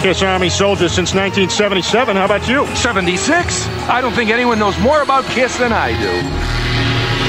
Kiss Army soldier since 1977. How about you? 76? I don't think anyone knows more about Kiss than I do.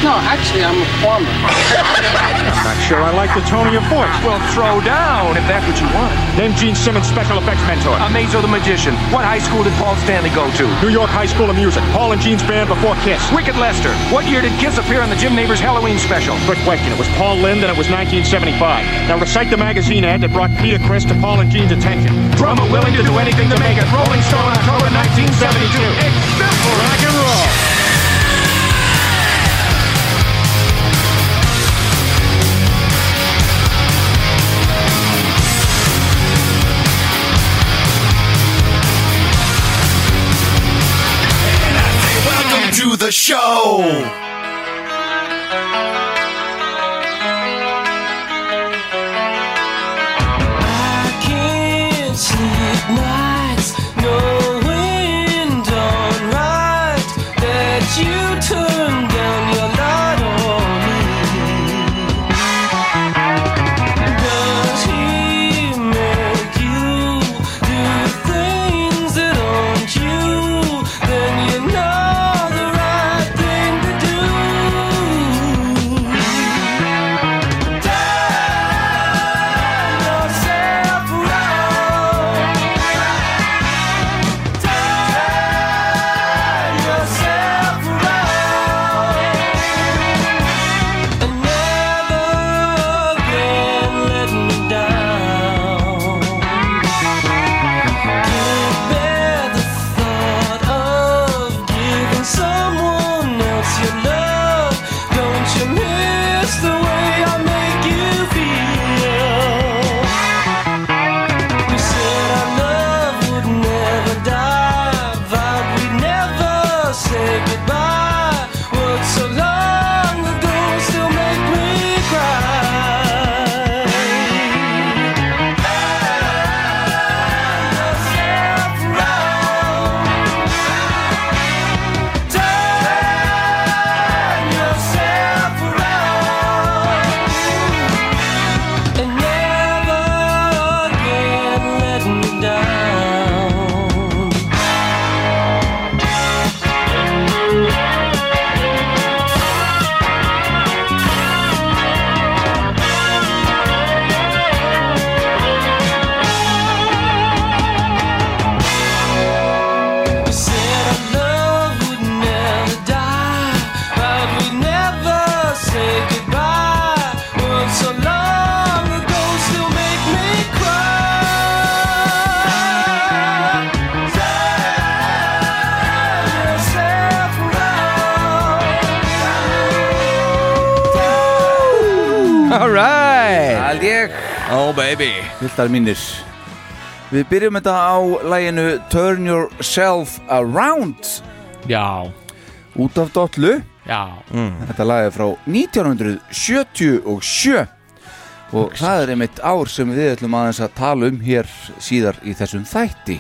No, actually, I'm a farmer. Not sure I like the tone of your voice. Well, throw down if that's what you want. Name Gene Simmons' special effects mentor. Amazo the Magician. What high school did Paul Stanley go to? New York High School of Music. Paul and Gene's band before Kiss. Wicked Lester. What year did Kiss appear on the Jim Neighbors Halloween special? Quick question. It was Paul Lynde and it was 1975. Now recite the magazine ad that brought Peter Chris to Paul and Gene's attention. Drummer willing to do anything to make it. Rolling Stone, October 1972. Except Rock and roll. Welcome to the show. I can't sleep nights knowing darn right that you turned down your light on me. Does he make you do things that aren't you? Then you know the right thing to do. Turn yourself around. Turn yourself around. And never again let me down. Can't bear the thought of giving someone else your love. Don't you miss the way I make you feel? We said our love would never die, vowed we'd never say goodbye. Words so long ago still make me cry. Turn yourself around. Turn yourself around. And never again let me down. Said our love would never die, but we never say goodbye. Words so long ago still make me cry. Turn yourself around. All right Held ég Oh baby Viltar mínir Við byrjum þetta á læginu Turn Yourself Around Já, Út af dollu já Mm. Þetta lag er frá 1977 og það er einmitt ár sem við ætlum aðeins að tala um hér síðar í þessum þætti.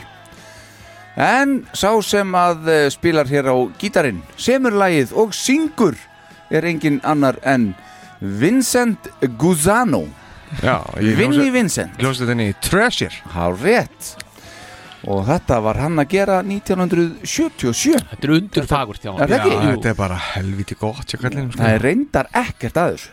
En sá sem að eh, spilar hér á gítarinn, semur lagið og syngur er engin annar en Vincent Guzano. Já, ég Vinni Vincent, hljómsið þenni Treasure há rétt. Og þetta var hann að gera 1977. Þetta er undur fagur hjá Er hann það ekki? Já, Jú. þetta er bara helviti gott hjá kallinu sko. Það er reyndar ekkert að þessu.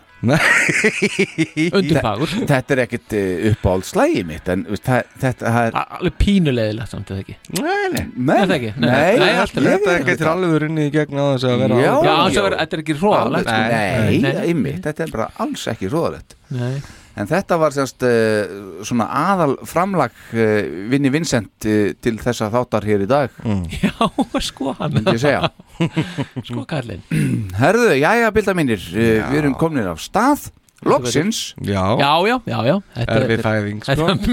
Undur fagur Þetta er ekkert uppáhaldslægi mitt en veist, það, þetta það er Alveg pínulegilega samt eða ekki Nei, nei Nei, Er það ekki? Nei, nei, nei, allt í allt lagi. Þetta getur alveg runnið í gegn á þess að vera Já. á- Já, þess að vera- þetta er ekki Alveg, hróðalegt sko. Nei, Nei. nei, einmitt, þetta er bara alls ekki róðalegt Nei En þetta var semst uh, svona aðal framlag uh, Vinni Vincent uh, til þessa þáttar hér í dag Já, sko hann myndi ég segja Sko kallinn Herðu, jæja, bilda mínir, uh, við erum komnir af stað Loksins Já, Já, já, já, já Þetta erfið þetta- fæðing Þetta sko er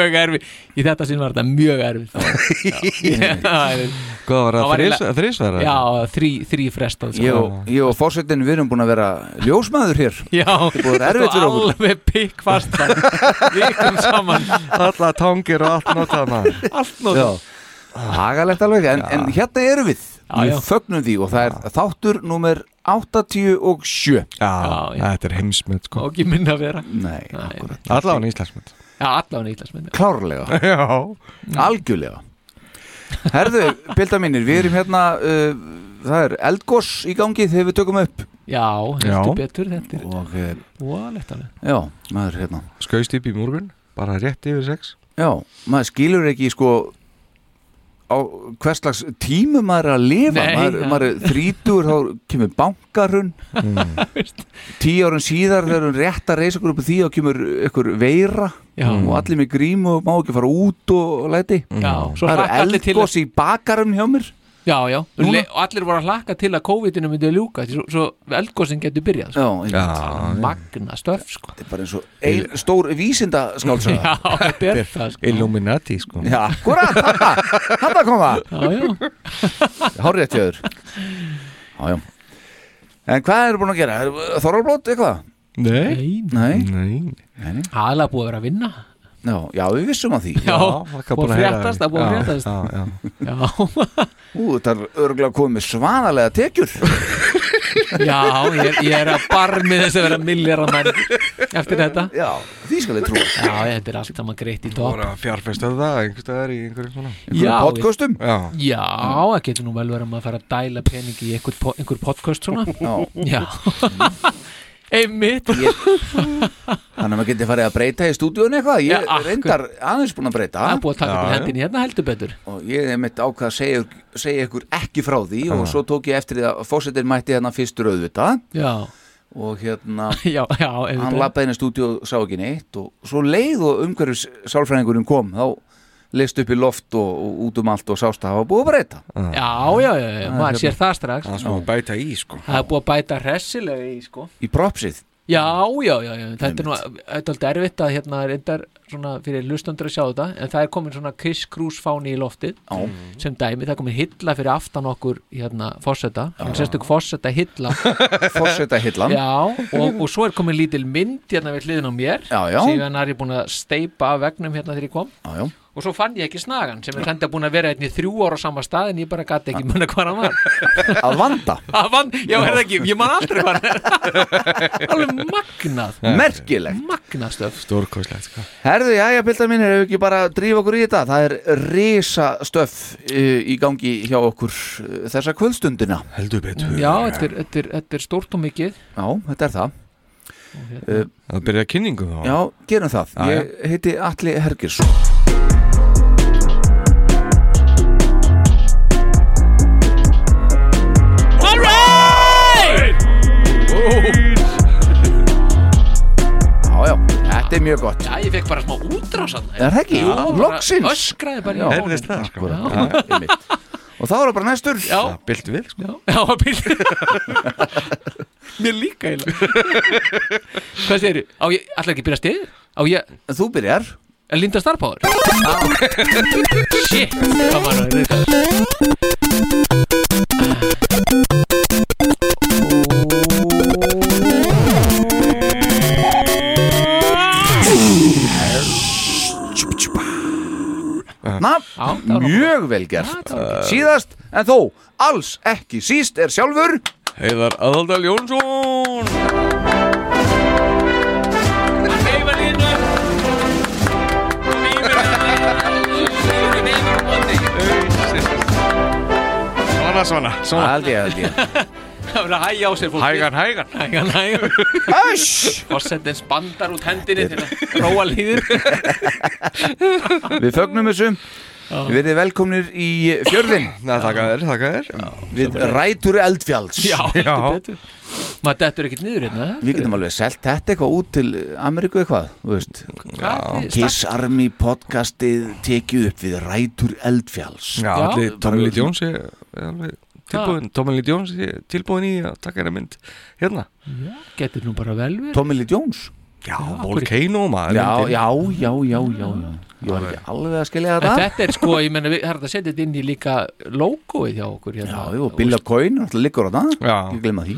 mjög erfið Í þetta sinn var þetta mjög erfið Já, Hvað Það var var það eiginlega- þrísverðar? já þrí, þrí frestað sko. Ég og, ég og fórsetin, við erum búin að vera ljósmaður hér Já, búið að vera erfitt fyrir okkur. Alveg pikk fast Vikum saman Alla tangir og allt notað maður Allt nótt Hagalegt alveg, en, en hérna erum við Já, Við já. fögnum því og það er þáttur númer 87 Já, já. þetta er sko. heimsmynd sko Og ekki minna að vera Nei, Nei. akkurat Alla á nýslæsmynd Já, allan Íslandsmynd klárlega Já, algjörlega Herðu, bilda mínir, við erum hérna uh, það er eldgós í gangi þegar við tökum upp Já, Já. heldur betur þetta er og uh, Óalegt alveg já, maður hérna skauðst upp í morgun Bara rétt yfir sex já, maður skilur ekki sko á hvers slags tímu maður er að lifa Nei, maður, ja. maður er þrítur, þá kemur bankarun Mm. tíu árun síðar þegar hún rétt að reysa okkur upp úr því þá kemur ykkur veira Já, og allir með grímu og má ekki fara út og læti já Svo það hlakka eru allir til að eldgós í bakarum hjá mér Já, já Núna? Le- Og allir voru að hlakka til að COVID-inu myndi að ljúka Svo, svo eldgósin getur byrjað sko. já, já. Magna stöf, sko Þetta er bara eins og ein stór vísinda skáldsöða Já, þetta er það, sko Illuminati sko Já, akkurat, þetta kom það Já, já Hárið tjöður Já, já En hvað eru búin að gera? Er Þorvalblót eitthvað? Nei Nei, Nei, Nei aðlega búið að vera að vinna já, já, við vissum að því Já, það búið að fréttast, það búið að fréttast fréttast Já, Ú, þetta er örgulega komið svaðalega tekjur já, ég er, ég er að barmi þess að vera milljarra menn Eftir þetta Já, því skal ég trúa Já, þetta er allt saman greitt í Það topp voru að fjárfesta það einhvers staðar í einhverjum svona Já, Já, podcastum Já, Já, það getur nú vel verið að maður fara að dæla pening í einhver, po- einhver podcast svona Já, Já Einmitt þannig að maður geti farið að breyta í stúdíun eitthvað Ég Já, akkur- er reyndar aðeins búin að breyta Það er búið að taka Já, upp í já. hendinni hérna heldur betur og ég hef mitt ákvað að segja, segja ykkur ekki frá því og svo tók ég eftir því að fósettir mætti hérna fyrstur auðvitað Já, og hérna já, já hann einmitt. lappaði inn í stúdíu og sá ekki neitt og svo um leið og umhverfis sálfræðingurinn kom þá leist upp í loft og, og út um allt og sást að hafa búið að breyta Já, já, já, já, maður sér það strax það sem að bæta í sko Það er búið að bæta hressilega í sko í propsið Já, já, já, já. þetta er nú þetta er alltaf erfitt að hérna reyndar svona fyrir lustandur að sjá þetta en það er komin svona Chris Cruise fáni í loftið Já. sem dæmi, það er komin hilla fyrir aftan okkur hérna fórseta, hann sérstök fórseta hilla fórseta hillan Já, og, og svo er komin lítil mynd hérna við hliðin á mér Já, já. síðan er ég búin að steipa af vegnum hérna þegar ég kom já, já. og svo fann ég ekki snagan sem er þannig að búin að vera hérna í þrjú ára á sama stað en ég bara gati ekki munna hvað hann var að vanda, Það vann, já, er það ekki, ég man aldrei hvað hann er Alveg magnað merkilegt Magnað stöf Stórkoslegt sko herðu, já, já, pildar mínir, hefur ekki bara að drífa okkur í þetta það er risa stöf uh, í gangi hjá okkur uh, þessa kvöldstundina Heldur betur Já, þetta er, þetta er, þetta er stórt og mikið já, þetta er það, E, Það byrja kynningu þá já, gerum það Já, ég heiti Alli Hergirsson já, já, þetta er mjög gott Já, ég fekk bara smá útrásan Er það ekki? Loksins. Öskraði bara í Já. honum. Heyrðist það sko Akkúrat, já, einmitt. og þá er það bara næstur Já, Það byltu við sko Já, já bíl Mér líka eiginlega Hvað segir þið? Á ég, allar ekki að byrja stið? Á ég, þú byrjar að Linda Starpower Ah. Shit, hvað var það reyta Oh. Na, Já, það var mjög vel gert síðast en þó alls ekki síst er sjálfur Heiðar Aðaldal Jónsson Svona svona Svona held ég held ég Það var að hægja á sér fólk Hægan hægan hægan, hægan Æsj! Fossettin spandar út hendinni til að róa líður við fögnum þessu við verðum velkomnir í fjörðin Nei þakka þér þakka þér við rætur eldfjalls Já, Já. heldur betur Maður dettur ekkert niður hérna við getum alveg selt þetta eitthvað út til Ameríku eitthvað þú veist. Já, Kiss Army podcastið tekið upp við rætur eldfjalls Já, Já. allir Tommy Lee Jones er er alveg tilbúin Tommy Lee Jones er tilbúin í að taka hérna mynd hérna getur nú bara vel verið Tommy Lee Jones Já, Volcano maður já, myndin. já, já, já, já, já ég var ekki alveg að skilja En þetta þetta er sko, ég menna, við erum að setja þetta inn í líka logoið hjá okkur hérna. Já, jú, Bill of Coin, alltaf liggur á það Já. Ég glemma því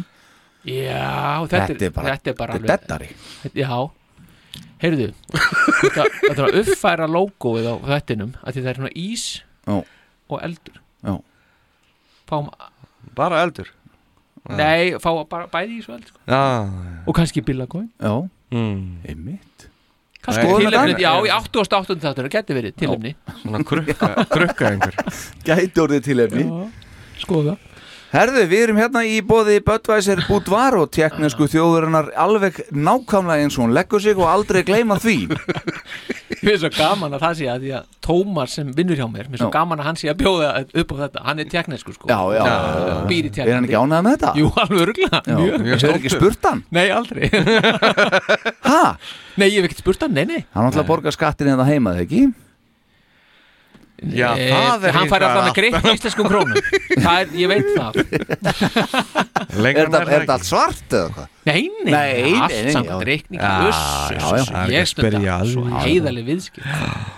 Já, þetta, Þetta er bara, þetta er bara þetta er deadari þetta- Já, heyrðu Þetta þetta er að uppfæra logoið á þettinum að því það er svona ís Já. og eldur Já. Fáum, Bara eldur nei, fá bara bæði ís og eld sko. Já, já og kannski billakóin Já, Mm. einmitt Kannski Nei. tilefni, Skoðunardag? já, í 88. þáttur, það geti verið tilefni Svona krukka, krukka einhver Gæti orðið tilefni Skoða Herðu, við erum hérna í bóði Budweiser Budvar og teknisku þjóðurinnar alveg nákvæmlega eins og hún leggur sig og aldrei gleyma því Mér er svo gaman að það sé að því að Tómas sem vinnur hjá mér, mér er svo Já. gaman að hann sé að bjóða upp á þetta, hann er teknesku sko Já, já, Býr er hann í teknendi ekki ánægð með þetta? Jú, alveg örgla Já. Mjög Hefur ekki spurt hann? Nei, aldrei Hæ? Nei, ég hef ekkert spurt hann, nei, nei Hann ætla að borga skattin eða heima, þegar ekki? Já, það er Eh, Hann fær eitthvað alltaf að greitt í íslenskum krónum Það er, ég veit það Lengra Er þetta- nær er það þetta ekki. allt svart eða hvað? Nei, nei, Nei, nei, allt nei, samt já. reikning Já, Uss, já, uss, já. uss, Ég Það er ekki að stunda spyrja alveg. svo heiðaleg viðskip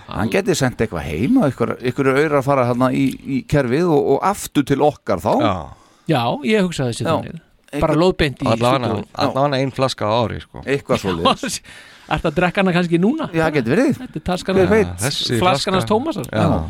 Hann geti sendt eitthvað heima, ykkur, ykkur auðra að fara hérna í, í kerfið og, og aftur til okkar þá Já, Já, ég hugsaði þessi Já. þannig Bara lóðbeint í allavega stúdíóinu. allavega ein flaska á ári sko. Eitthvað svo liðs Ertu að drekka hana kannski núna? Já, það geti verið Þetta er taskan Hver veit? Þessi Flaskan hans flaska. Tómasar Já.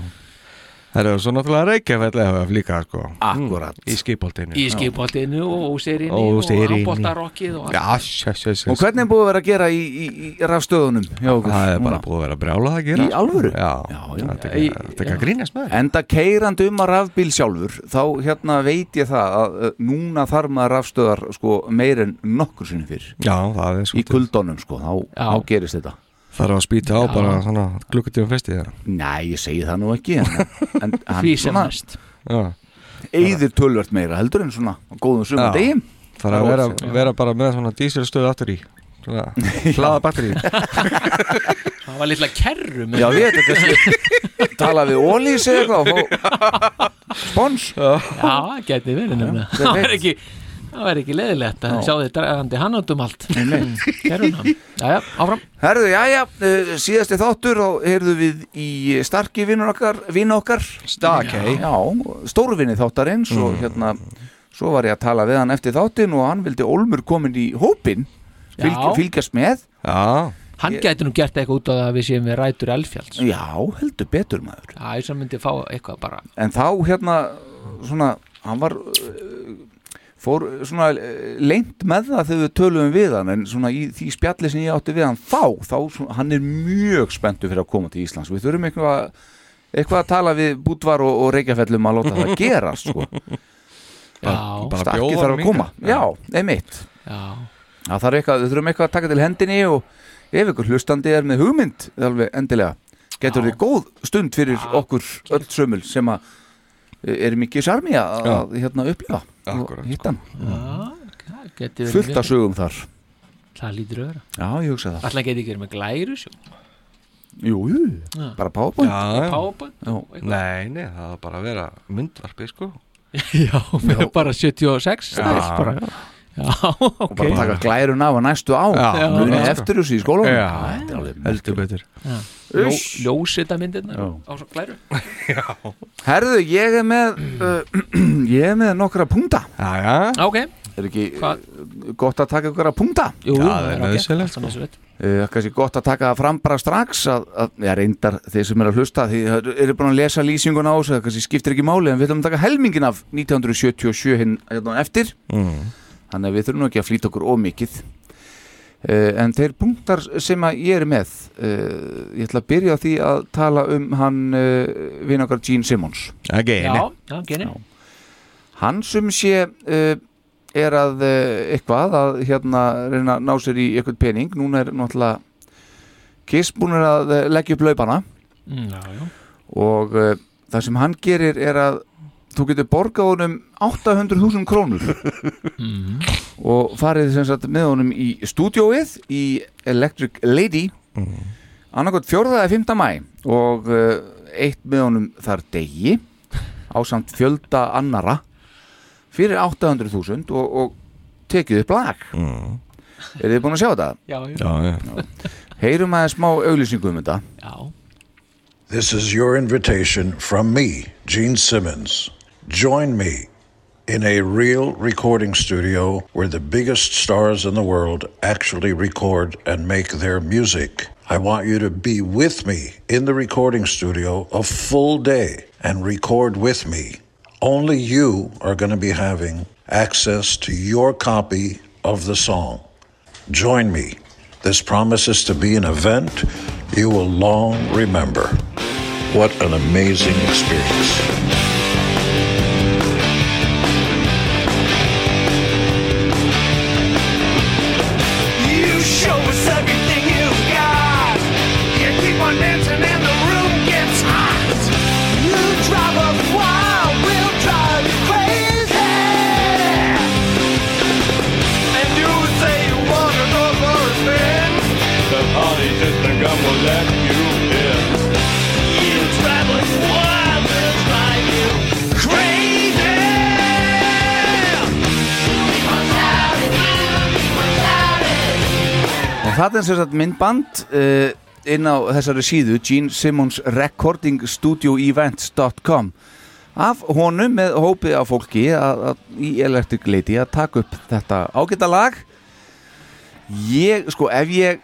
Það eru svo náttúrulega reykjafell eða líka sko Akkurat Í skipoltinu Í skipoltinu og serinni Og og Serinni. ábóttarokkið og allt. Já, sjö, sjö, sjö Og hvernig er búið að vera að gera í, í, í rafstöðunum hjá okkur? Það er bara núna? búið að vera brjála að gera Í sko. alvöru? Já, Já, já. þetta er ekki- þetta er ekki að grínast með þér Enda keirandi um að rafbíl sjálfur þá hérna veit ég það að uh, núna þarf maður rafstöðar sko meir en nokkur sinni fyrr Já, það er í svolítið kuldónum sko, þá, Já. þá gerist þetta Það er að spýta á Já. bara svona klukkutíma festið þeirra Nei, ég segi það nú ekki en, en hann Því sem svona næst Já, eyðir tölvert meira heldur en svona á góðum sumum Já. degim það er Það að er vera, ósegjanlegt. vera bara með svona dísilstöðu aftur í Svona, hlaða batteri Það var litla kerru með Já, ég veit ekki tala við ólís eða eitthvað og fá spons Já, það geti verið nefna hver Það var veit? ekki Það var ekki leðilegt að Já. sjá þið dragandi hann út um allt Kerruna Jæja, áfram Herðu, jæja, uh, síðasti þáttur þá heyrðu við í starki vinnur okkar, vinn okkar Stakei Já, stórvinni þáttarins Mm. og hérna, svo var ég að tala við hann eftir þáttin og hann vildi Olmur komin í hópin, fylg, Já. fylgjast með Já, Hann gæti nú gert eitthvað út á það að við séum við rætur elfjalls Já, heldur betur maður Það er sem myndi fá eitthvað bara En þá hérna, svona, hann var uh, fór uh, svona uh, leint með það þegar við töluðum við hann en svona í því spjalli sem ég átti við hann þá, þá svona, hann er mjög spenntu fyrir að koma til Íslands, við þurfum eitthvað eitthvað að tala við Bútvar og, og Reykjafellum að láta það gera sko. Já, bara Stakki bjóða þarf að honum koma, hingað. já, einmitt já Það þarf eitthvað, við þurfum eitthvað að taka til hendinni og ef ykkur hlustandi er með hugmynd alveg endilega, getur Já. þið góð stund fyrir okkur öll sömul sem að e, er mikið sarmi að að, hérna upplifa Akkúrat, og hittan, Já, það geti verið fullt mjög- að sögum þar Það lítur öðra Já, ég hugsa það Alltaf geti ekki verið með glæru sjó Jú, jú, Já. bara powerpoint Já, já Pápan Já. Nei, nei, það var bara að vera myndvarpi sko Já, með bara 76 stæls Já. bara Já, ok Bara taka glærun af að næstu á Já. muni Já. eftir þessu í skólanum Já. Þetta er alveg Heldur betur Ljó, Ljósita myndirna Já. á svo glæru Herðu, ég er með Mm. uh, ég er með nokkra punkta Já, já Ok, Er ekki Hvað? eh, gott að taka ykkur að punkta? jú, Já, það er nauðsynlegt, sko. Uh, kannski gott að taka það fram bara strax að, að já, reyndar þeir sem eru að hlusta því það eru búin að lesa lýsinguna á þessu það kannski skiptir ekki máli en við ætlum að taka helmingin af 1977 hinn hérna á eftir Mm. þannig að við þurfum nú ekki að flýta okkur ómikið uh, en þeir punktar sem að ég er með uh, ég ætla að byrja á því að tala um hann uh, vinn okkar Gene Simmons Ekki, Já, nei já, genið hann sem sé uh, er að uh, eitthvað að hérna reyna að ná sér í eitthvað pening núna er náttúrulega Kiss búin að eh, leggja upp laupana Já, já og uh, það sem hann gerir er að þú getur borgað honum 800.000 krónur og farið sem sagt með honum í stúdióið í Electric Lady annarkot 4. eða 5. mæ og uh, eitt með honum þar degi á samt fjölda annara fyrir 800.000 og, og tekið upp lag Mm. er þið búin að sjá þetta? Já, já, Já, já Heyrum aðeins smá auglýsingum um þetta já. This is your invitation from me, Gene Simmons. Join me in a real recording studio where the biggest stars in the world actually record and make their music. I want you to be with me in the recording studio a full day and record with me. Only you are going to be having access to your copy of the song. Join me. This promises to be an event you will long remember. What an amazing experience. You show us everything you've got. You keep on dancing and the room gets hot. You drive us wild, we'll drive you crazy. And you say you wanna go for a spin. The party just begun, will let you in. You drive us wild, we'll drive you crazy. En það er sem sagt myndband uh, inn á þessari síðu Gene Simmons Recording Studio Events.com af honum með hópi af fólki að, að, í Electric Lady að taka upp þetta ágæta lag Ég, sko, ef ég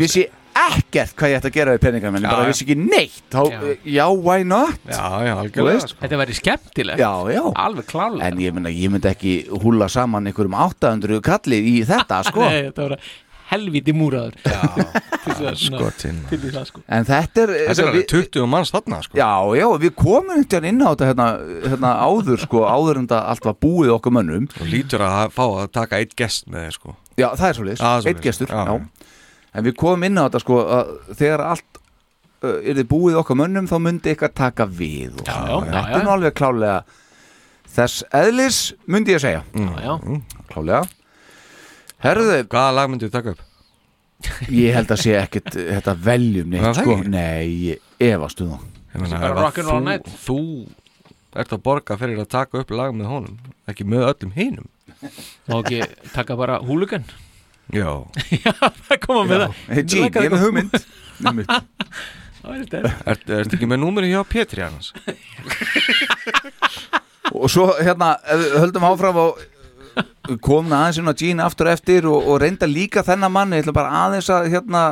vissi ekkert hvað ég ætti að gera við peningar menn, Já, bara já. vissi ekki neitt þá, eh, Já. já, já why not? Já, já, Þú algjörlega veist. sko. Þetta væri skemmtilegt Já, já Alveg klálega En ég myndi, ég myndi ekki húla saman einhverjum 800 kalli í þetta, sko Nei, þetta voru helviti múraður Já, Skotinn. Til því það sko En þetta er sko, Þetta er alveg 20 manns þarna sko. Já, já, við komum eitthvað inn á þetta hérna, hérna áður sko, áður en það allt var búið okkur mönnum og lítur að ha- fá að taka eitt gest með þér sko. Já, það er svolítið, Já, það er svoleiðis. eitt gestur Já. já. En við komum inn á þetta sko að þegar allt uh, er þið búið okkur mönnum þá myndi eitthvað taka við og, já, svona. já, Þetta já. er nú alveg klálega þess eðlis myndi ég segja Já, já, Klálega Herðu, Hvaða lag myndið taka upp? ég held að sé ekkit uh, þetta veljum Já, neitt það sko ekki. Nei, ég efast um það Ég meina, bara ef að rock and roll þú- night. Þú ert að borga fyrir að taka upp lag með honum ekki með öllum hinum má ekki taka bara húlugan Já, Það koma með það Gene, ég er með hugmynd Einmitt. Það væri þetta. ert, ert ekki með númeri hjá Pétri annars? og svo hérna ef við höldum áfram á komna aðeins inn á Gene aftur eftir og, og reynda líka þennan mann ég ætla bara aðeins að hérna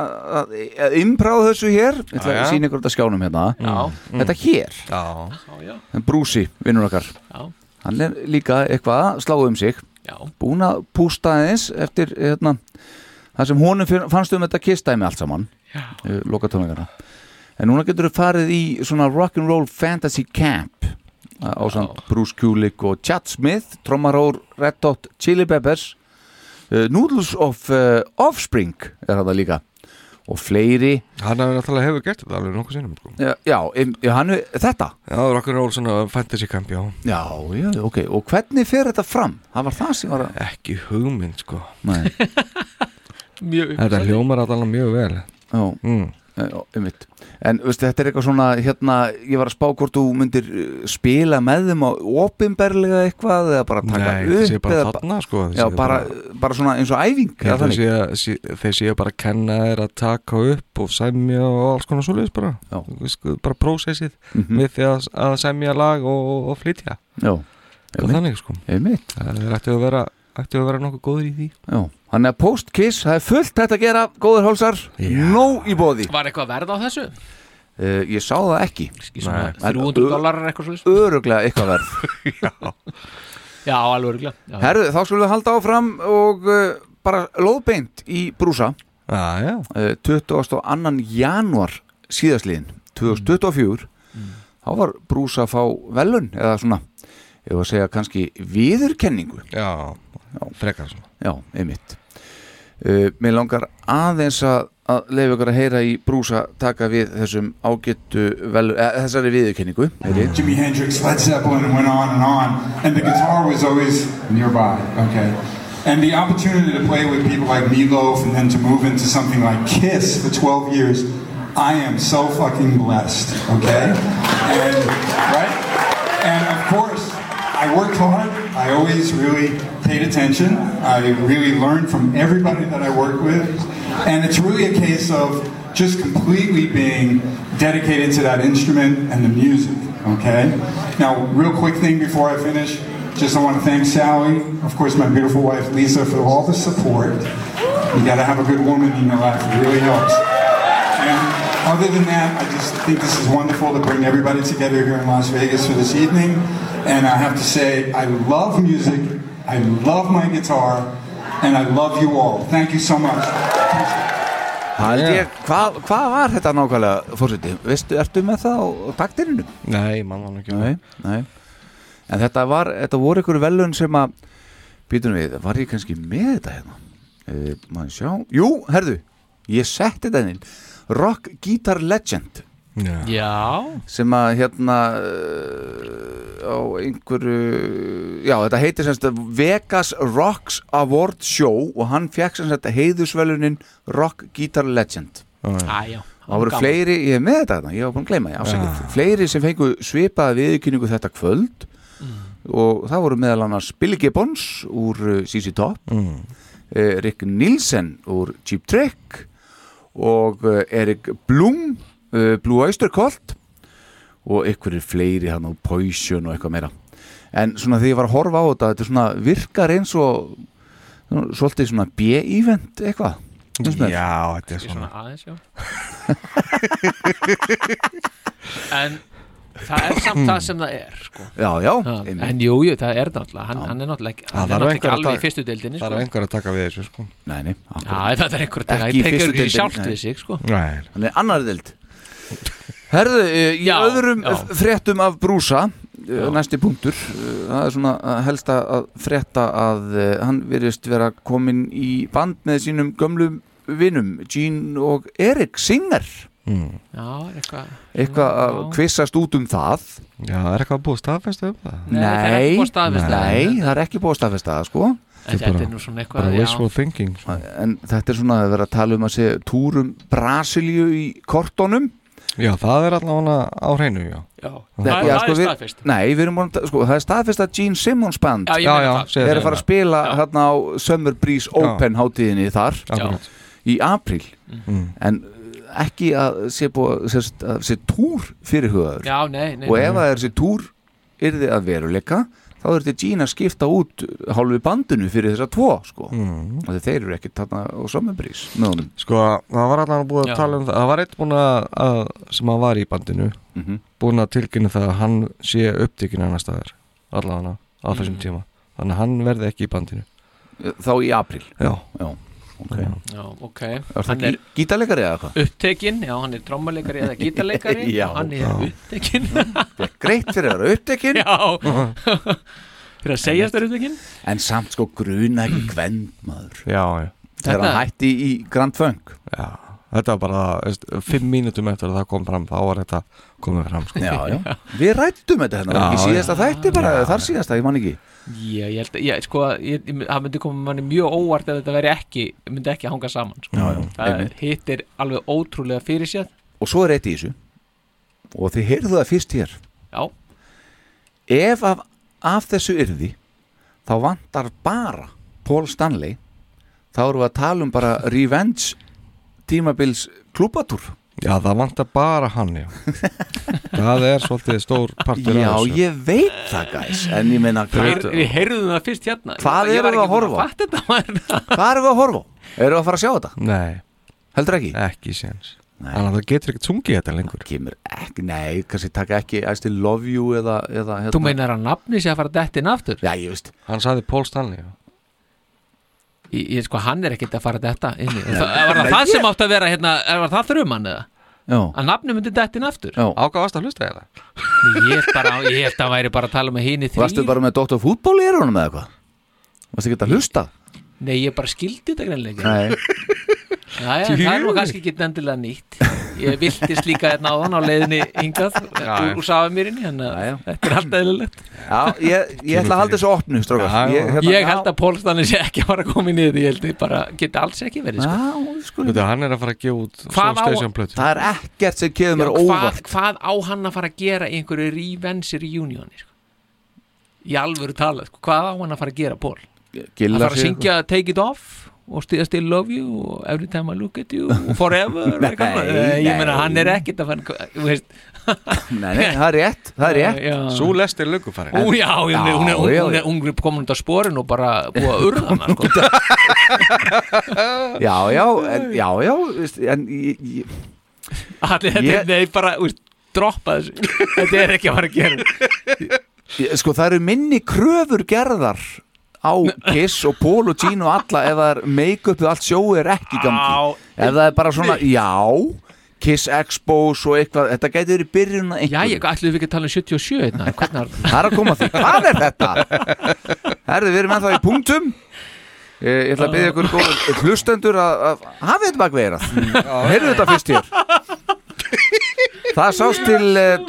að, að impráða þessu hér ég ætla Já, já. að sína ykkur þetta á skjánum hérna Já, þetta hér, Já, já, já, en Brúsi, vinnur okkar já, hann er líka eitthvað að slá um sig já. búin að pústa aðeins eftir hérna, það sem honum finn- fannst um þetta kistæmi allt saman loka tónleikana eh, en núna getur þú farið í svona rock'n'roll fantasy camp á samt Bruce Kulick og Chad Smith trommarór Red Hot Chili Peppers uh, Noodles of uh, Offspring er það líka og fleiri hann hefur náttúrulega hefur gert þetta alveg nokkuð sinnum sko. já, já, em- já, hann, þetta Já, rock'n'roll svona fantasy camp, já já, já, ok, og hvernig fer þetta fram? það var það sem var að Ekki hugmynd sko Nei, Mjög Þetta hljómar allan mjög vel já, mm. Já, einmitt. En veistu, þetta er eitthvað svona, hérna, ég var að spá hvort þú myndir uh, spila með þeim á opinberlega eitthvað eða bara taka Nei, upp þetta sé bara eða ba- þarna sko þeir Já, séu bara, bara svona eins og æfing Ég eða held að þannig. þeir sé, þeir séu bara að kenna þér að taka upp og semja og alls konar svoleiðis bara Já. Þú veist, bara prósessið Mhm. með því að, að semja lag og, og flytja Já, Eitthvað Einmitt. þannig sko einmitt, Það er ættu að vera ættu að vera nokkuð góður í því já Þannig að post-kiss, það er fullt þetta að gera, góður hálsar, Já. nóg í bóði Var eitthvað verð á þessu? uh, Ég sá það ekki, Ekki svona Nei. 300 dólarar eitthvað svolítið öruglega eitthvað verð Já, alveg örgulega já, Herðu, þá skulum við halda áfram og uh, bara lóðbeint í brúsa Já, já, Eh, 22. januar síðastliðin 2024 þá var Brús að fá velun eða svona, ég var að segja kannski viðurkenningu já, frekar svona já, einmitt uh, mér langar aðeins að, að leifa ykkur að heyra í Brúsa taka við þessum ágættu velun, eða, þessari viðurkenningu heyri. Jimi Hendrix, Led Zeppelin, and went on and on. And the guitar was always nearby, okay? And the opportunity to play with people like Meatloaf and then to move into something like Kiss for 12 years, I am so fucking blessed, okay? And, right? And of course, I worked hard. I always really paid attention. I really learned from everybody that I worked with. And it's really a case of just completely being dedicated to that instrument and the music, okay? Now, real quick thing before I finish, just I want to thank Sally, of course, my beautiful wife Lisa, for all the support. You gotta have a good woman in your life, it really helps. And other than that, I just think this is wonderful to bring everybody together here in Las Vegas for this evening. And I have to say, I love music, I love my guitar, and I love you all. Thank you so much. Hald ég, hvað hva var þetta nákvæmlega fórseti? Veistu, ertu með það á, á taktirinnu? Nei, mann var ekki Nei, nei En þetta, var, þetta voru ykkur velun sem að býtum við, var ég kannski með þetta hérna? E, Má ég sjá Jú, herðu, ég setti þetta inn Rock Guitar Legend Já sem að hérna eh, á einhverju já þetta heitir semst að Vegas Rocks Award Show og hann fekk semst að heiðusvelunin Rock Guitar Legend Æjá Það voru fleiri, ég er með þetta þarna, ég var búin að gleyma ég afsakið, fleiri sem fengu svipaða viðkynningu þetta kvöld Mm. og það voru meðal annars Billy Gibbons úr uh, CC Top Mm. eh, Rick Nielsen úr Cheap Trick og eh, Erik Blum eh, Blue Oyster Cult og einhverjir fleiri hann og Poison og eitthvað meira en svona þegar ég var að horfa á þetta þetta svona virkar eins og svona- svolítið svona B-event eitthvað finnst mér. Já, þetta er Ég svona svona aðeins, já En það er samt það sem það er sko. já, já, Já, einmitt. En jú, jú, það er náttúrulega Hann, hann er náttúrulega ekki, hann er þarf náttúrulega einhver ekki að alveg taka- í fyrstu deildinni Það sko. er einhver að taka við þessu sko Nei, nei, Já, akkurat. það er einhver að taka Ekki í Það tekur fyrstu ekki sjálft deildinni, við sig sko. Nei, hann er annar dild Herðu, eh, í Já, öðrum já. fréttum af brúsa já. næsti punktur, eh, það er svona eh, helst að frétta að eh, hann virðist vera komin í band með sínum gömlum vinum Gene og Erik Singer mm. Já, Hmm. er eitthvað eitthvað að Já. kvissast út um það já, það er eitthvað að búið staðfestu um það Nei, það er ekki búið að staðfesta það. nei, það er ekki búið að staðfesta það sko En Þetta er þetta bara- er nú svona Bara eitthvað já. wishful thinking sko. en þetta er svona að vera að tala um að segja túrum Brasilíu í kortónum Já, það er allavega á hreinu, já Já, Nei, það já, það sko, er við- staðfest Nei, við erum búin að, sko, það er staðfest að Gene Simmons band Já, ég Já, já, meina það segðu er að fara að spila hérna á Summer Breeze Open hátíðinni þar Akkurat í apríl Mm. en uh, ekki að sé, búið, sé, að sé túr fyrirhugaður Já, nei, nei og ef það er sé túr yrði að veruleika þá er þetta Gene að skipta út hálfu bandinu fyrir þessa tvo sko. mm. og þeir eru ekki þarna á Summer Breeze með honum Sko, það var allavega búið Já. að tala um það Það var eitt búin að, að sem að var í bandinu Mhm. búin að tilkynna það að hann sé upptekinn annar staðar allavega á Mhm. þessum tíma þannig að hann verði ekki í bandinu þá í apríl Já, Já, okay. Já, ok Er Hann það er er... gítalegari eða hvað? upptekinn, já, hann er trommalegari eða gítarleikari Já. Hann er upptekinn Greitt fyrir að vera upptekinn Já Fyrir að segja þetta upptekinn en samt sko gruna ekki kvend maður já, já, þegar Þetta- hann hætti í Grand Funk já. Þetta var bara, veist, fimm mínútum eftir að það kom fram þá var þetta komið fram sko. já, já. við rættum þetta hérna Já, já, ekki síðasta þætti bara, Já, já, þar síðasta, ég man ekki Já, ég held að, já, sko, ég, ég- það myndi koma manni mjög óvart ef þetta veri ekki, myndi ekki hanga saman, sko. já, já, Það einmitt. hitt er alveg ótrúlega fyrir sér. og svo er eitt í þessu og þið heyrðu það fyrst hér Já, ef af, af þessu yrði þá vantar bara Paul Stanley þá erum við að tala um bara Revenge tímabils klúbatúr Já, það vantar bara hann, já Það er svolítið stór partur já, af þessu ég veit það gæs en ég meina, við, hvað við heyrðum það fyrst hérna. Hvað Ég var erum við ekki að horfa á? búin fatta þetta, maður. hvað erum við að horfa á? erum við að fara að sjá þetta? Nei, heldur ekki? ekki séns Nei. Þannig að það getur ekkert sungið þetta lengur kemur ekki, nei, kannski taka ekki I still love you eða, eða hérna. Þú meinar að nafni sé að fara dettin aftur? já, ég veist, Hann sagði Paul Stanley já. Ég, ég sko, hann er ekkert að fara detta inn í. Það var það það sem átt að vera, hérna, var það þrjum hann eða? já, Að nafni myndi dettin aftur? já Á hvað varstu að hlusta þetta? Ég held bara, ég held að hann væri bara að tala með hini Varstu þrýr. bara með Dr. Fútból í erunum eða eitthvað? Varstu ekki að hlusta? Nei, ég bara skildi þetta greinlega. Nei, Jæja, það er nú kannski ekki endilega nýtt Ég viltist líka hérna áðan á leiðinni hingað úr, úr safamýrinni þannig Jæja. að þetta er alltaf eðlilegt já, ég, ég ætla að halda hérna- þessu opnu, strókar Já, já. Ég held að Pólstanir sé ekki að fara að koma í niður ég held ég bara geti alls ekki verið sko. Já, sko Þetta, Hann er að fara að gefa út Hvað á- Soulstation plötu Það er ekkert sem kefur mér hvað, óvart hvað á hann að fara að gera í einhverju revenge reunioni sko? Í alvöru tala, sko. hvað á hann að fara að gera Pól? Að Gilla sko. fara að syngja Take It Off og Still, still Love You og Every Time I Look At You og Forever og eitthvað. Eh, Nei, Ég meina nei. hann er ekkit að fara þú veist, Nei, nei, það er rétt, það er rétt Já. Sú lest er löngu farin Ú, já, já, Já, hún er, hún, já, hún já. er, hún er komin út á sporin og bara búið að urða hana sko. Já, já, en, já, já veist, En ég, ég, Allir þetta Ég- er nei, bara, úst, droppa þessu Þetta er ekki að fara að gera ég- sko, það eru minni kröfur gerðar á Kiss og Paul og Gene og alla ef það er make-upið allt sjóið er ekki í gangi Á, Ef það er bara svona, já, Kiss Expos og eitthvað, þetta gæti verið byrjun að Já, ég ætlum við ekki að tala um 77 einna Hvernig Það er að koma að því, hvað er þetta? Herðu, við erum ennþá í punktum Eh, Ég ætla að byggja ykkur góður hlustendur að, að hafi þetta bakveirað Heyrðu þetta fyrst hér Það sást til eh,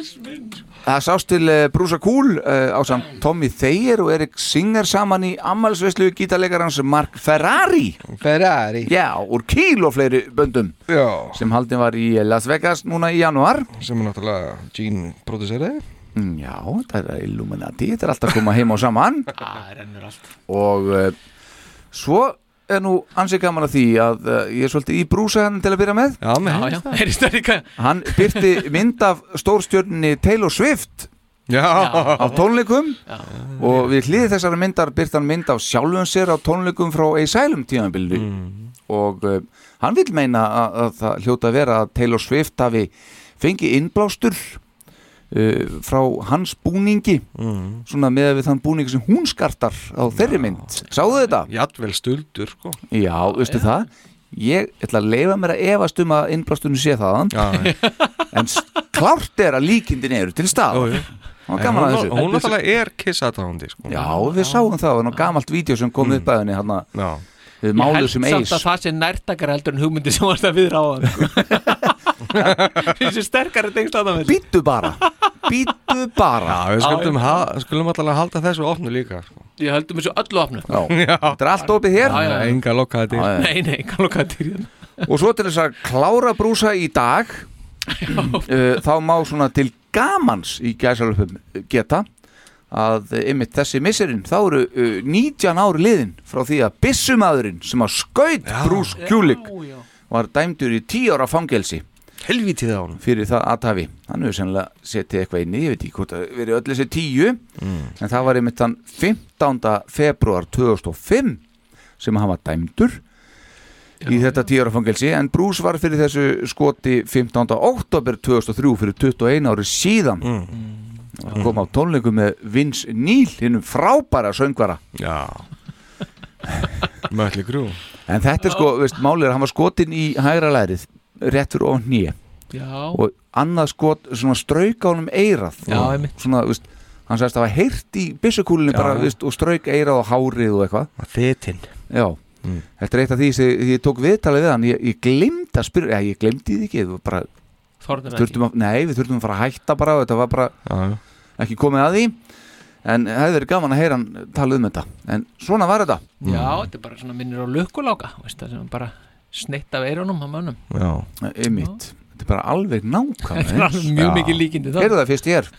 Það sást til eh, Brúsa Kúl eh, á samt Tommy Thayer og Erik Singer saman í ammælsveislu gítalegarans Mark Ferrari Ferrari Já, úr kíl og fleiri böndum Já. sem haldin var í Las Vegas núna í januar Sem er náttúrulega Gene producerið Mm, Já, þetta er Illuminati, þetta er alltaf að koma heim og saman Ah, rennur allt og uh, svo er nú ansið gaman að því að uh, ég er svolítið í brúsa hann til að byrja með Já, Já, já, heyrist það líka Hann byrti mynd af stórstjörninni Taylor Swift Já. á tónleikum og við hliðið þessari myndar byrti hann mynd af sjálfum sér á tónleikum frá Asylum tímanbyldu og uh, hann vil meina að, að það hljóta að vera að Taylor Swift hafi fengið innblástur uh, frá hans búningi svona með við þann búningi sem hún skartar á þeirri mynd, sáðu þetta? Jadvel stöldur sko Já, veistu það Ég ætla að leifa mér að efast um að innblastunni sé þaðan En s- klárt er að líkindin eru til stað Og En gaman að hún- þessu Hún náttúrulega er Mm. kiss aðdáðandi sko Já, við sáum það, það var nú gamalt vídeo sem kom upp að henni hana, Við Ég málu held sem samt eis að það sé nærtakar heldur en hugmyndi sem varst að viðra á hann Þessi sterkari tengsl að það með Býttu bara, býttu bara Já, við skulum, Já, já. ha, skulum alltaf halda þessu opnu líka sko. Ég heldum þessu öllu opnu Þetta er allt opið hér Já, já, já. Enga lokaði til Nei, nei, kannu hvað til hérna Og svo til þess að klára brúsa í dag uh, Þá má svona til gamans í gæsalöfum geta að uh, einmitt þessi misserinn þá eru uh, 19 ár liðin frá því að byssumadurinn sem að skaut brús kjúlik var dæmdur í 10 ára fangelsi Helvítið á hann fyrir það aðtafi hann hefur sennilega setið eitthvað inn í ég veit ekki hvort að verið öll þessi 10 Mm. en það var einmitt þann 15. februar 2005 sem hann var dæmdur í þetta 10 ára fangelsi en Bruce var fyrir þessu skoti 15. oktober 2003 fyrir 21 ári síðan og kom á tónleikum með Vince Neil hinnum frábæra söngvara Já Mötli grú en þetta er sko, veist, málið er að hann var skotin í hægra lærið rétt fyrir ofn nýja Já, og annað skot svona strauk á honum eirað Já, Og einmitt. svona, veist, hann sagðist að hafa heyrt í byssukúlinu bara, já. veist, og strauk eirað og hárið og eitthvað Þitinn já, Mm. þetta er eitt af því sem ég tók viðtalið við hann, ég, ég glemd að spyrja já, ég glemdi því ekki, við bara þorðum ekki þurftum að, nei, við þurftum að fara að hætta bara og þetta var bara Já, já. ekki komið að því en það hefði verið gaman að heyra hann tala um þetta en svona var þetta Já, þetta er bara svona minnir á lukkuláka veist það sem bara sneitt af eyrunum á mönnum Já einmitt, þetta er bara alveg Það er nákvæm alveg mjög mikið líkindi þá heyrðu það fyrst ég er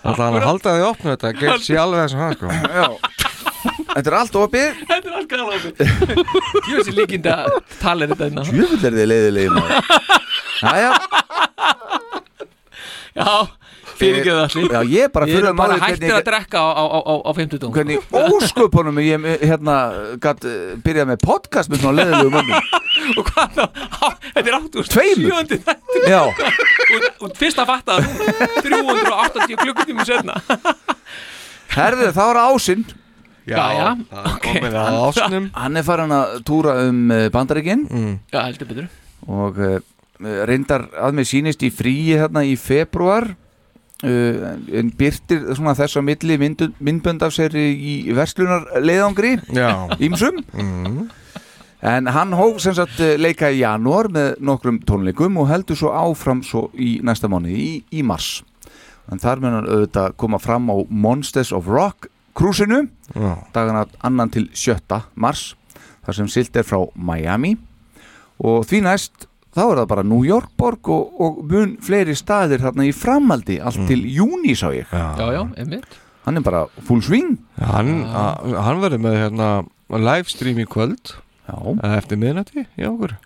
Alltaf hann að halda því opnu þetta Gerð sér alveg þessum hann sko þetta er allt opið Þetta er allt gala okkur Þessi líkindi að tala er þetta hérna Jöfull er þið leiðilegi maður Jæja, Já, fyrir ekki það allir já, ég er bara Við fyrir erum bara maður hættir að hvernig, drekka á, á, á, á- á 50 dungum hvernig ósköpunum ég hérna gat uh, byrjað með podcast með svona leiðilegu mönnum Og hvað þá? Á, Þetta er áttúst Tveimur. þættur Já, og, og fyrst að fatta það núna, 380 klukkutími senna herðu það var ásinn Já, já, Það er komið að ásnum Mm. Hann er farin að túra um bandaríkinn Já, heldur betur og uh, reyndar að mér sýnist í fríi hérna í februar uh, en byrtir svona þess að milli myndu- myndbönd af sér í verslunarleiðangri Já ímsum en hann hóf sem sagt eh, leika í janúar með nokkrum tónleikum og heldur svo áfram svo í næsta mánu í, í mars en þar mun hann auðvitað koma fram á Monsters of Rock krúsinu Já dagana annan til 7. mars þar sem silt er frá Miami og því næst þá er það bara New York borg og, og mun fleiri staðir þarna í framhaldi allt til júni sá ég Já, já, einmitt hann er bara full swing Hann, Ah. a- Mm. hann verður með hérna livestream í kvöld já, eh, eftir miðnætti í okkur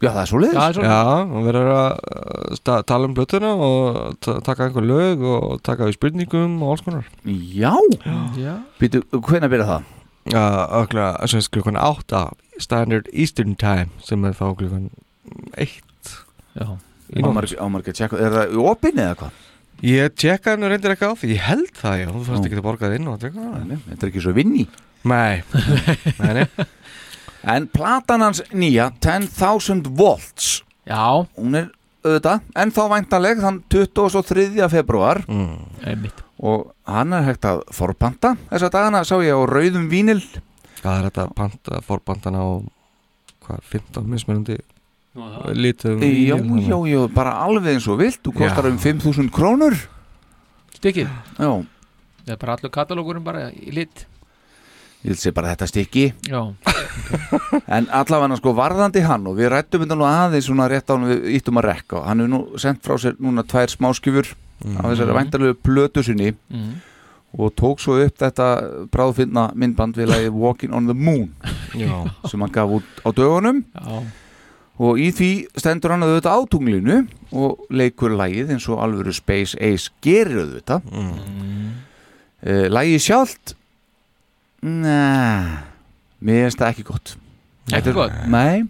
já það er svo Já, það er svona Já, hann verður að eh, sta- tala um blötuna og ta- taka einhver lög og taka við spurningum og alls konar já, Já, býtu, hvenær byrja það? Já, okkur, sem sagt klukkan 8 Standard Eastern Time sem er þá klukkan 1 já í nótt Ámarg, ámarg að tjekka, er það í opinni eða hvað? Ég tjekka hann reyndir ekki á því, ég held það já Þú fannst ekki að borga það inn og tjekka það Nei, Þetta er ekki svo vinni Nei, nei, nei En platan hans nýja 10.000 volts Já Hún er auðvitað En þá væntaleg þann 23. februar mm. Og hann er hægt að forpanta Þessa dagana sá ég á rauðum vínil Hvað er þetta panta, forbandana á hvað, 15 mismunandi Vá. litum Já, já, já, bara alveg eins og vilt Þú kostar um Já. um 5.000 krónur Stikið Já, Það er bara allur katalógurum bara í lit ég vil sé bara þetta stykki Já En allavega sko varðandi hann og við rættum þetta nú aðeins svona rétt á hann við íttum að rekka og hann hefur nú sendt frá sér núna tvær smáskjöfur af þessari væntarlegu plötu sinni Mhm. og tók svo upp þetta bráðfinna myndband við lagið Walking on the Moon Já. sem hann gaf út á dögunum Já. og í því stendur hann auðvitað á tunglinu og leikur lagið eins og alvöru Space Ace gerir auðvitað mm. Lagið sjálft Nei, mér finnst það ekki gott Ekki Þetta er- gott? Nei,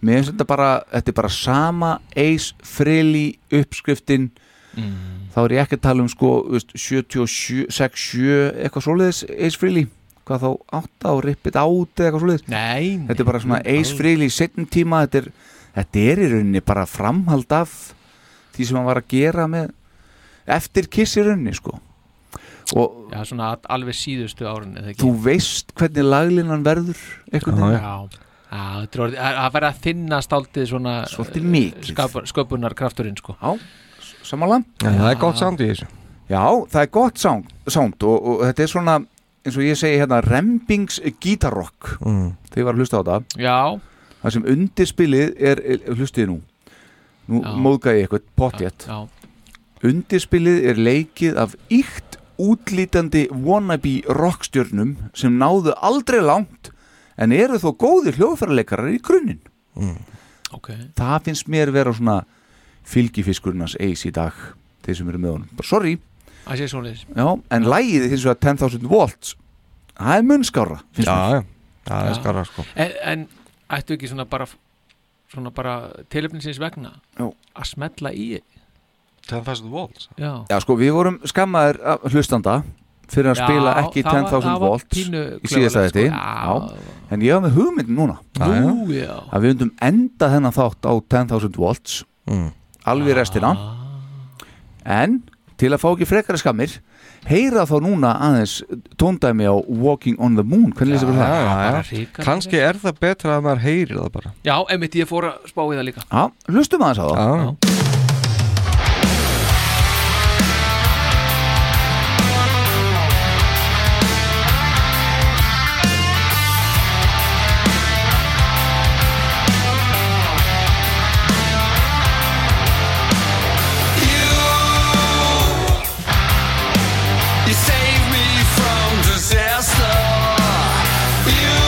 mér finnst þetta bara þetta er bara sama Ace Frehley uppskriftin Mm. þá er ég ekki að tala um sko þú veist, 77, 67 eitthvað svoleiðis Ace Frehley hvað þá 8 og Rip It Out eða eitthvað svoleiðis Nei, þetta er bara svona Ace Frehley setnum tíma þetta er, þetta er í rauninni bara framhald af því sem hann var að gera með eftir kiss í rauninni sko og Já, svona at- alveg síðustu árin eða ekki? þú veist hvernig laglinan verður einhvern veginn Já, já þetta er orðið- það það verður að þinna stáltið svona Svolítið mikið. skapar, Sköpunar krafturinn sko Já, samanlega Já, það er gott sound í þessu Já, það er gott sound, sound og, og þetta er svona, eins og ég segi hérna rembings gítarrock mm. þegar ég var að hlusta á þetta Já, það sem undirspilið er, hlustiði nú nú Já. móðga ég eitthvað potjett já, undirspilið er leikið af ykt útlítandi wannabe rockstjörnum sem náðu aldrei langt en eru þó góðir hljóðfæraleikarar í grunninn Mm. ok það finnst mér vera svona fylgifiskurnas eis í dag þeir sem eru með honum, bara sorry Það sé svona þess Já, en lægið hins vegar 10.000 volts Það er munnskára Já, já, það er skarra sko en, en ættu ekki svona bara svona bara tilöfninsins vegna Já. að smetla í 10.000 volts Já, Já, sko, við vorum skammaðir af hlustanda fyrir að Já, spila ekki það 10.000 var- það var volts pínu í síðasta klaufalegt, sko. þetta Já. En ég var með hugmyndin núna nú já að við undum enda þennan þátt á 10.000 volts mm. alveg restina Ah. En til að fá ekki frekara skammir heyra þá núna aðeins tóndæmi á Walking on the Moon Hvernig lýsir við það? Já, bara já, hrikalega. kannski er það betra að maður heyri það bara Já, einmitt ég fór að spá í það líka Já, hlustum aðeins á það Já, You saved me from disaster. You,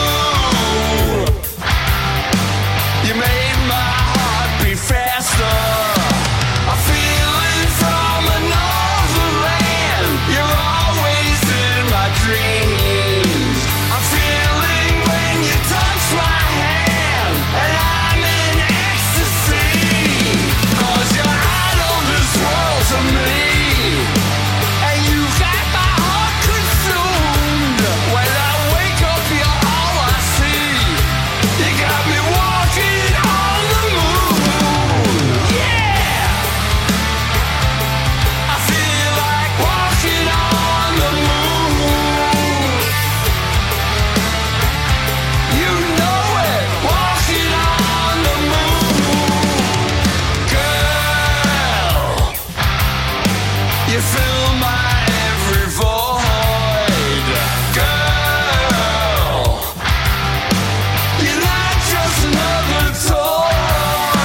you made my heart beat faster. I feel it from another land. You're always in my dreams. I'm feeling when you touch my hand, and I'm in ecstasy. 'Cause you're out of this world to me. And you got my heart consumed. When I wake up, you're all I see. You got me walking on the moon. Yeah, I feel like walking on the moon. You know it, walking on the moon, girl. You fill my every void, girl. You're not just another toy.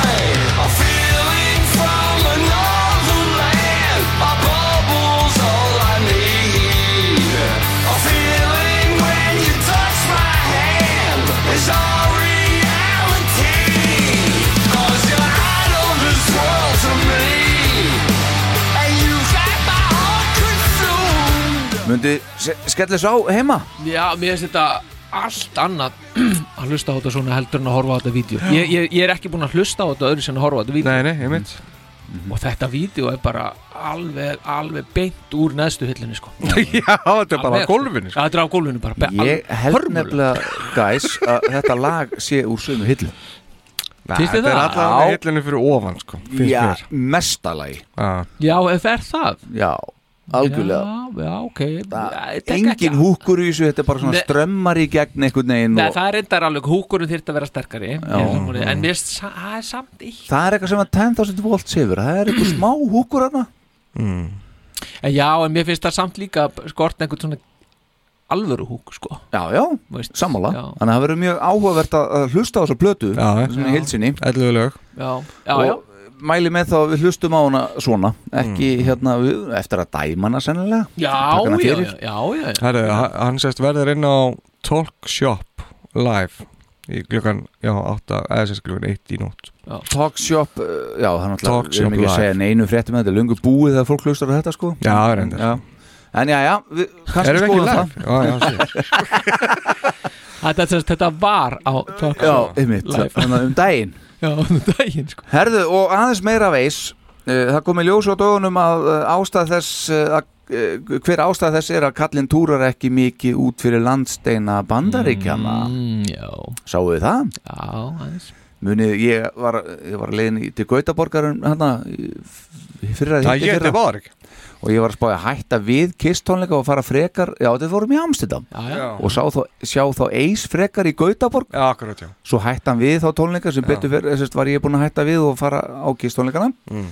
A feeling from another land. A bubble's all I need. A feeling when you touch my hand is all reality. 'Cause you're out of this world to me. And you got my heart consumed. Mundi se- skella þessu á heima Já, mér finnst þetta allt annað að hlusta á þetta svona heldur en að horfa á þetta vídeo ég, ég, ég er ekki búin að hlusta á þetta öðru sem að horfa á þetta vídeo nei, nei, einmitt Mhm. og þetta vídeo er bara alveg, alveg beint úr neðstu hillinu sko. Já, þetta er bara á Alveg, sko. gólfinu Já, þetta er á gólfinu bara be- Ég alveg held hörmulegt. nefnilega, guys, að þetta lag sé úr sömu hillu Finnst þér Þetta er það? allavega Já. hillinu fyrir ofan sko, finnst Já, mér mesta lagi Já. Já, ef er það Já, algjörlega Já, já, ok Ég tek ekki- Engin húkur í þessu, þetta er bara svona Nei. strömmar í gegn einhvern veginn Nei, og það er reyndar alveg húkurinn þyrfti að vera sterkari ég er sammála, En mér finnst sa- það er samt eitt það er eitthvað sem að 10.000 volt sefur það er eitthvað smá húkur hana Mm. En Já, en mér finnst það samt líka skort einhvern svona alvöru húk sko. Já, já, Veist, sammála já. Þannig að það verður mjög áhugavert að að hlusta á þessa plötu Já, já. sem er hilsinni Ellu lög Já, já, já og mæli með þá að við hlustum á hana svona ekki Mm. hérna við, eftir að dæma hana sennilega Já, taka hana já, fyrir. já, já, já, já. Herru, ha- hann sérst verður inn á Talk Shop live í glukkan, já, 8, eða sérst glukkan 1 í nótt Talkshop, uh, já, það er náttúrulega Talk við erum Shop ekki að Live. segja neinu fréttum þetta er lungu búið þegar fólk hlustar á þetta sko Já, það er endur Já. En já, já, við kannski Erum við ekki skoðum það live? Já, já, sér Þetta, þetta, þetta var á Talk Já, Show einmitt, Live. þannig að um daginn Já, um daginn sko. Herðu, og aðeins meira veis uh, það komið ljós á dögunum að uh, ástæð þess uh, að, uh, hver ástæð þess er að kallinn túrar ekki mikið út fyrir landsteina bandaríkjana mm, Já, Sáu þið það? já, aðeins Munið, ég var, ég var leiðin í- til Gautaborgarun hana fyrra hitti Það getur fyrra borg og ég var að spája að hætta við kistónleika og fara frekar, já þetta fórum í Amstidam Já, já, Já, og sá þá, sjá þá eis frekar í Gautaborg Já, akkurat, já svo hætti hann við þá tónleika sem betur fyrir, þessast var ég búin að hætta við og fara á tónleikana Mm.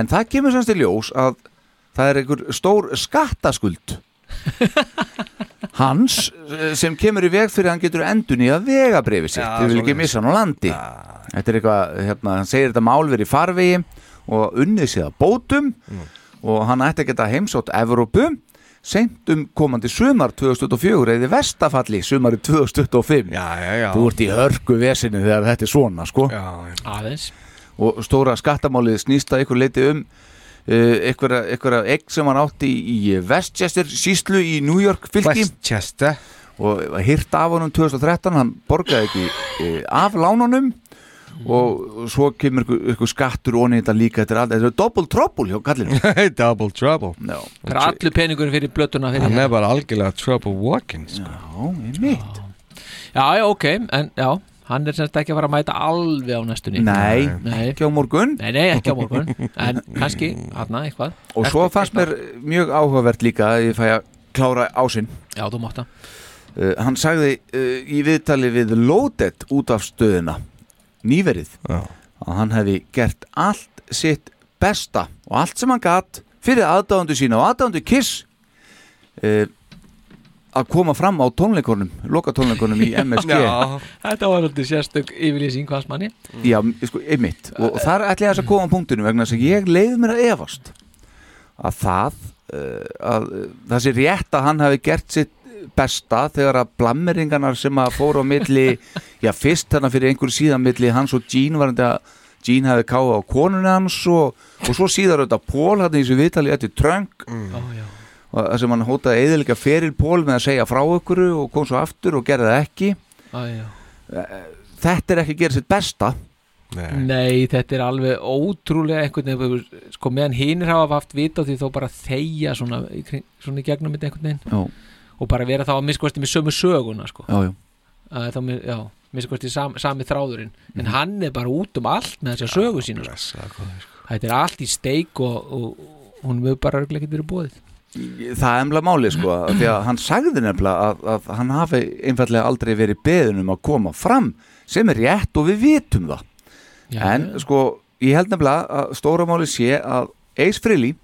en það kemur semst í ljós að það er einhver stór skattaskuld hans eh, sem kemur í veg fyrir að hann getur endun í að vega brefi sitt, Já, þið vil ekki svoleiðis. missa hann á landi þetta er eitthvað, hérna, hann segir þetta málveri farvegi og unnið sér að bótum og hann ætti að geta heimsótt Evrópu seint um komandi sumar 2004 eða í vestafalli sumari 2025 Já, já, já Þú ert í hörku vesinu þegar þetta er svona sko. Já, já. aðeins og stóra skattamálið snýst að ykkur leiti um uh, einhverja einhverja egg sem hann átti í í Westchester síslu í New York fylki Westchester og hirt af honum 2013 hann borgaði ekki uh, af lánunum og svo kemur ykkur, ykkur skattur onni þetta líka þetta er alltaf, þetta er double trouble hjá kallinu Double trouble Já, Það er allur peningurinn fyrir blötuna fyrir Hann er bara algjörlega trouble walking sko. mitt Já, já, ok, en já Hann er semst ekki að fara að mæta alveg á næstunni Nei, Nei, ekki á morgun nei, nei ekki á morgun En kannski, hann eitthvað og svo fannst mér mjög áhugavert líka að ég fæ að klára ásinn Já, þú mátt það Uh, hann sagði uh, í viðtali við Loaded út af stöðuna nýverið Já. að hann hefði gert allt sitt besta og allt sem hann gatt fyrir aðdáðandu sína og aðdáðandu Kiss uh, að koma fram á tónleikunum loka tónleikunum í MSG já, Þetta var alltaf sérstök yfirlýsing hvers manni sko, einmitt og þar ætla ég aðeins að koma á punktinu vegna þess að ég leiði mér að efast að það uh, að uh, það sé rétt að hann hafi gert sitt besta þegar að blammeringarnar sem að fóru á milli já fyrst þarna fyrir einhverju síðan milli hans og Jean var þetta að Jean hefði káða á konunni hans og, og svo síðar auðvitað Pól hann í þessu viðtali eftir Trunk Ó, já og það sem hann hótaði eðilega feril Pól með að segja frá ykkur og kom svo aftur og gerði það ekki Eh, Á, já. þetta er ekki að gera sitt besta Nei. Nei, þetta er alveg ótrúlega einhvern veginn, sko meðan hinir hafa haft vita á því þó bara þegja svona, í kring- svona í gegnum þetta einhvern veginn já, og bara vera þá að miskvæsti með sömu söguna sko. já, já. að þá, með- já, miskvæsti sam, sami þráðurinn en Mhm. hann er bara út um allt með þessa sögu sína sko. þetta er allt í steik og, og hún mögur bara örglega getur búið það er emla máli sko af því að hann sagði nefnilega að, að hann hafi einfallega aldrei verið beðin um að koma fram sem er rétt og við vitum það en sko ég held nefnilega að stóra máli sé að Ace Frehley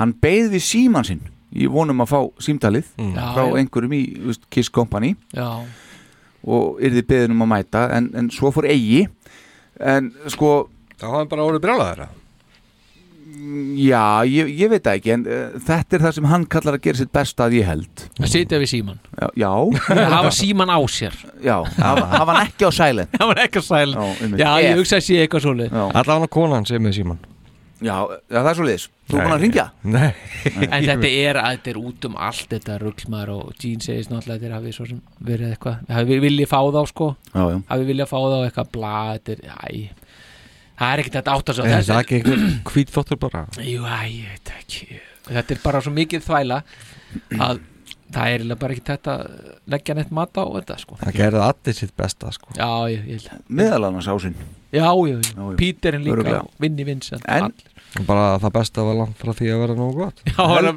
hann beið við síman sinn í vonum að fá símtalið Mm. já, frá já, einhverjum í þú veist, Kiss Company já, og yrði beðin um að mæta en, en svo fór eigi en sko Þá hafa hann bara orðið brjálæður já ég, ég veit það ekki en uh, þetta er það sem hann kallar að gera sitt besta að ég held að sitja við síman já, já, að hafa síman á sér já hafa hafa hann ekki á sælend það var ekki sæl Já, einmitt. já, ég Ef. hugsa að sé eitthvað svoleið Já, Alla hann að konan sem með síman já já, það er svo liðis Þú er búin að ringja Nei en þetta er, að þetta er út um allt þetta ruglmaður og Jean segist náttúrulega þetta hafi svo sem verið eitthvað hafi viljið fá þá sko Já, já hafi viljað fá þá eitthvað bla þetta er, æ það er ekkert hægt að átta sig á Er þessu. það ekki einhver hvítþvottur bara? Jú, æ, ég veit ekki Þetta er bara svo mikið þvæla að það er eiginlega bara ekki þetta leggja neitt mat á þetta sko Það gerði allir sitt besta sko Já, ég, ég held að meðal annars ásinn Já, já, já, já. Píterinn líka Örugglega. Vinni Vincent En- all- Bara það besta var langt frá því að vera nógu gott Já, hann hann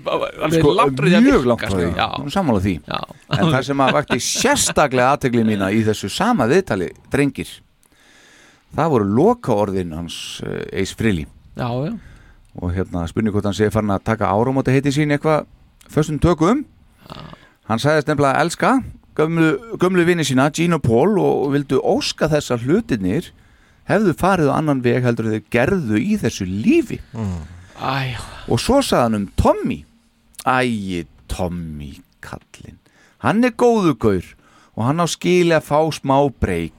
er sko, langt frá því að mjög virka, langt frá því, Já, hún sammála því já, en það sem að vakti sérstaklega aðtegli mína í þessu sama viðtali drengir það voru lokaorðin hans uh, Eis Frili já, já og hérna spurning hvort hann sé farin að taka áramóta heiti sín eitthvað föstum tökum hann sagðist nefnilega að elska gömlu, gömlu vini sína Gino Paul og vildu óska þess að hlutinir hefðu farið á annan veg heldur en þau gerðu í þessu lífi Æ, og svo sagði hann um Tommy Æi, Tommy kallinn hann er góðu gaur og hann á skili að fá smá breyk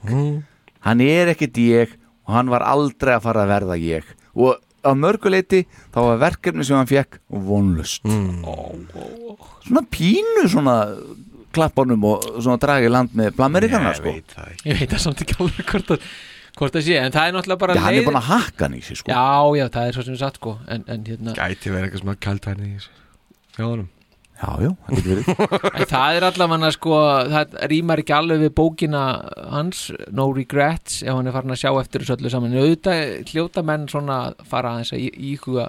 hann er ekkert ég og hann var aldrei að fara að verða ég og á mörguleiti þá var verkefni sem hann fekk vonlust svona pínu svona klappanum og svona dragi land með blamerikana sko ég veit það samt ekki alveg hvort það hvort það sé, en það er náttúrulega bara Já, hann er leiðin- búin að hakka hann í sig sko Já, já, það er svo sem satt sko en, en hérna, Gæti verið eitthvað sem að kælt henni í þessu Já, honum já, já, hann getur verið en það er allavega sko, það rýmar ekki alveg við bókina hans, No Regrets ef hann er farin að sjá eftir þessu öllu saman en auðvitað hljóta menn svona að fara aðeins að í- íhuga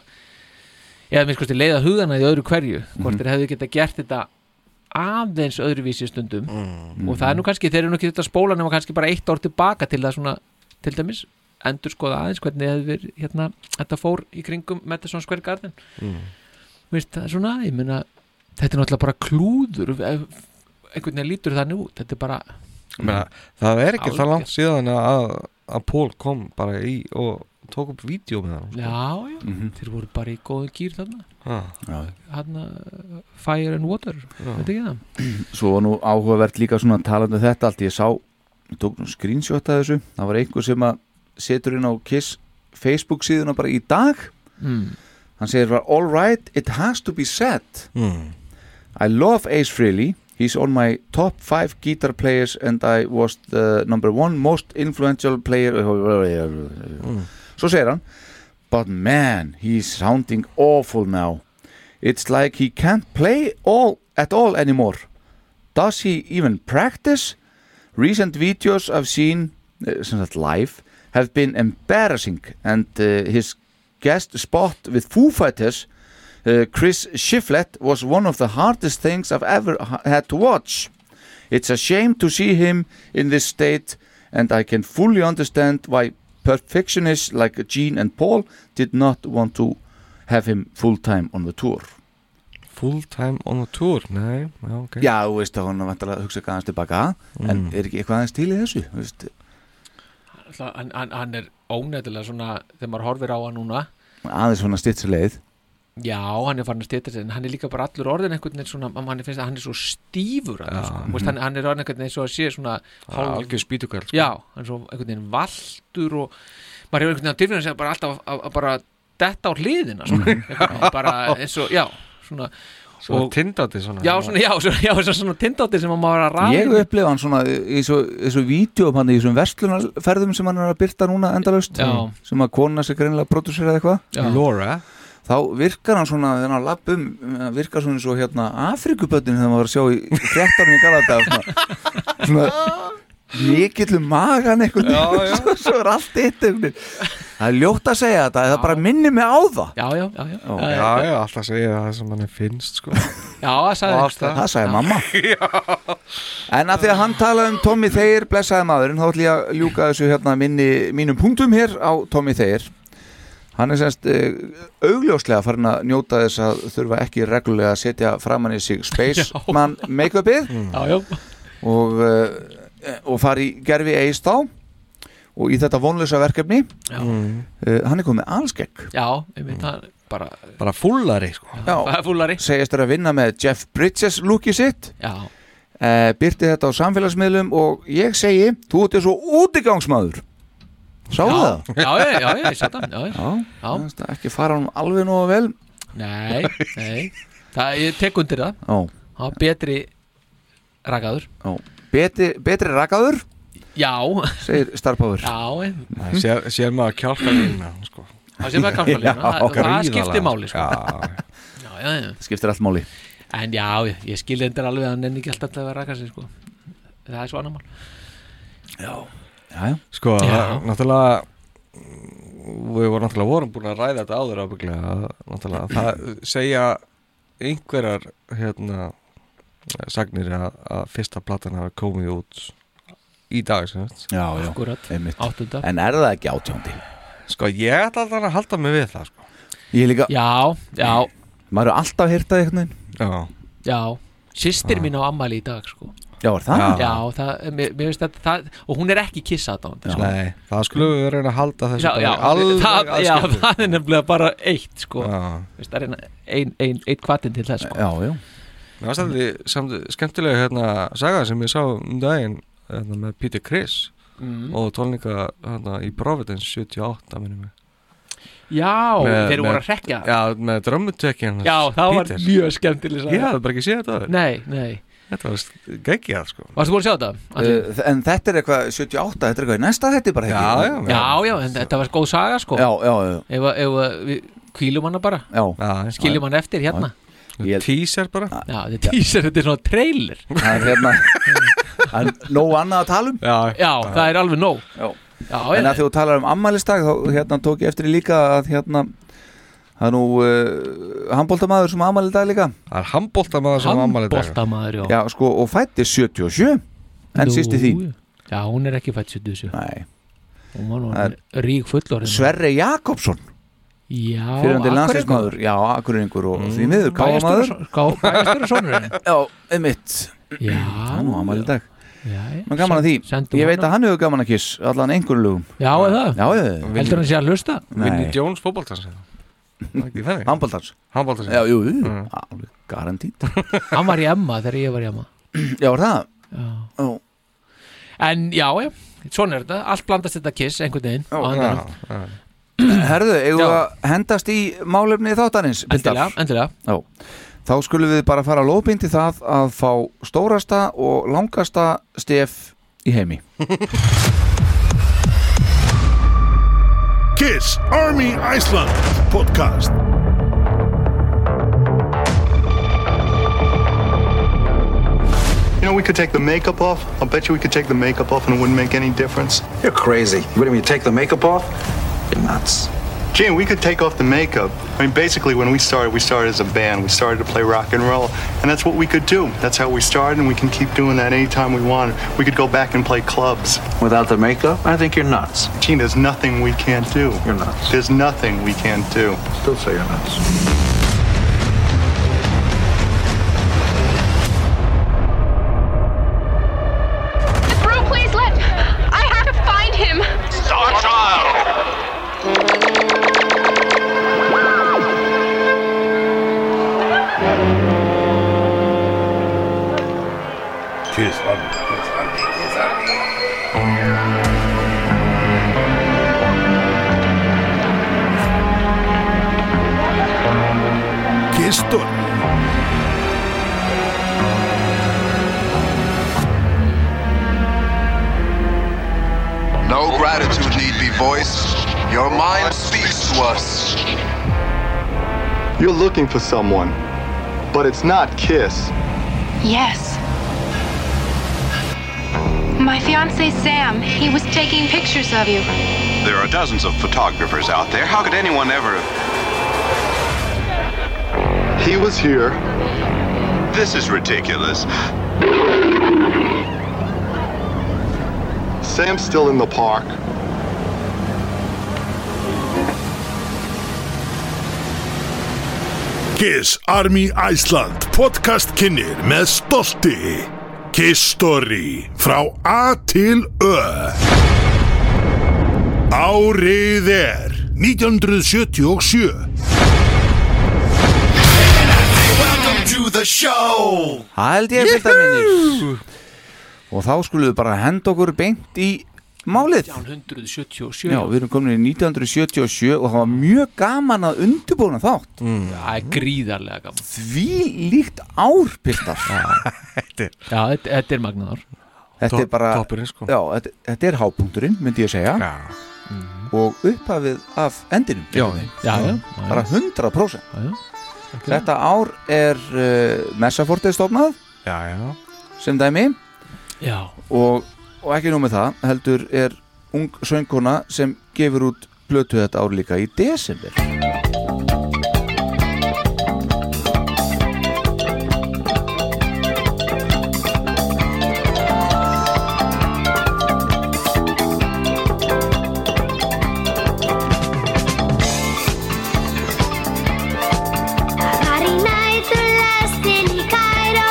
eða mér skoðst leiða hugana í öðru hverju hvort þeir hefðu geta gert þetta aðeins öðruvísi stundum og það er nú kannski, þeir eru nú ekki þetta spóla nema kannski bara eitt ár tilbaka til það svona til dæmis, endur skoða aðeins hvernig hefði verið, hérna, þetta fór í kringum Madison Square Garden Vist, það er svona, ég meina þetta er náttúrulega bara klúður ef- eh, einhvern veginn lítur þannig út þetta er bara, Meina, Það er ekki það Algjör. langt síðan að, að Pól kom bara í og tók upp vídeo með hann já, já Mhm. þeir voru bara í góðu gýr þarna ah. Já. hérna, fire and water veit ekki það? svo var nú áhugavert líka svona talandi um þetta allt ég sá, ég tók nú screenshot af þessu, það var einhver sem að setur inn á Kiss Facebook síðuna bara í dag Mm. hann segir bara all right, it has to be said mm. I love Ace Frehley he's on my top 5 guitar players and I was the number one most influential player svo segir hann but man, he's sounding awful now it's like he can't play all at all anymore does he even practice recent videos I've seen uh, sem sagt live have been embarrassing and uh, his guest spot with Foo Fighters uh, Chris Shiflett was one of the hardest things I've ever ha- had to watch. It's a shame to see him in this state, and I can fully understand why perfectionists like Gene and Paul did not want to have him full time on the tour. Full time on the tour Nei, já, ok Já, þú veist að hún er vantilega að hugsa eitthvað aðeins tilbaka, en er ekki eitthvað aðeins til í þessu? þú Veist? Alltaf, hann, hann, hann er ónættilega svona þegar maður horfir á hann núna Aðeins svona stitsa leið. já, hann er farin að stýta sig en hann er líka bara allur orðin einhvern veginn svona hann, finnst, að hann er svo stífur hann, sko. Vist, hann, hann er orðin einhvern veginn svo að sé svona hálf- mhm. Algjör spýtukall sko. já, hann er svo einhvern veginn valdur og maður hefur einhvern veginn á tilfinnum sem bara alltaf að, að bara detta á hliðina svona, Einhvern veginn, bara eins og, já, svona Svo og- tindandi Mhm. svona já, svona, já, svona, já, svona, svona tindáttir sem maður var að ræða Ég upplifa hann svona í svo, í svo vídjóum hann í þessum verslunarferðum sem hann er að byrta núna endalaust, Já. sem að kona sig greinilega prodúsera eitthvað. já, Laura þá virkar hann svona þegar hann lappum, virkar svona eins og hérna Afrikubötin þegar maður var að sjá í hrettanum í Galata svona, svona mikill um magan einhvern veginn, svo, svo er allt eitt einhvern veginn það er ljótt að segja þetta, það bara minnir mig á það já, já, já, já, Ó. já, Já, já, alltaf segja það sem hann finnst sko. já, það sagði Og einhvers staðar. það sagði mamma en að því að hann talaði um Tommy Thayer blessaði maðurinn, þá ætlum ég að ljúka þessu hérna minni, mínum punktum hér á Tommy Thayer hann er semst eh, augljóslega farin að njóta þess að þurfa ekki reglulega að setja framann í sig space man make-upið Mm. já, já, og, uh, og fari í gerfi eist þá og í þetta vonlösa verkefni Já. Mm. uh, hann er komið allskegg já, ég Mm. veit það er bara, Bara fullari sko. bara fúlari segist þér að vinna með Jeff Bridges lúki sitt já, uh, byrti þetta á samfélagsmiðlum og ég segi, þú ert svo útigangsmaður já, sáðu það? já, já, já, já, ég sagði það já, já, Já, Mér finnst það ekki fara hann alveg nógu vel nei, nei það, ég tek undir það, Já, það var betri rakaður já. Betri, betri rakaður Já Segir starfbáður Já, em. Sér, sér maður kjálka lína sko. Þá sér maður kjálkalínu, það- og það skiptir máli, sko. já, já, já. Skiptir allt máli En já, ég- ég skil þetta alveg að hann enn ekki alltaf að vera að raka sig sko. Það er svo annar mál já, já. Sko, Já. það- náttúrulega mm, Við vorum náttúrulega vorum búin að ræða þetta áður ábygglega að Náttúrulega það segja einhverjar hérna sagnir að, að fyrsta platan hafi komið út í dag sem sagt. Já, já, Akkúrat. einmitt. Áttunda. En er það ekki átjándi? Sko, ég ætla alltaf að halda mig við það sko. Ég líka Já, já Maður er alltaf hýrtað einhvern veginn Já Já, sýstir mín á ammali í dag sko. Já, er það? Já, það, mér, mér veist þetta það, Og hún er ekki kissa þetta Nei, það skulum við reyna að halda þessu Já, bara já, alveg það, já, aðskildu. það er nefnilega bara eitt sko. Veist, Það er ein, ein, ein, ein kvatin til þess sko. Já, já Mér varst alltaf samt skemmtilega hérna saga sem ég sá um daginn hérna, með Peter Criss Mm. og tónleika hérna, í Providence 78 minnum við Já, þeir voru að rekja Já, með drömmutökin Já, það var mjög skemmtileg saga. Ég hafði bara ekki séð þetta áður. Nei, nei Þetta var geggjað sko Varstu búin að sjá þetta? Andri? Uh, en þetta er eitthvað 78, þetta er eitthvað í næsta þetta bara ekki já, já, en þetta var góð saga sko Já, já, já. Ef, að- ef að við kvílum hana bara Já. Skiljum hann eftir hérna Teaser bara Já, þetta er teaser, þetta er svona trailer Það er hérna Það er nóg annað að tala um Já, Já, það er alveg nóg Já, já En að þú talar um ammælistag þá hérna tók ég eftir því líka að hérna það er nú uh, handbóltamaður sem ammæli dag líka Það er handbóltamaður sem ammæli dag Handboltamaður, já. Já, sko, og fætti 77 en Nú, sýsti því Já, hún er ekki fætt 77 Nei Hún var nú Það er- rík fullorðin Sverre Jakobsson Já, fyrirandi Akureyri- landsinsmaður Já, akkurinningur Mm. og því miður káamaður Bæjarstjóra- ká- bæjarstjórasonurinn. Já, einmitt Já Það er nú ammæli dag Já, já. Nú er gaman að Sendu því Ég veit honum. að hann hefur gaman að kiss allan einhverjum lögum Já, er það? Já, já Heldur hann sé að hlusta? Vinni Jones fótboltans Handbóltans Handbóltans Já, jú, jú, alveg garantít Hann var í Emma þegar ég var í Emma Já, er það? Já. Ó. En já, já, svona er þetta Allt blandast þetta kiss einhvern veginn á endanum. Herðu, eigum við Já. að hendast í málefni þáttanins Endilega, endilega Já. Þá skulum við bara fara lóðbindi það að fá stórasta og langasta stef í heimi Kiss Army Iceland podcast. You know, we could take the makeup off. I'll bet you we could take the makeup off and it wouldn't make any difference. You're crazy. What do you mean, take the makeup off? You're nuts. Gene, we could take off the makeup. I mean, basically, when we started, we started as a band. We started to play rock and roll, and that's what we could do. That's how we started, and we can keep doing that anytime we want. We could go back and play clubs. Without the makeup? I think you're nuts. Gene, there's nothing we can't do. You're nuts. There's nothing we can't do. Still say you're nuts. Bro, please let. I have to find him. Star Child. Kiss Army. Kiss Army. Kiss Army. Kiss Story. No gratitude need be voiced. Your mind speaks to us. You're looking for someone, but it's not Kiss. Yes. My fiance Sam, he was taking pictures of you. There are dozens of photographers out there. How could anyone ever? He was here. This is ridiculous. Sam's still in the park. Kiss Army Iceland podcast kynir með stolti Kiss Story frá A til Ö Árið er 1977 Welcome to the show. Það held ég fylgta minnir Og þá skulum við bara henda okkur beint í málið 177 Já, við erum komin í 1977 og það var mjög gaman að undirbúna þátt Það er gríðarlega gaman Því líkt ár, piltar Þetta Já, þetta, þetta er magnaðar Þetta er bara toppurinn, sko. já, þetta, þetta er hápunkturinn, myndi ég segja já. og upphafið af endinum Já, einhvern veginn. já, já, já. bara 100% já, já. Þetta ár er uh, Messafortið stofnað já, já. sem dæmi Já. og, og ekki nú með það heldur er ung söngkona sem gefur út blötu þetta ár líka í desember Ari näitul lasteni Cairo,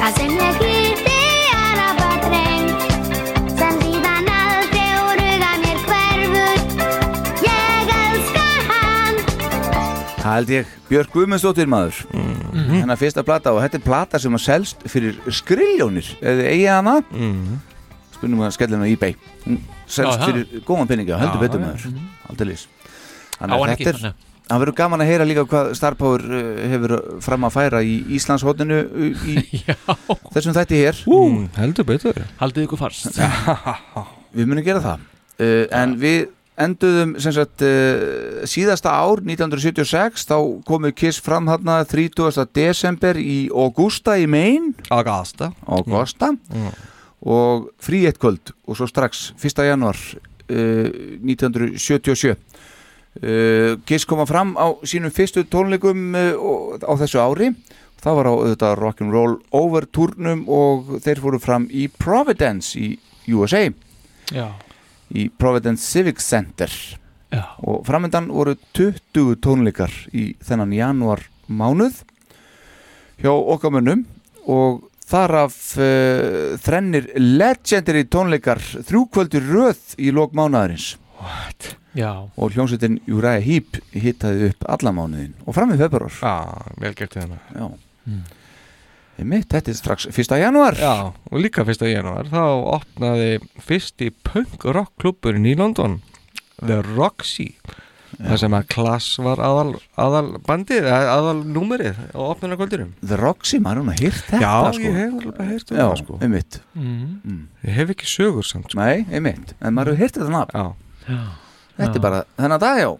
ca să-mi lăghite araba tren. Să-mi ziva în alte urâga mi-er hverfut, ég elska hann. Það held ég, Björk Guðmundsdóttir maður Mhm. hennar fyrsta plata og þetta er plata sem að selst fyrir skrilljónir eða eigi hana mm. spurnum við að skella hennar á ebay hún selst Mhm. Já, það. fyrir góðan peninga, heldur Já, betur já, maður mhm. aldeilis Á hann ekki, er, þannig. hann verður gaman að heyra líka hvað Star Power uh, hefur fram að færa í Íslandshotinu í þessum þætti hér Ú, Mm, heldur betur Haldið ykkur fast Við munum gera það uh, En við enduðum sem sagt uh, síðasta ár 1976 þá komu Kiss fram þarna 30. desember í Augusta í Maine Augusta Augusta og frí eitt kvöld og svo strax 1. januar uh, 1977 Uh, Kiss koma fram á sínum fyrstu tónleikum uh, og- á þessu ári það var á auðvitað Rock'n'Roll Over turnum og þeir fóru fram í Providence í USA Já. í Providence Civic Center Já. og framöndan voru 20 tónleikar í þennan januar mánuð hjá okkar mönnum og þar af uh, þrennir legendary tónleikar þrjúkvöldur röð í lok mánuðarins Já, og hljómsveitin Júræja Hýp hittaði upp alla mánuðin og fram í februar Já, vel gert í hana Já Mm. Mitt, þetta er strax 1. janúar Já, og líka 1. janúar þá opnaði fyrsti punk rock klubburinn í London The Roxy þar sem að Klass var aðal, aðal bandið, aðal númerið á opnunarkvöldinum The Roxy, maður hún að hýrt þetta Já, sko. ég hef alveg heyrt um Já, það, sko. einmitt Mhm. Mm. Ég hef ekki sögur samt sko. Nei, einmitt, en maður hefur heyrt þetta nafn Já Þetta Já. er bara þennan dag, já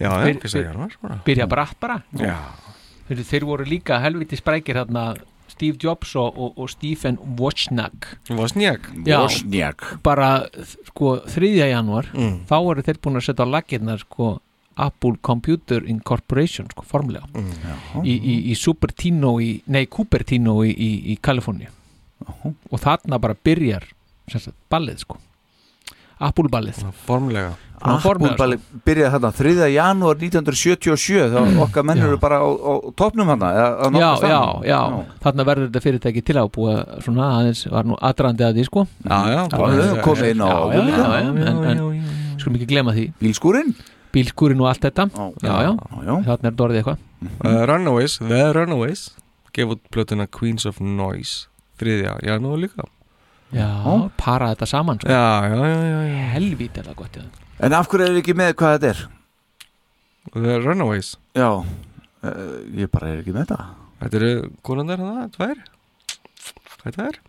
Já, Byr- byr- sko. Byrja bratt bara Þeir, þeir voru líka helviti sprækir þarna Steve Jobs og, og, og Stephen Wozniak Wozniak Já, Wozniak. bara sko 3. janúar Mm. þá voru þeir búin að setja á laggirna sko Apple Computer Incorporation sko formlega Mm, í, í, í Supertino í, nei Cupertino í, í, í Kaliforni og þarna bara byrjar sem sagt, ballið sko Apple ballið Formlega Ah, Svona formlega, Appúlbali byrjaði þarna 3. janúar 1977 þá okkar menn eru bara á, á topnum hana eða, á Mm. já, nokkrum já, staðnum. já, þarna verður þetta fyrirtæki til að búa svona aðeins, var nú aðdrandi að því sko Já, já, það er komið inn á Já, já, áður já, líka. já, en, en skulum ekki glema því Bílskúrin Bílskúrin og allt þetta Já, já, þarna er dorðið eitthvað uh, Runaways, The Runaways gef út plötuna Queens of Noise 3. janúar líka Já, para þetta saman sko. Já, já, já, já, já. Helvítið er það gott já. En af hverju er ekki með hvað þetta er? The Runaways Já, uh, ég bara er ekki með þetta Þetta eru konandar hana, tvær Hvað þetta er?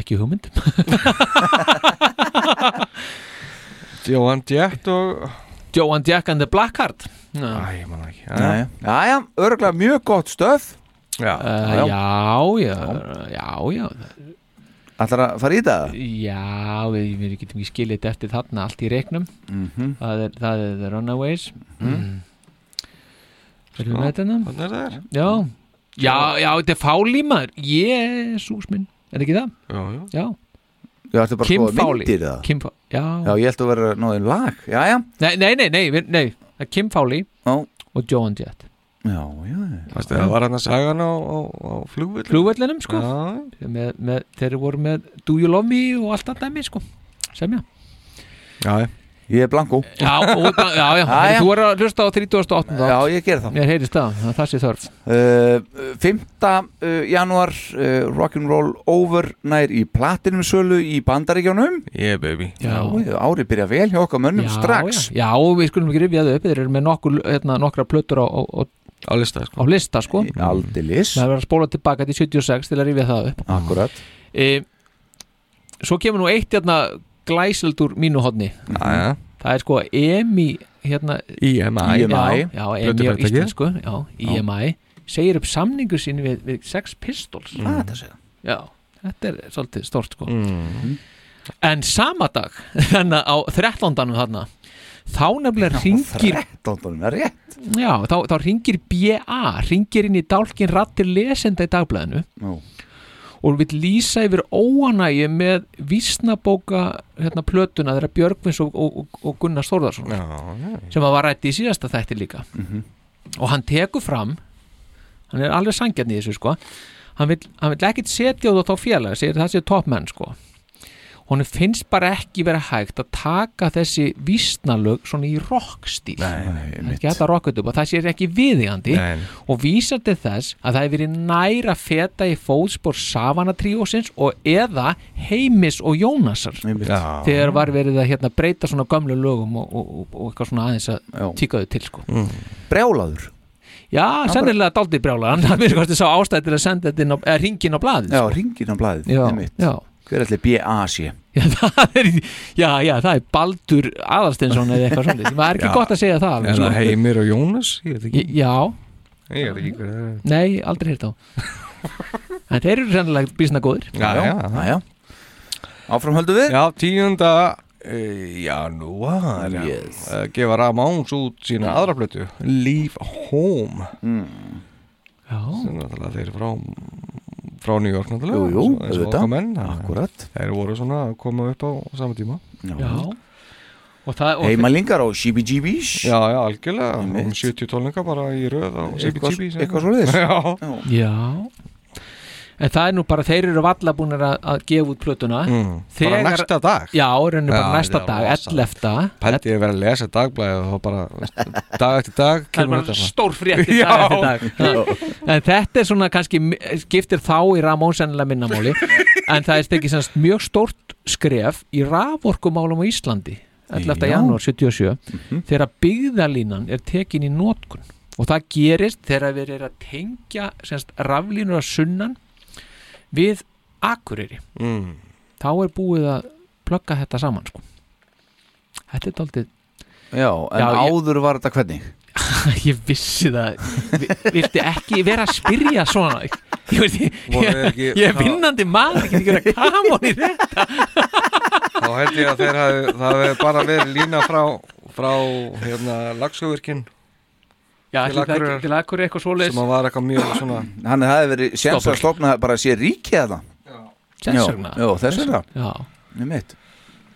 Ekki hugmynd Johan Jett og Joan Jack and the Blackheart Æ, ég man ekki Jæja, Jæja, örgulega mjög gott stöf Já, Eh, já, já, já, já Ætlar að fara í það? Já, við, við getum ekki skilið þetta eftir þarna allt í reiknum Mhm. það, er, það er The Runaways mm. Erum við Já, með þetta? hérna? Sko, þarna er það er. Já, já, já, þetta er Fáli maður Jésús minn, er ekki það? Já, já Já, Já, ertu bara Kim að skoða Fowley. myndir það? Kim Fáli, já Já, ég held að vera náðin lag Jæja, Nei, nei, nei, nei, við- nei. það er Kim Fáli Já. og Joan Jett já, já Vastu, Það var hann að saga hann á, á, á flugvöld Flugvellinum, sko Já, með, með, Þeir voru með Do You Love Me og allt að dæmi, sko Semja já Ég er blanko Já, og, já, já, Já, já. þú voru að hlusta á 38. Já, ég ger það Mér heyrist það, það- það sé þörf Uh, 5. Uh, januar uh, Rock'n'Roll Over nær í platinumsölu í bandaríkjónum Yeah, baby Já. Árið byrja vel hjá okkar mönnum Já, strax Já, já og við skulum ekki rifja þau upp Þeir eru með nokkur, hérna, nokkra plötur á, á, á, á lista, sko á lista sko Aldilis Það verður að spóla tilbaka til 76 til að rifja það upp Akkurat e, Svo kemur nú eitt hérna glæsild úr mínu hodni Aja. Það er sko EMI hérna, IMI. Já, já EMI á Plötufyrirtækið. íslensku já, IMI segir upp samningu sín við, við sex pistols Ah, þetta sé. Já, þetta er svolítið stort sko En sama dag þannig á 13. þarna þá nefnilega ringir 13. er rétt Já, þá, þá ringir BA ringir inn í dálkin rattir lesenda í dagblæðinu Nú. og vil lýsa yfir óanægi með vísnabóka hérna plötuna þeirra Björgvins og, og, og- og Gunnar Stórðarsson sem að var rætti í síðasta þætti líka og hann tekur fram hann er alveg sangjarn í þessu sko hann vil, hann vil ekkit setja út á þá félaga segir það sé topmenn sko honum finnst bara ekki vera hægt að taka þessi vísnalög svona í rockstíl nei, nei, það er ekki hægt að rocka þetta upp og það sé ekki viðigandi Nei, nei. og vísar til þess að það hefur verið næra feta í fótspor Savana tríósins og eða Heimis og Jónasar Já. þegar var verið að hérna, breyta svona gömlu lögum og, og, og, og eitthvað svona aðeins að tíka þau til sko. Mm. Brjálaður Já, sennilega daldið brjálaður hann verið kosti sá ástæði til að senda þetta inn á, eða ringin á blaðið sko. Já, ringin á blaðið Já, einmitt. já. Hver ætli B.A. sé já, já, það er Baldur Aðalsteinsson eða eitthvað svona það er ekki Já. gott að segja það alveg, Er sko. það Heimir og Jónas? Ég veit ekki Í- Já, Ég veit ekki hver það er nei, aldrei hér þá En þeir eru sennilega bísna góðir Já, já, já. Áfram höldum við Já, tíunda eh, janúar yes. E, gefa Ramáns út sína aðra plötu Leave Home mm. Já sem náttúrulega þeir frá frá New York náttúrulega Jú, jú, eins og- eins og auðvitað. okkar menn, þannig að Akkúrat. Þeir voru svona að koma upp á sama tíma Já Og það, og Heimalingar á CBGB's Já, já, algjörlega, um 70 tónleika bara í röð á Eitthvað- CBGB sem- eitthvað svoleiðis. Já, Já En það er nú bara, þeir eru valla búinir að, að gefa út plötuna Mm. Bara næsta dag? Já, reynir bara Já, næsta þetta dag, var rosa. 11 Pældi ég að vera að lesa dagblæði og þá bara dag eftir Það dag er kemur bara þetta fram. stór frétti Já. dag eftir dag En þetta er svona kannski skiptir þá í Ramón sennilega minnamáli En það er stekið semst mjög stórt skref í raforkumálum á Íslandi 11. Já. janúar 77 Mhm. þegar byggðalínan er tekin í notkun og það gerist þegar við erum að tengja semst, raflínur að sunnan við akureyri mm. þá er búið að plugga þetta saman sko. Þetta er daldið Já, en Já, ég- áður var þetta hvernig? ég vissi það Vi- viltu ekki vera að spyrja svona ég, veit, ég, Voru þeir ég, ekki- ég er vinnandi maður ekki ekki vera kamon í þetta Þá held ég að þeir hafi, það hefði bara verið lína frá, frá hérna, lagsjóvirkinn Já, Til ætli það Akureyrar. ekki- til akkur eitthvað svoleiðis sem að var eitthvað mjög svona Hann hefði verið séns að stopna bara að sé ríki eða Þess vegna. Já, þess vegna Já Einmitt.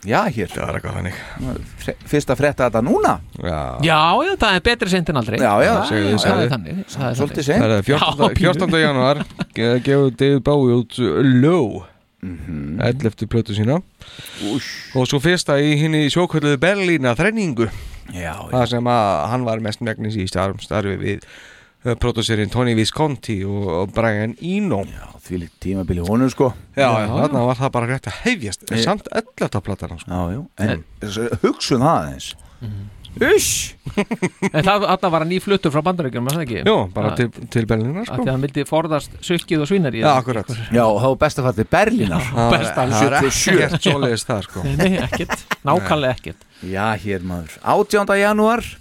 Já, hér Það er eitthvað þannig Fyrst að frétta þetta núna Já, já, já, það er betra seint en aldrei Já, já, það, segðu þið, það segðu er þið. þannig það er Svolítið þannig. seint. Það er Já, 14. pínu. 14. januar ge- gefur David Bowie út Low Mhm. 11. plötu sína og svo fyrsta í henni sjókvölduðu Berlína þrenningu Já, það sem að hann var mest megnis í starf, starfi við uh, pródúserinn Tony Visconti og og Brian Eno Já, því líkt tímabili honum sko Já, já, þarna var það bara rétt að hefjast en Ég- samt 11. platan sko. Já, já, en Eh. hugsun það aðeins Ush en það þarna var hann í fluttur frá bandaríkjum var það ekki? Jó, bara Að- til, til Berlína að því sko. að hann vildi forðast sukkið og svinar í Já, akkurat Já, og þá var best að fara til Berlínar sko. Það er- það er 77. ekkert svoleiðis það sko nei, nei, ekkert, nákvæmlega ekkert Já, hér maður 18. janúar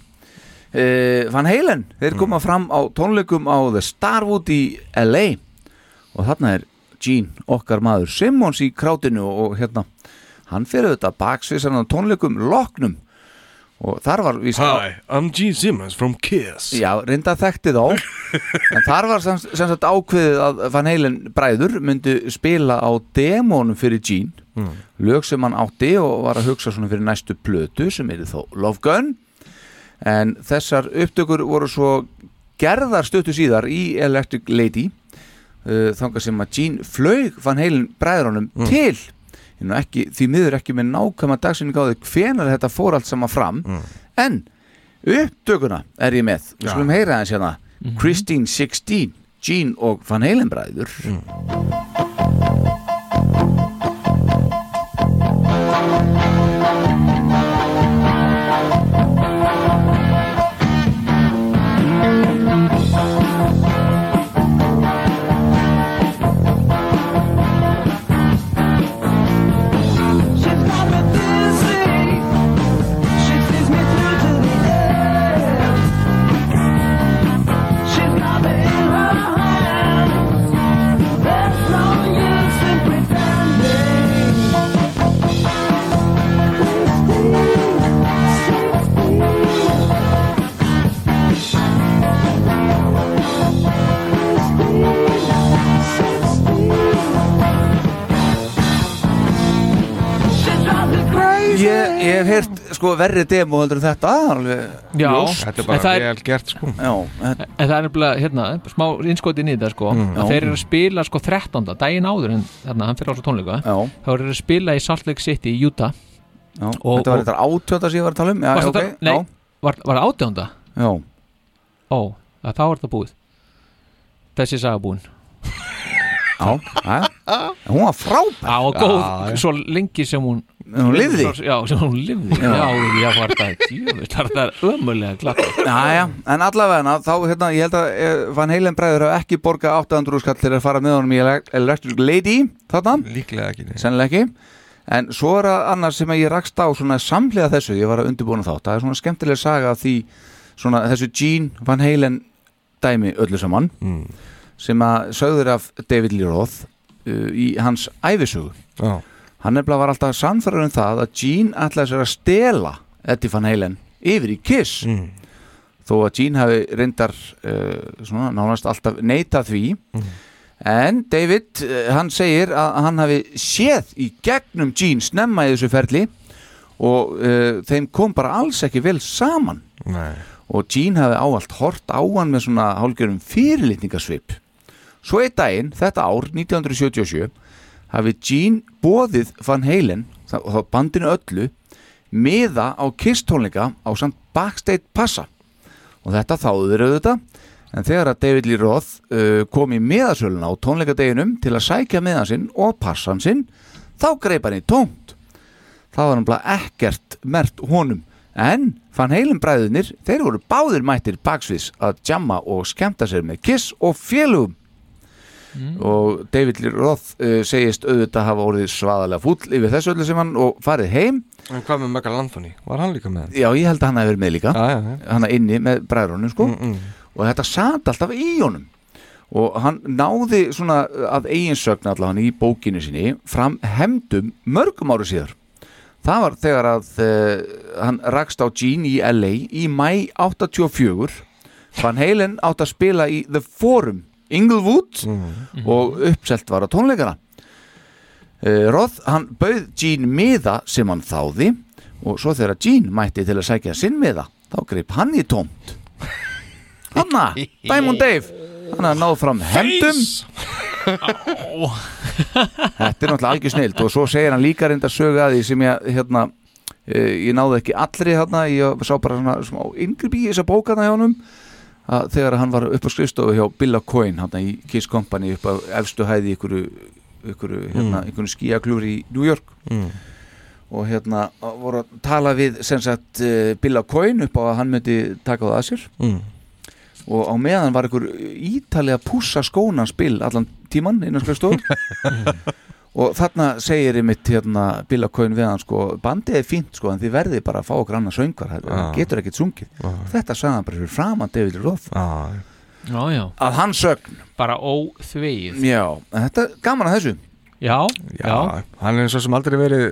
uh, Van Halen, Mm. þeir koma fram á tónleikum á The Starwood í LA og þarna er Gene, okkar maður Simmons í krátinu og hérna, hann fyrir þetta baksvisan á tónleikum loknum og þar var víst Hi, I'm Gene Simmons from Kiss. Já, reynda þekkti þá en þar var sem, sem sagt ákveðið að Van Halen bræður myndu spila á demónum fyrir Gene Hmm. lög sem hann átti og var að hugsa svona fyrir næstu plötu sem er þá Love Gun en þessar upptökur voru svo gerðar stöttu síðar í Electric Lady uh, þangar sem að Gene flög Van Halen bræðrunum Hmm. mm. til Ég er nú ekki, því miður ekki með nákvæma dagsinning á því hvenar þetta fór allt sama fram Mm. en upptökuna er ég með við skulum heyra hans hérna Mhm. Christine 16, Gene og Van Halen bræður Mm. Christine, ég hef heyrt sko verri demo heldur en þetta alveg Já, ljóst. Þetta er bara en það er- vel gert sko Já, en- En það er nefnilega, hérna, smá innskotin í þetta sko, Mm. að Já. þeir eru að spila sko 13. daginn áður en þarna, hann fyrir á svo tónleika Já. þá eru þeir að spila í Salt Lake City í Utah já, þetta var þetta átjóta sem ég var að tala um já, Varstu ok, að tala- Nei, já. var, var það átjónda? Já. Ó, að þá er það búið Þessi saga búin Já, já, hún var frábær Já, og góð, svo lengi sem hún En hún lifði. Já, sem hún lifði Já. Já, já, já var það Jöfnveld, var það ömulega klart Jæja, en allavega þá hérna, ég held að eh, Van Halen bræður hafa ekki borgað 800 skall til að fara með honum í Ele- Electric Lady þarna, líklega ekki sennilega ekki en svo er að annars sem að ég rakst á svona samlega þessu, ég var að undirbúna þátt það er svona skemmtileg saga af því svona, þessu Gene Van Halen dæmi öllu saman Mm. sem að sögður af David Lee Roth uh, í hans æfisögu Já. hann nefnilega var alltaf samfæður um það að Gene ætlaði sér að stela Eddie Van Halen yfir í Kiss þó að Gene hafi reyndar uh, svona, nánast alltaf neitað því en David uh, hann segir að hann hafi séð í gegnum Gene snemma í þessu ferli og uh, þeim kom bara alls ekki vel saman Nei. og Gene hafi áallt hort á hann með svona hálgjörum fyrirlitningasvip svo einn daginn, þetta ár 1977 hafi Gene boðið Van Halen þá- og þá bandinu öllu miða á kistónleika á samt backstage passa og þetta þáðu þeir auðvitað en þegar að David Lee Roth uh, kom í miðasöluna á tónleikadeginum til að sækja miðan sinn og passan sinn þá greip hann í tómt það var náttúrulega ekkert mert honum en fann heilum bræðunir þeir voru báðir mættir baksviðs að jamma og skemmta sér með kiss og félugum Mm. og David Lee Roth uh, segist auðvitað hafa orðið svaðalega fúll yfir þessu öllu sem hann og farið heim En hvað með Megal Anthony? Var hann líka með? Já, ég held að hann hafi verið með líka já, já. Mm, Hann er inni með bræðrunum sko Og þetta sat alltaf í honum Og hann náði svona eh, að eiginsögn allan í bókinu sinni Fram hemdum mörgum áru síðar Það var þegar að uh, hann rakst á Gene í LA í mæ 84 Van Halen átt að spila í The Forum, Inglewood og uppselt var á tónleikana Uh, Roth, hann bauð Gene miða sem hann þáði og svo þegar Gene mætti til að sækja sinn miða þá greip hann í tómt Hanna, Diamond Dave hann hafði náð fram hendum Þetta er náttúrulega algjör snild og svo segir hann líka reynda sögu að því sem ég hérna eh, ég náði ekki allri hérna ég sá bara svona smá yngribi í þessa bókana hjá honum að þegar hann var upp á skrifstofu hjá Billa Coyne hérna í Kiss Company upp á efstu hæði ykkur, ykkur, hérna, Mm. ykkur skíaklur í New York Mm. og hérna að voru að tala við sem sagt eh, Billa Coyne upp á að hann myndi taka það að sér Mm. og á meðan var ykkur ítalið að pússa skónan spil allan tíman innan skrifstofu og þarna segir einmitt hérna Billa Coyne við hann sko bandið er fínt sko en þið verðið bara að fá okkur annað söngvar það Já. getur ekkert sungið þetta sagði hann bara fyrir framan David Roth ah. Já, já Að hans sögn Bara óþvegið Já, en þetta er gaman að þessu Já, já, Hann er eins og sem aldrei verið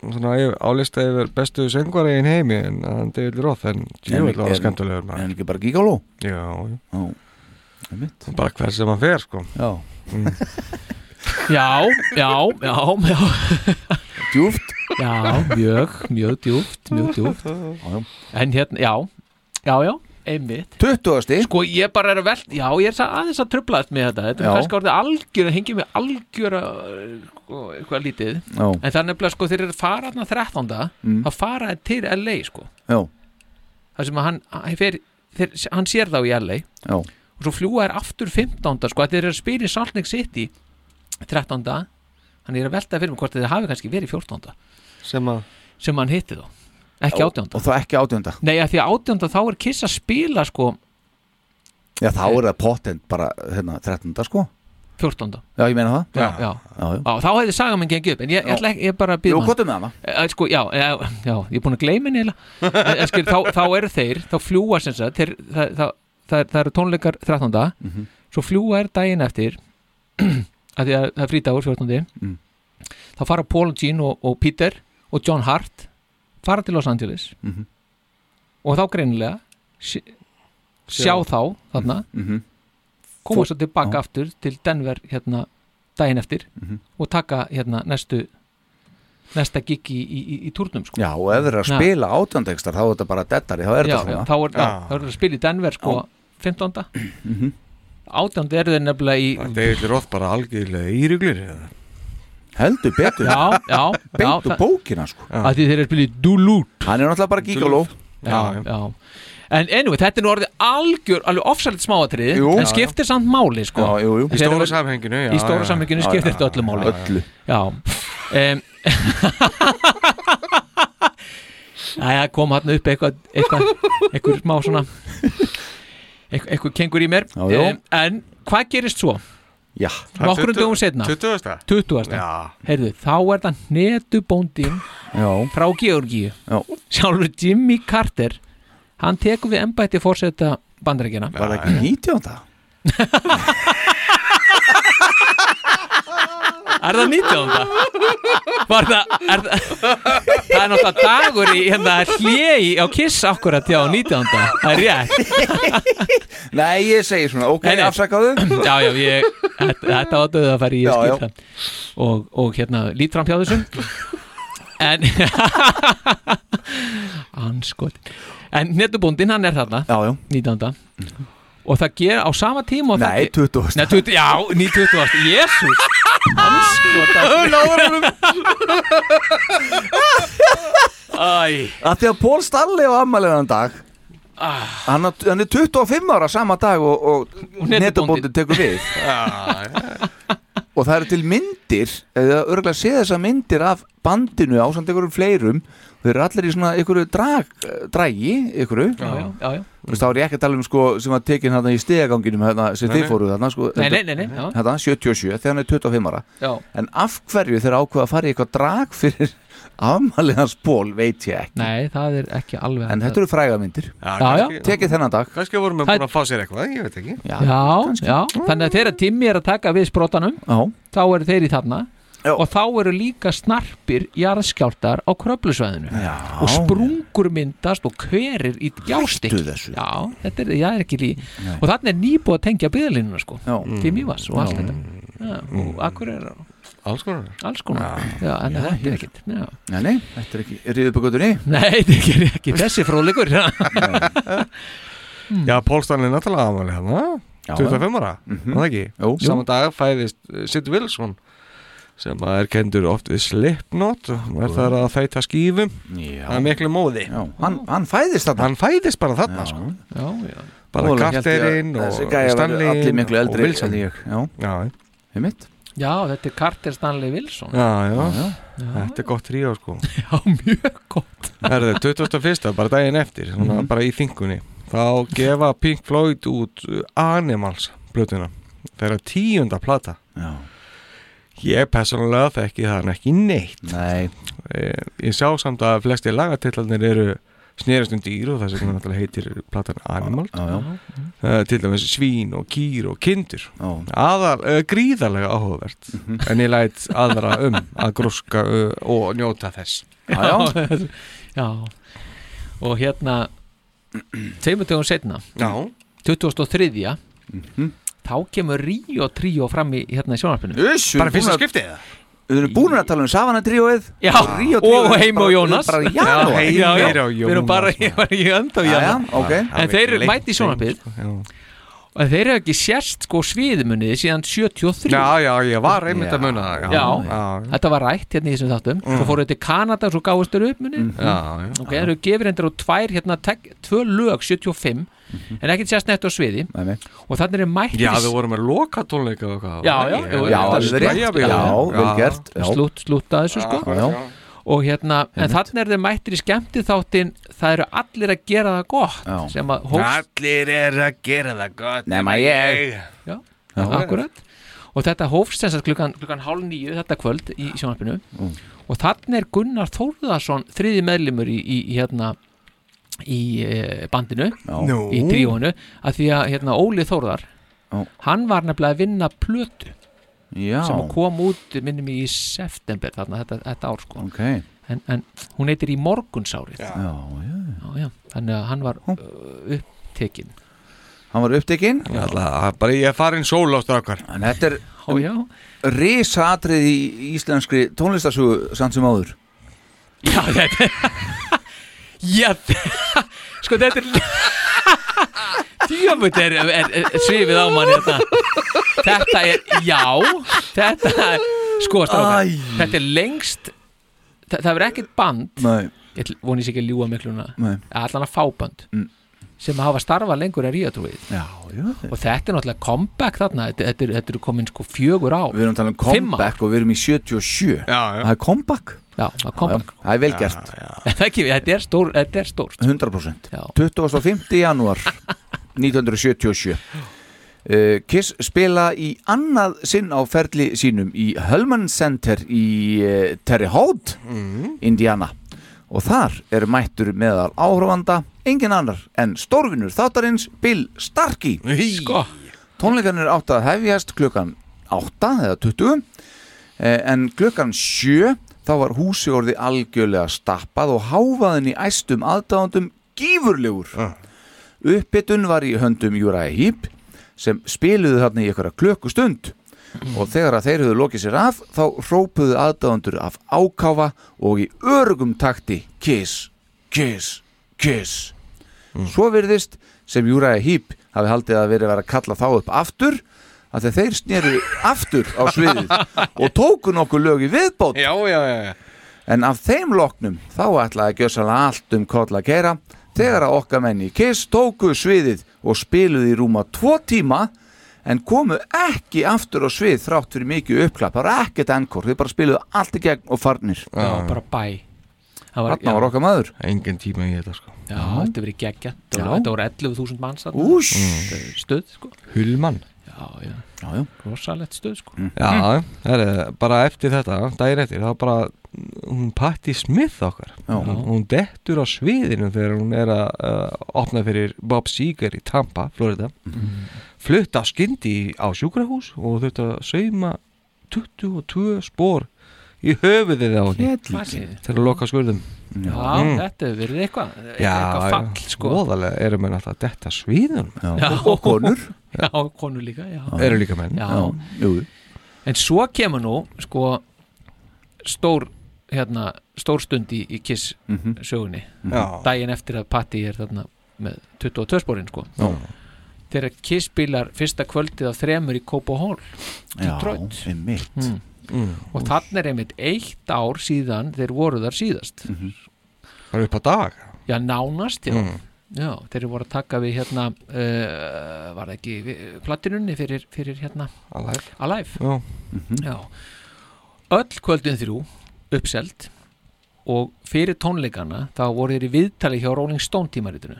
svona, yfir- á lista yfir bestu söngvari í heimi en hann David Roth en Júvel var er- skemmtilegur maður En ekki bara gíkáló Já, já Og Bara hver sem hann fer sko Já mm. Já, já, já, já. Djúft Já, mjög, mjög djúft, mjög djúft En hérna, já, já, já, einmitt 20. Sko, ég bara er að velt, já, ég er sa- aðeins að trublaðast með þetta Þetta Já. er kannski orðið algjör, það hengið með algjör sko, eitthvað lítið Já. En það er nefnilega, sko, þeir eru að fara þarna 13. Mm. Þá fara þeir til LA, sko Já, Það sem að hann, hann, fer, þeir, hann sér þá í LA já, og svo fljúa er aftur 15. sko, þeir eru að spila í Salt Lake City 13. hann er að velta fyrir mig hvort þeir hafi kannski verið 14. sem, a... sem hann hitti þá ekki Já, 18. Og þá ekki átjónda Nei, að því að 18. þá er Kiss að spila sko Já, þá er það potent bara hérna 13. sko 14. Já, ég meina það Já, já. já, já. Á, þá hefði saga minn gengið upp en ég, ég, Já. ætla ekki, ég bara býð Jú, komdu með hana. sko, já, já, já, ég er búin að gleyma henni eiginlega. En- en skil, þá, þá eru þeir, þá fljúa sem sagt, þeir, það, það, það, það eru tónleikar 13. Mhm. svo fljúa er daginn eftir að því að það er frítagur 14. Mm. þá fara Paul og Gene og, og Peter og John Hart fara til Los Angeles Mhm. og þá greinilega sjá, sjá þá þarna Mhm. koma Fó- svo tilbaka aftur til Denver hérna daginn eftir Mhm. og taka hérna næstu næsta gig í, í, í, í turnum sko. Já, og ef þeir eru að Já. spila átjöndextar þá er þetta bara dettari, þá er já, þetta svona já, þá er, já. þá eru þeir að spila í Denver sko, 15. Mhm. 18. eru þeir nefnilega í Þetta er eitthvað bara algjörlega íruglir Heldur betur Já, já, Beint já, úr það- bókina sko Af því þeir eru að spila í Duluth Hann er náttúrulega bara gíkaló já, já. En anyway, þetta er nú orðið algjör, alveg ofsælit smáatriði Jú. Já, En já. skiptir samt máli, sko Já, jú, jú. Í Þeir eru- stóra samhenginu, já, Í stóra já, já. samhenginu Já, skiptir já, þetta öllu máli já, já. Öllu. Já um, Æja, kom hann upp eitthvað eitthvað, eitthvað smá svona eitthvað, eitthvað kengur í mér Já, já. Em, En hvað gerist svo? Já Nokkrum dögum setna 20. 20. Heyrðu, þá er það netubóndin Já. frá Georgíu Já. Sjálfur Jimmy Carter Hann tekur við embætti fórseta bandarækjana Var það ekki 19. Er það 19. Var það, er það Það er náttúrulega dagur í hérna hljegi á kiss akkurat já 19. Það er rétt Nei, ég segi svona, ok, Nei, nei. afsakaðu Já, já, ég, þetta, þetta var döð að fara í Já, ég já. skil það og, og hérna, lít fram hjá þessum En Anskot En netubóndin, hann er þarna Já, já 19. Og það ger á sama tíma og það Nei, ge- 20. Nei, 20 Já, 9.20 Jésús Æ Að því að Pól Stalli á ammælinan dag Ah. hann, á- hann er 25 ára sama dag og, og netabóndin tekur við og það eru til myndir eða örgulega sé þessa myndir af bandinu á samt einhverjum fleirum þau eru allir í svona einhverju drag, eh, dragi einhverju Já, já, já, já. Þú veist, þá er ég ekki að tala um sko sem var tekin hérna í stegaganginum hérna, sem Nei, þið nei. fóruð þarna sko Nei, nei, nei, nei, já. hérna, 77 þegar hann er 25 ára Já. en af hverju þeir ákveða að fara í eitthvað drag fyrir afmalið hans ból veit ég ekki Nei, það er ekki alveg en þetta eru frægamindir já. tekið þennan dag Kannski vorum við Það- búin að fá sér eitthvað, ég veit ekki Já, Já, já, þannig að þeirra Timmy er að taka við sprótanum já. þá eru þeir í þarna já. og þá eru líka snarpir jarðskjáltar á kröflusvæðinu já, og sprungur myndast og hverir í jástik Hættu þessu. Já, þetta er, já, er ekki lí og þannig er nýbúið að tengja byðalínuna sko já. Timmy Vass og allt Já. þetta Já, og akkur er Mm. Alls konar Alls konar, já, en Já, þetta er ekkit já. Nei, nei, þetta er ekki riðubakutunni Nei, þetta er ekki þessi fróðleikur Hmm. Já, Pól Stanley er náttúrulega aðmæli hérna Já, 25 ára, Mhm. var það ekki? Jú. Saman dag fæðist eh, Sid Wilson sem að er kendur oft við Slipknot og er þar að þæta skífum Já. að miklu móði Já, hann, hann fæðist þarna Hann fæðist bara þarna já. sko Já, já Bara Voðalega hélt ég að Carterinn og þessi gæja væri Stanley allir miklu og eldri Wilson. en ég. Já, já, við mitt Já, þetta er Carter Stanley Wilson já, já. já. Þetta er gott tríó sko Já, mjög gott Það er 21. bara daginn eftir svona, Mhm. bara í þingunni þá gefa Pink Floyd út uh, Animals blötuna þeirra tíunda plata Já. ég persónulega þekki það ekki neitt Eh, Nei. ég sá samt að flesti lagatillarnir eru snerist um dýr og þess vegna náttúrulega heitir platan Animals já, já. Uh, til dæmis svín og kýr og kindur aðal, uh, gríðarlega áhugavert en ég læt aðra um að grúska uh, og njóta þess já, já. og hérna tveimur tegum setna Já. 2003 Mhm. þá kemur Ríó Tríó fram í hérna í sjónarpinu Uss, Bara fyrsta skiptið það? Við erum búin að tala um Savana tríóið Já, Ríó tríóið og Heimi og bara- Jónas bara í Já, janúar. Heimir Já, já. og Jónas Við erum bara, ég var í enda og Já, já, Jónas ok. sko, En þeir eru mætt í sjónarpið og þeir eru ekki sérst sko sviðimuniði síðan 73 Já, já, ég var einmitt að muna það, já. já. Já. Mm. þetta var rætt hérna í þessum þáttum Svo fóruðu til Kanada og svo gáðust þeir upp munið Mm-hmm. Já, já. Ok, það eru gefur endur á tvær hérna, tek, tvö lög 75 en ekkert sérst neitt á sviði Nei, nei. og þannig eru mættir Mm-hmm. Já, við vorum með lokatónleika og hvað Já, já, Ég- já, þetta alveg rétt. slægjabíl. Já, vel gert, já. Slút, slúta þessu sko Já, já. og hérna, en þannig eru þeir mættir í skemmti þáttin það eru allir að gera það gott Já. sem að hóst Allir er að gera það gott Nema ég. Já, akkurat og þetta hófst þess að klukkan, klukkan hálf nýju þetta kvöld í sjónarpinu Mm. og þannig er Gunnar Þórðarsson þriði meðlimur í, í, í hérna í eh, bandinu Nú. í tríónu að því að hérna, Óli Þórðar Já. hann var nefnilega að vinna plötu Já. sem kom út minnum í september þarna þetta, þetta ár sko Ok. en, en hún heitir í morgunsárið já. já. já, þannig að hann var uh, upptekinn Hann var upptekinn Alla, bara ég er farin sól á strákar En þetta Já, já. er risatrið í íslenskri tónlistarsögu samt sem áður Já, þetta Já, sko þetta er Djöfut er, er, er svifið á manni þetta Þetta er, já Þetta er, sko strákar Æ. Þetta er lengst Það, það er ekkert band Nei. Ég ætl- voni sér ekki að ljúga mikluna Nei. Allan að fáband Mm. sem hafa starfað lengur en ríðatrúið Já, já Og þetta er náttúrulega comeback þarna Þetta, þetta, er, þetta er komin sko fjögur á Við erum að tala um comeback og við erum í 77 já, já. Það er comeback Já, það er comeback Það er vel gert Þetta er, þetta er, stór, þetta er stórt 100% 25. janúar 1977 Uh, Kiss spila í annað sinn á ferli sínum í Hellman Center í uh, Terre Haute, mm. Indiana og þar er mættur meðal áhrifanda engin annar en stórvinur þáttarins Bill Starkey sko. tónleikan er átt að hefjast klukkan 8 eða 20 Eh, en klukkan sjö þá var húsi orði algjörlega stappað og háfaðin í æstum aðdáðandum gífurlegur uh. uppbytun var í höndum Júraði Hýp sem spiluðu þarna í einhverja klökkustund og þegar að þeir höfðu lokið sér af þá rópuðu aðdáðandur af ákáfa og í örgum takti kiss, kiss, kiss Mm. svo virðist sem Júraði Hýp hafi haldið að verið að vera að kalla þá upp aftur að þeir sneru aftur á sviðið og tóku nokkuð lög í viðbót já, já, já, já. en af þeim loknum þá ætlaði að gjössalega allt um koll að gera þegar að okkar menn í Kiss tóku sviðið og spiluði í rúma tvo tíma en komu ekki aftur á svið þrátt fyrir mikið uppklapp, það var ekkert enkor þau bara spiluðu allt í gegn og farnir Já, bara bæ Það Þarna var okkar maður Engin tíma í þetta sko Já, þetta verið geggja Já. Þetta voru 11.000 manns þarna. Úss. Mm. Þetta er Stöð sko Hulmann Já, já, já, já. Rosalett stöð sko Já, herri, bara eftir þetta, dagir eftir, þá bara, hún Patti Smith okkar, Já. hún, hún dettur á sviðinu þegar hún er að uh, opna fyrir Bob Seger í Tampa, Florida, Mhm. flutt á skyndi á sjúkrahús og þurft að sauma 22 spór í höfuðið á henni Kjellíki. til að loka skurðum. Já, þetta hefur verið eitthvað Mm. e- Já, Eitthvað fall sko voðalega eru menn alltaf að detta sviðum. Já. Og konur. Já, konur líka já. Eru líka menn. Já. jú. En svo kemur nú sko stór hérna, stór stund í, í Kiss Mhm. sögunni Mhm. Já. daginn eftir að Patti er þarna með 22 spórin sko Já. þegar Kiss spilar fyrsta kvöldið af þremur í Kópa Hall Detroit Já, einmitt Mm. Mm. og þannig er einmitt eitt ár síðan þeir voru þar síðast Mhm. Það eru upp á dag. Já, nánast, já. Mm. Já, þeir voru að taka við hérna, uh, var það ekki við- platinunni fyrir, fyrir hérna Alive. Alive. Já. já. Öll kvöldin þrjú, uppselt og fyrir tónleikana þá voru þeir í viðtali hjá Rolling Stone tímaritinu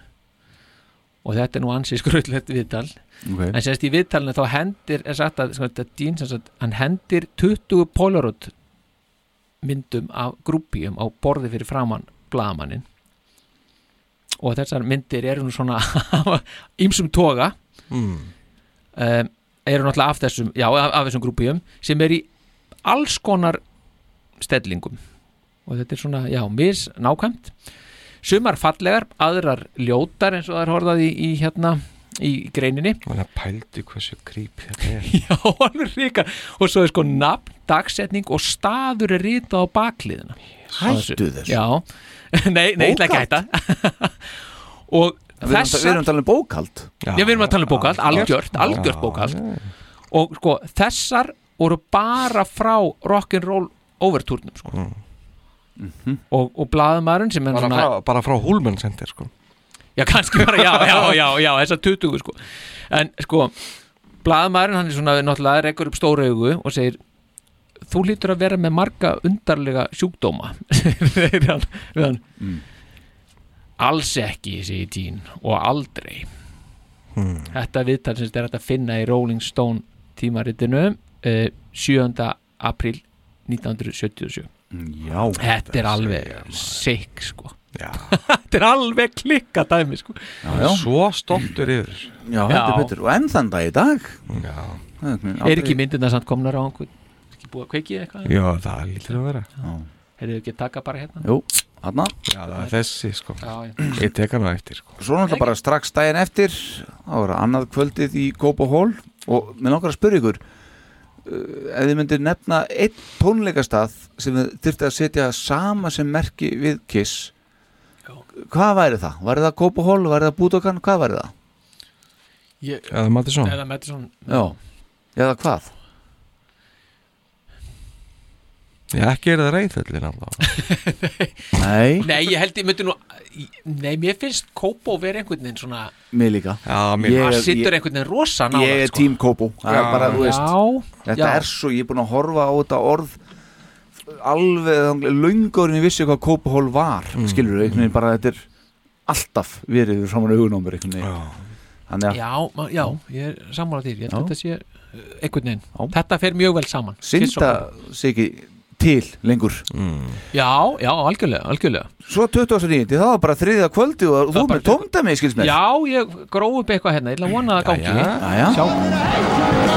og þetta er nú ansið skröðlegt viðtal Ok. en sérst í viðtalinu þá hendir er sagt að, sko, að Dean sem sagt, hann hendir 20 Polaroid myndum af grúpjum á borði fyrir framann blaðamannin og þessar myndir eru nú svona ímsum toga Mm. um, eru náttúrulega af þessum já, af, af þessum grúpjum sem er í alls konar stellingum og þetta er svona, já, mis nákvæmt sumar fallegar, aðrar ljótar eins og það er horfað í, í hérna í greininni Þannig að pældu hversu creep þetta er. Já, alveg ríkar og svo er sko nafn, dagsetning og staður er ritað á bakliðina Hættu þessu. Já, nei, nei, ég ætla ekki að hætta og Við erum, þessar við erum að tala um bókald Já, við erum að tala um bókald, algjört, algjört bókald og sko þessar voru bara frá rock'n'roll overtúrnum sko. og, og blaðumæðurinn sem er bara, svona frá, bara frá Hulman sendir sko Já, kannski bara, já, já, já, já, þessar 20 sko. En sko, blaðmaðurinn hann er svona, náttúrulega rekkur upp stóra augu og segir, þú lítur að vera með marga undarlega sjúkdóma segir hann, við hann alls ekki, segir Dín og aldrei Hmm. Þetta viðtal sem sagt er hægt að finna í Rolling Stone tímaritinu uh, 7. april 1977 Já, Þetta er alveg sick sko Þetta er alveg klikka dæmi sko já. Svo stoltur yfir Já, heldur betur, og enn þann dag í dag Já Er ekki myndirna samt komnar á einhvern er ekki búið að kveiki eða eitthvað? Já, það lítur að vera Hefur ekki að taka bara hérna? Jú, hann Já, það er þessi sko Já, já. Ég tek hann á eftir sko Svo náttúrulega bara strax daginn eftir Það voru annað kvöldið í Kópa Hól Og mér langar að spyrja ykkur uh, ef þið myndir nefna einn tónleikastað sem þið þurfti að setja sama sem merki við Kiss hvað væri það? Væri það Kópuhól, væri það Búdokan, hvað væri það? Ég- Eða Madison. Eða Madison Já, eða hvað? Já, ekki er það reyðfellin alltaf Nei Nei, ég held ég myndi nú Nei, mér finnst Kópó verið einhvern veginn svona Mér líka Já, mér- Það situr einhvern veginn rosa nálægt, Ég er sko. tím Kópó Það er Já. bara, þú veist, Þetta já. er svo, ég er búin að horfa á þetta orð alveg löngurinn ég vissi hvað Kópahól var mm. skilur við, einhvern veginn bara þetta er alltaf verið við framan augunómur einhvern veginn Þannig að Já, ma- já, ég er sammála þér Ég held Já. að þetta sé uh, einhvern veginn Þetta fer mjög vel saman Kiss og synda Kópó. sig ekki til lengur Mm. Já, já, algjörlega, algjörlega Svo 29. það var bara þriðja kvöldi og þú með tómdæmi skils með Já, ég gróf upp eitthvað hérna, ég ætla að vona að það gangi Jæja. Sjá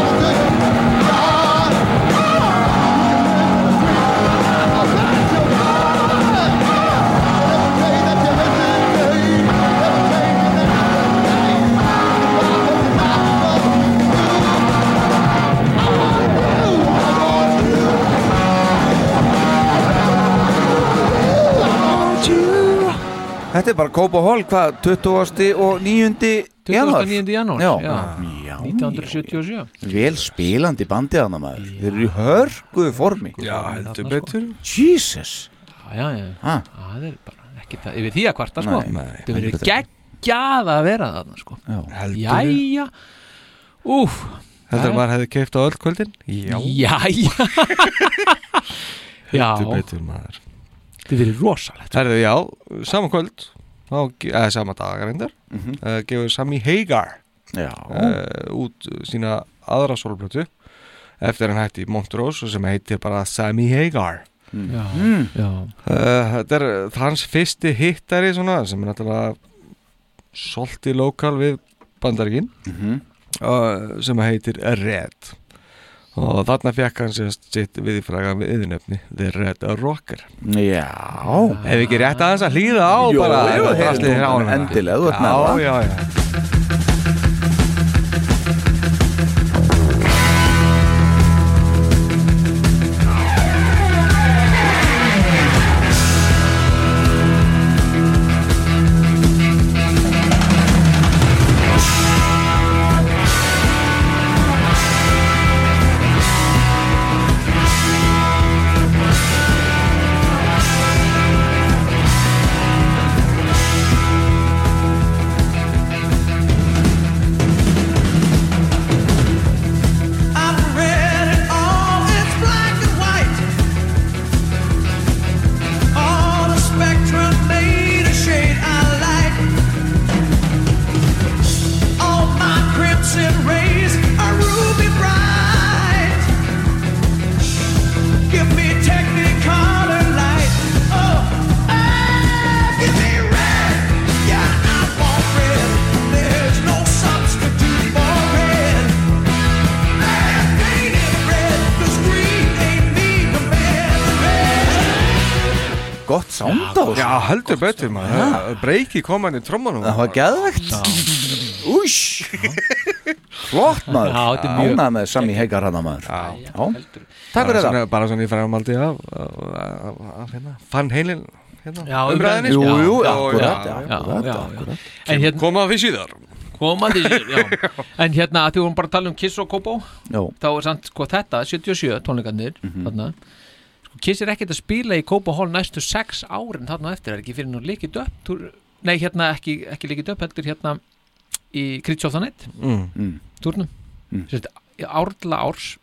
Þetta er bara Kópahól, hvað, 20. og 9. janúar 29. janúar Já, já. já 1977 Vel spilandi bandið hana maður Þeir eru í hörguðu formi Já, heldur betur Jesus sko. Já, já, já Ha? Það er bara ekki það Yfir því að kvarta, sko Nei, nei, Það verður heldur betur. geggjað að vera þarna, sko Heldur Jæja Úf Heldur að maður hefði keift á öll kvöldin? Já Jæja Já. Heldur betur maður Þetta verið rosalegt Herðu, já, sama kvöld þá, ge- eða sama dag reyndar mm -hmm. uh, gefur Sammy Hagar uh, út sína aðra sólblötu eftir hann hætti í Montrose sem heitir bara Sammy Hagar Já, Mm. já Uh, þetta er uh, hans fyrsti hittari svona, sem er náttúrulega solti lokal við bandargin Mhm. uh, sem heitir Red og þarna fekk hann sérst sitt viðfraga við yðurnefni The Red Rocker Já Hef ekki rétt aðeins að hlýða á Jú, bara jú, þetta heyrðu, allir hér á hana. endilega, þú ert með það. Já, já, já Oh, eh, Substitute for red. Man painted red, 'cause green ain't mean to man. Gott sound á þessu. Já, heldur betur maður Breiki kom hann í trommanum Það var geðvegt Ús Flott maður Já, þetta er mjög- Ánægð með Sammy Hagar hana maður Já, Takk fyrir Bara það svona- Bara svona í framhaldi af af- af- af hérna Fann heilin hérna Já, umræðinni umræðunni, já. sko. Já, akkúrat, já, já, já, akkúrat, já. akkúrat. En hérna- Koma því síðar Koma því sér, já En hérna, að því vorum bara að tala um Kiss og Kobo Já. Þá er samt, sko, þetta, 77 tónleikarnir Mhm. Þarna sko, Kiss er ekkert að spila í Kobo Hall næstu 6 árin Þarna á eftir er ekki fyrir nú líkið upp túr, Nei, hérna, ekki, ekki líkið upp Heldur hérna í Kritsjóðanett Mm. Mm. Túrnum mm. Sérst, Árla árs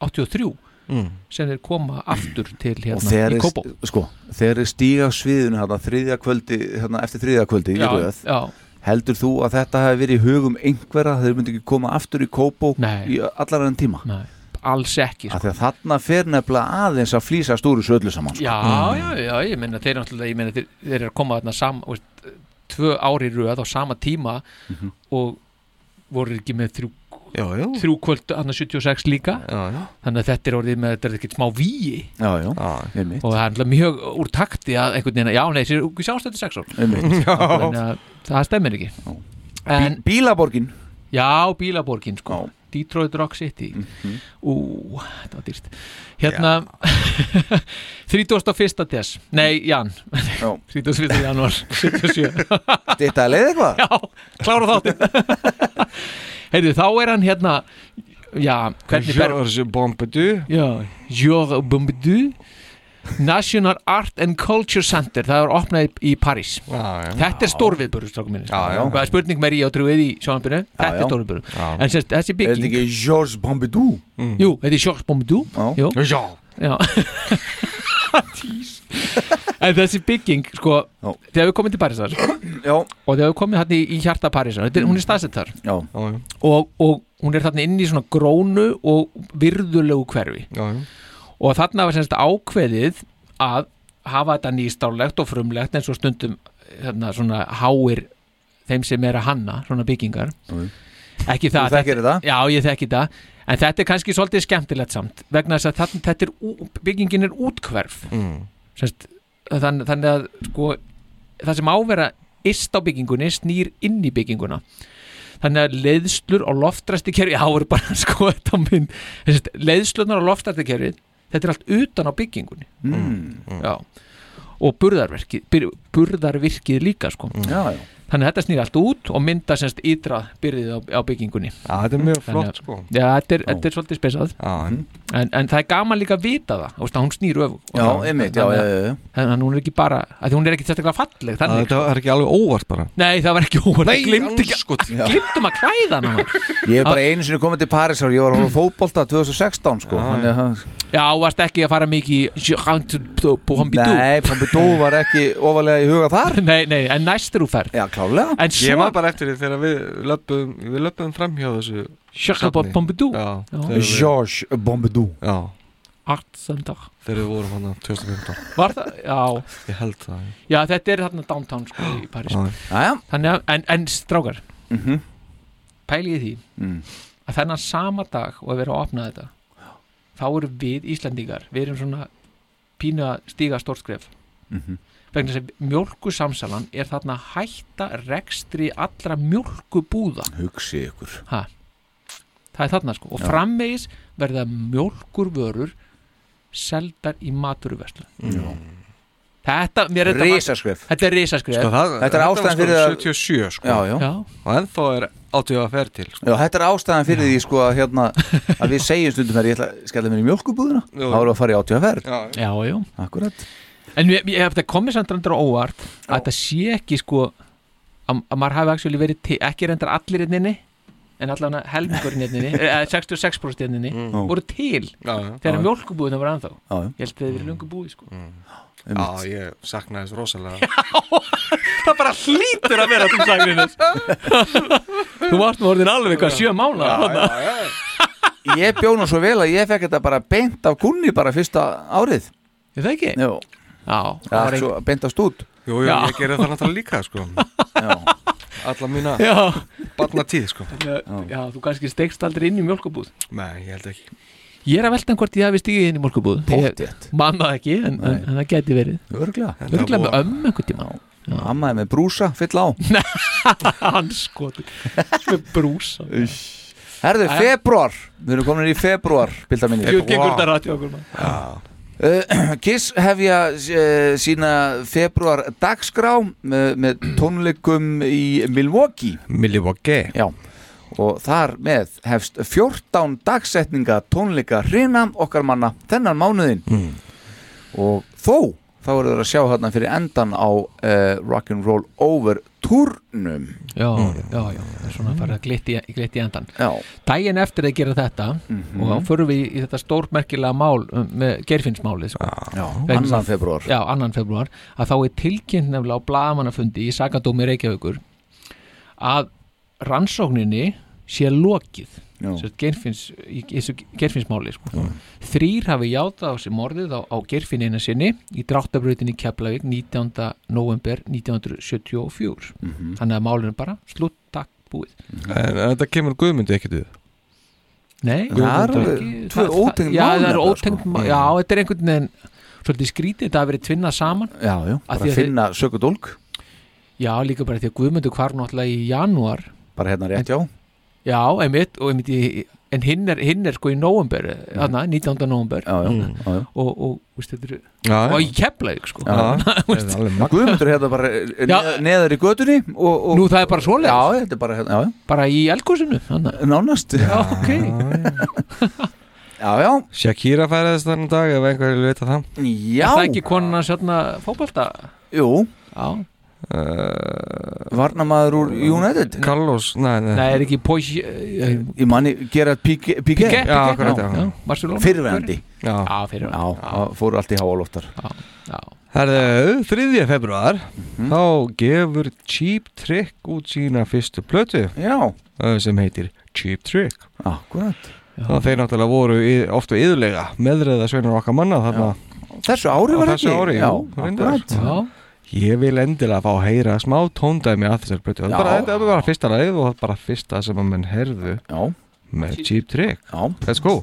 83 Mm. Sem þeir koma aftur til Og hérna þegar í Kobo þið- sko, þegar þið stíga á sviðinu hérna, þriðja kvöldi, hérna, eftir þriðja kvöldi í Já, röð já. heldur þú að þetta hefði verið í hugum einhverja að þeir myndi ekki koma aftur í Kópó Nei. í allar enn tíma Nei, alls ekki sko. Af því að þarna fer nefnilega aðeins að flýsa stúru söllu saman sko. Já, já, já, ég meina þeir náttúrulega, ég meina þeir, þeir eru að koma þarna sam, þú veist, tvö ári röð á sama tíma og voru ekki með þrjú, já, já. þrjú kvöld hann 76 líka já, já. þannig að þetta er orðið með, þetta er ekkert smá víi Já, já, einmitt og það er náttúrulega mjög úr takti að einhvern veginn, að- já, nei, þeir eru sjást þetta sex ár Einmitt. Já. Þannig að það stemmir ekki en, Bílaborgin Já, bílaborgin sko Detroit Rock City Mhm. Ú, þetta var dýrt Hérna 31. des Nei, Jan 31. januar 77 Þetta er leið eitthvað? Já, klára þáttin Heyrðu, þá er hann hérna Já, hvernig ber Georges Bombadou Já, Georges Bombadou National Art and Culture Center það er opnað í, í París já, þetta er stórviðbörður strákum minni já. Hvað er spurning með í og trúið í sjónanbyrnu þetta er stórviðbörður en sérst, Er þetta þessi bygging Mm. ekki Georges Bombidou? jú, þetta er Georges Bombadou jú. já, já. Dís. en þessi bygging sko, þegar við komum til Parísar já. og þegar við komum þarna í, í hjarta Parísar þetta, er- hún er staðsett þar já. og, og hún er þarna inn í svona grónu og virðulegu hverfi já, já. og þarna var semst ákveðið að hafa þetta nýstárlegt og frumlegt eins og stundum þarna, svona háir þeim sem er að hanna svona byggingar ekki það, Þú þekkir þetta, já ég þekki það en þetta er kannski svolítið skemmtilegt samt vegna þess að þarna, þetta er, ú- byggingin er útkverf Mm. semst, þann, þannig að sko, það sem ávera ist á byggingunni snýr inn í bygginguna þannig að leiðslur á loftræstikerfi já, er bara sko þetta á minn Þessi, leiðslunar á loftræstikerfi þetta er allt utan á byggingunni Hmm. Mm. já og burðarverkið, byr- burðarvirkið líka sko. Mm. Já, já. þannig að þetta snýr allt út og mynda semst ytra byrðið á, á byggingunni Já, þetta er mjög Þannig flott, að- sko. Já, þetta er, þetta er svolítið spesað Mm. en, en það er gaman líka að vita það þú veist, að hún snýr öf Já, einmitt, já, já, já, já. Þannig að hún er ekki bara, að hún er ekki sérstaklega falleg Að þannig, þetta er ekki alveg óvart bara Nei, það var ekki óvart Nei, sko. Ég glimti ekki Já. Glimtum að klæða hann Ég er bara einu sinni komið til Parísar Ég var að horfa á fótbolta 2016 sko Þannig að Já, varst ekki að fara mikið í Pompidou Nei, Pompidou var ekki ofalega í huga þar Nei, nei, en næst er þú ferð Já, klálega En Ég svo var bara eftir því þegar við löpum, við löpum fram hjá þessu Sjökla safni. Pompidou Já, Já. þegar við- Georges Bombidou Já, Art sem dag þegar við vorum hann 2015 Var það, já Ég held það Já, þetta er þarna downtown sko í París Já. Þannig að, en, en strákar mm -hmm. Pæliði því Mm. að þennan sama dag og að vera að opna þetta þá erum við Íslendingar við erum svona pínu að stíga stórskref Mhm. vegna þess að mjölkusamsalan er þarna að hætta rekstri allra mjölkubúða Hugsi ykkur ha, það er þarna sko og Já. framvegis verða mjölkurvörur seldar í maturuveslu Mm. Já. þetta, mér er þetta Risaskref. þetta er risaskref Sko, það, Þetta er ástæðan var fyrir að- 77 sko Já, já. Já. Og ennþá er átíðu að fer til sko. Já, þetta er ástæðan fyrir því sko að hérna að við segjum stundum hér, ég ætla að skella mér í mjölkubúðuna þá Jú. erum við að fara í átíðaferð já, já. Akkurat En mér, mér, þetta komið samt reyndar á óvart að þetta sé ekki sko að, að maður hafi actually verið til, ekki reyndar allir inninni en allavega helmingurinn inninni eða 66% inninni Já. voru til Mm. Já, já. þegar Já. mjölkubúðina voru ennþá Já, já. ég held að þeir verið lungu búið sko Mm. Já, ég saknaði þess rosalega það bara hlýtur að vera þú sagði þú varst nú orðin alveg hvað sjö mánu Ég bjóna svo vel að ég fekk þetta bara beint af kunni bara fyrsta árið Er það ekki? Jó Já, það var var ein- svo beint af stút Jú, jú, Já. ég gerði það náttúrulega líka sko Alla mína Já. uh, Barna tíð sko já, þú kannski stegst aldrei inn í mjölkubúð Nei, ég held ekki Ég er að velta um hvort ég hafi stigið inn í mjölkubúð Póttið Mannað ekki, en, en, en það geti verið Örglega Örglega með ömmu einhvern tíma Amma er með brúsa, fyll á Hann skotur Með brúsa Herðu, Jæja. februar Við erum komin í februar, bildar minni Jú, gengur þetta rætt hjá okkur maður Já. Uh, Kiss hefja uh, sína februar dagskrá með, með tónleikum í Milwaukee Milwaukee Já. og þar með hefst 14 dagsetninga tónleika hrina okkar manna þennan mánuðin mm. og þó þá eru þeir að sjá hérna fyrir endan á uh, Rock'n'Roll Over turnum Já, Mm. já, já, það er svona að fara að glitti, glitti í endan Já. Mhm. Dæin eftir að gera þetta og þá förum við í þetta stórmerkilega mál um, með Geirfinnsmálið sko. Já, Vegna þess að- annan febrúar. Já, annan februar að þá er tilkynnt nefnilega á blaðamannafundi í Sakadómi Reykjavíkur að rannsókninni sé lokið Já. Sérst, Geirfinns, í þessu Geirfinnsmáli sko. Þrýr hafi játað á sér morðið á, á Geirfinn eina sinni í dráttabrautinni í Keflavík 19. november 1974 Mhm. þannig að málinu bara slutt takk búið Mhm. En en þetta kemur Guðmundi ekkert við Nei, Það eru Guðmundur Eh, ekki. Það- tvö það- ótengd Já, mál það eru nefnilega, ótengd sko. mál Já, þetta er einhvern veginn svolítið skrítið, þetta hafi verið tvinnað saman Já, já, Af bara því að að finna sökudólk Já, líka bara því að Guðmundur hvarf náttúrulega í janúar bara hérna rétt, já Já, einmitt, og einmitt í en hinn er, hinn er sko í november þarna, 19. november já, Mm. já, já, já. og, og, veist, þetta eru Já, já. og í keflaug sko Já, Veist. Guðmundur er hérna bara eh, ne- neðar í götunni og, og Nú það er bara svoleiðis Já, þetta er bara hérna já. Bara í elgúsinu Nánast Já, ok Já, já Shakira færiðist þannig dag ef einhverju vil vita það Já Er það ekki konan hans hérna fótbolta? Jú Já uh, Varnamaður úr United Carlos, nei, nei Nei, er ekki Poch Ég manni, Gerard Piqué Piqué, Piqué, Já, já. akkurat, Já, já, Barcelona. Fyrrverandi Já, já fyrrverandi Já, það fóru allt í háalóttar Já Herðu, 3. februar Mhm. þá gefur Cheap Trick út sína fyrstu plötu Já. sem heitir Cheap Trick Akkurat Það þeir náttúrulega voru í- oft við yðurlega meðræða sveinar okkar manna þarna Þessu ári Á var þessu ekki ári, Já, jú, reyndar. akkurat Já. Ég vil endilega fá að heyra smá tóndæmi að þessar plötu Það er bara, Já. þetta er bara fyrsta lagið og það er bara fyrsta sem að menn herðu Já. með Cheap Trick Já. Let's go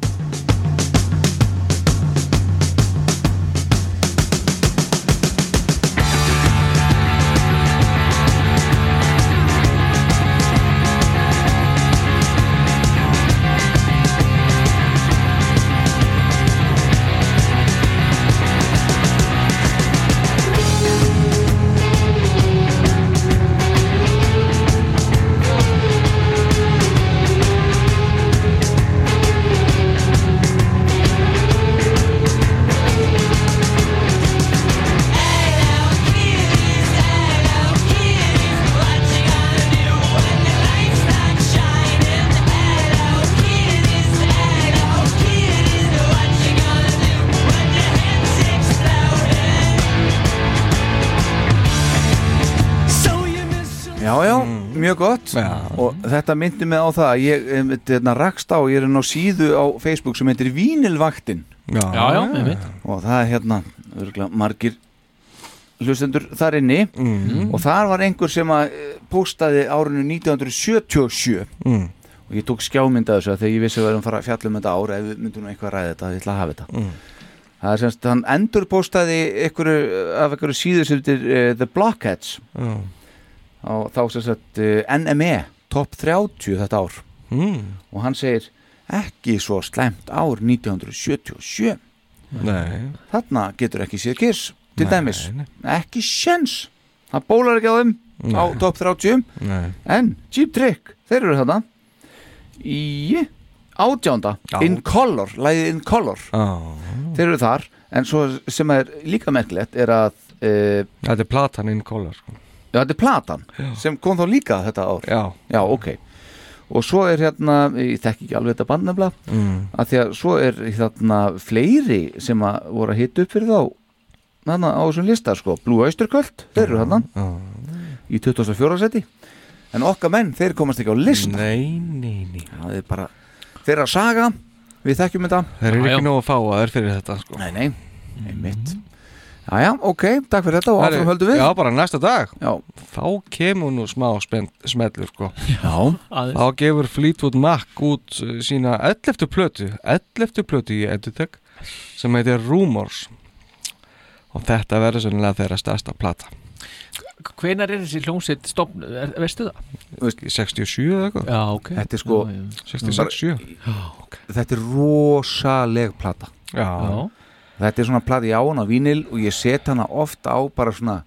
Já, já, Mm. mjög gott og þetta myndi mig á það að ég em, þetta rakst á, ég er enn á síðu á Facebook sem heitir Vínilvaktin Já, Já, já, einmitt. og það er hérna örgulega, margir hlustendur þar inni Mm. og þar var einhver sem að eh, póstaði árinu 1977 Mm. og ég tók skjámynd af þessu af því að þegar ég vissi að við erum að fara að fjalla um þetta ára ef við myndum nú eitthvað að ræða þetta, ég ætla að hafa þetta Mm. það er semst, hann endur póstaði af einhverju síðu sem heitir uh, The Blockheads Já. og þá sem sagt eh, NME top 30 þetta ár mm. og hann segir ekki svo slæmt ár 1977 Nei. þarna getur ekki séð kiss til Nei, dæmis, ekki sjens það bólar ekki á þeim á top 30 Nei. en Cheap Trick, þeir eru þarna í átjánda Já. In Color, lagið In Color Já. þeir eru þar en svo sem er líka merkilegt er að uh, Þetta er platan In Color sko. Já, þetta er platan sem kom þá líka þetta ár Já, Já ok Og svo er hérna, ég þekki ekki alveg þetta band nefnilega Mm. að því að svo er þarna fleiri sem að voru að hita upp fyrir þá þarna á þessum lista sko Blue Oyster Cult, þeir eru þarna í 24. seti en okkar menn, þeir komast ekki á lista Nei, nei, nei Það er bara, þeirra saga við þekkjum þetta Þeir eru ekki nógu að fá að þeir fyrir þetta sko. Nei, nei, einmitt Jæja, ok, takk fyrir þetta og Herri, áfram höldum við Já, bara næsta dag já. Þá kemur nú smá spennt, smellur sko. Já, Þá gefur Fleetwood Mac út uh, sína 11. plötu 11. plötu í Edutech sem heitir Rumors og þetta verður sennilega þeirra stærsta plata Hvenar er þessi hljómsveit stofn, er, veistu það? 67 eða eitthvað Já, ok Þetta er sko Já, já. 66, sjö. Þetta er rosaleg plata Já. Já. Þetta er svona plata ég á hana á vínil og ég set hana oft á bara svona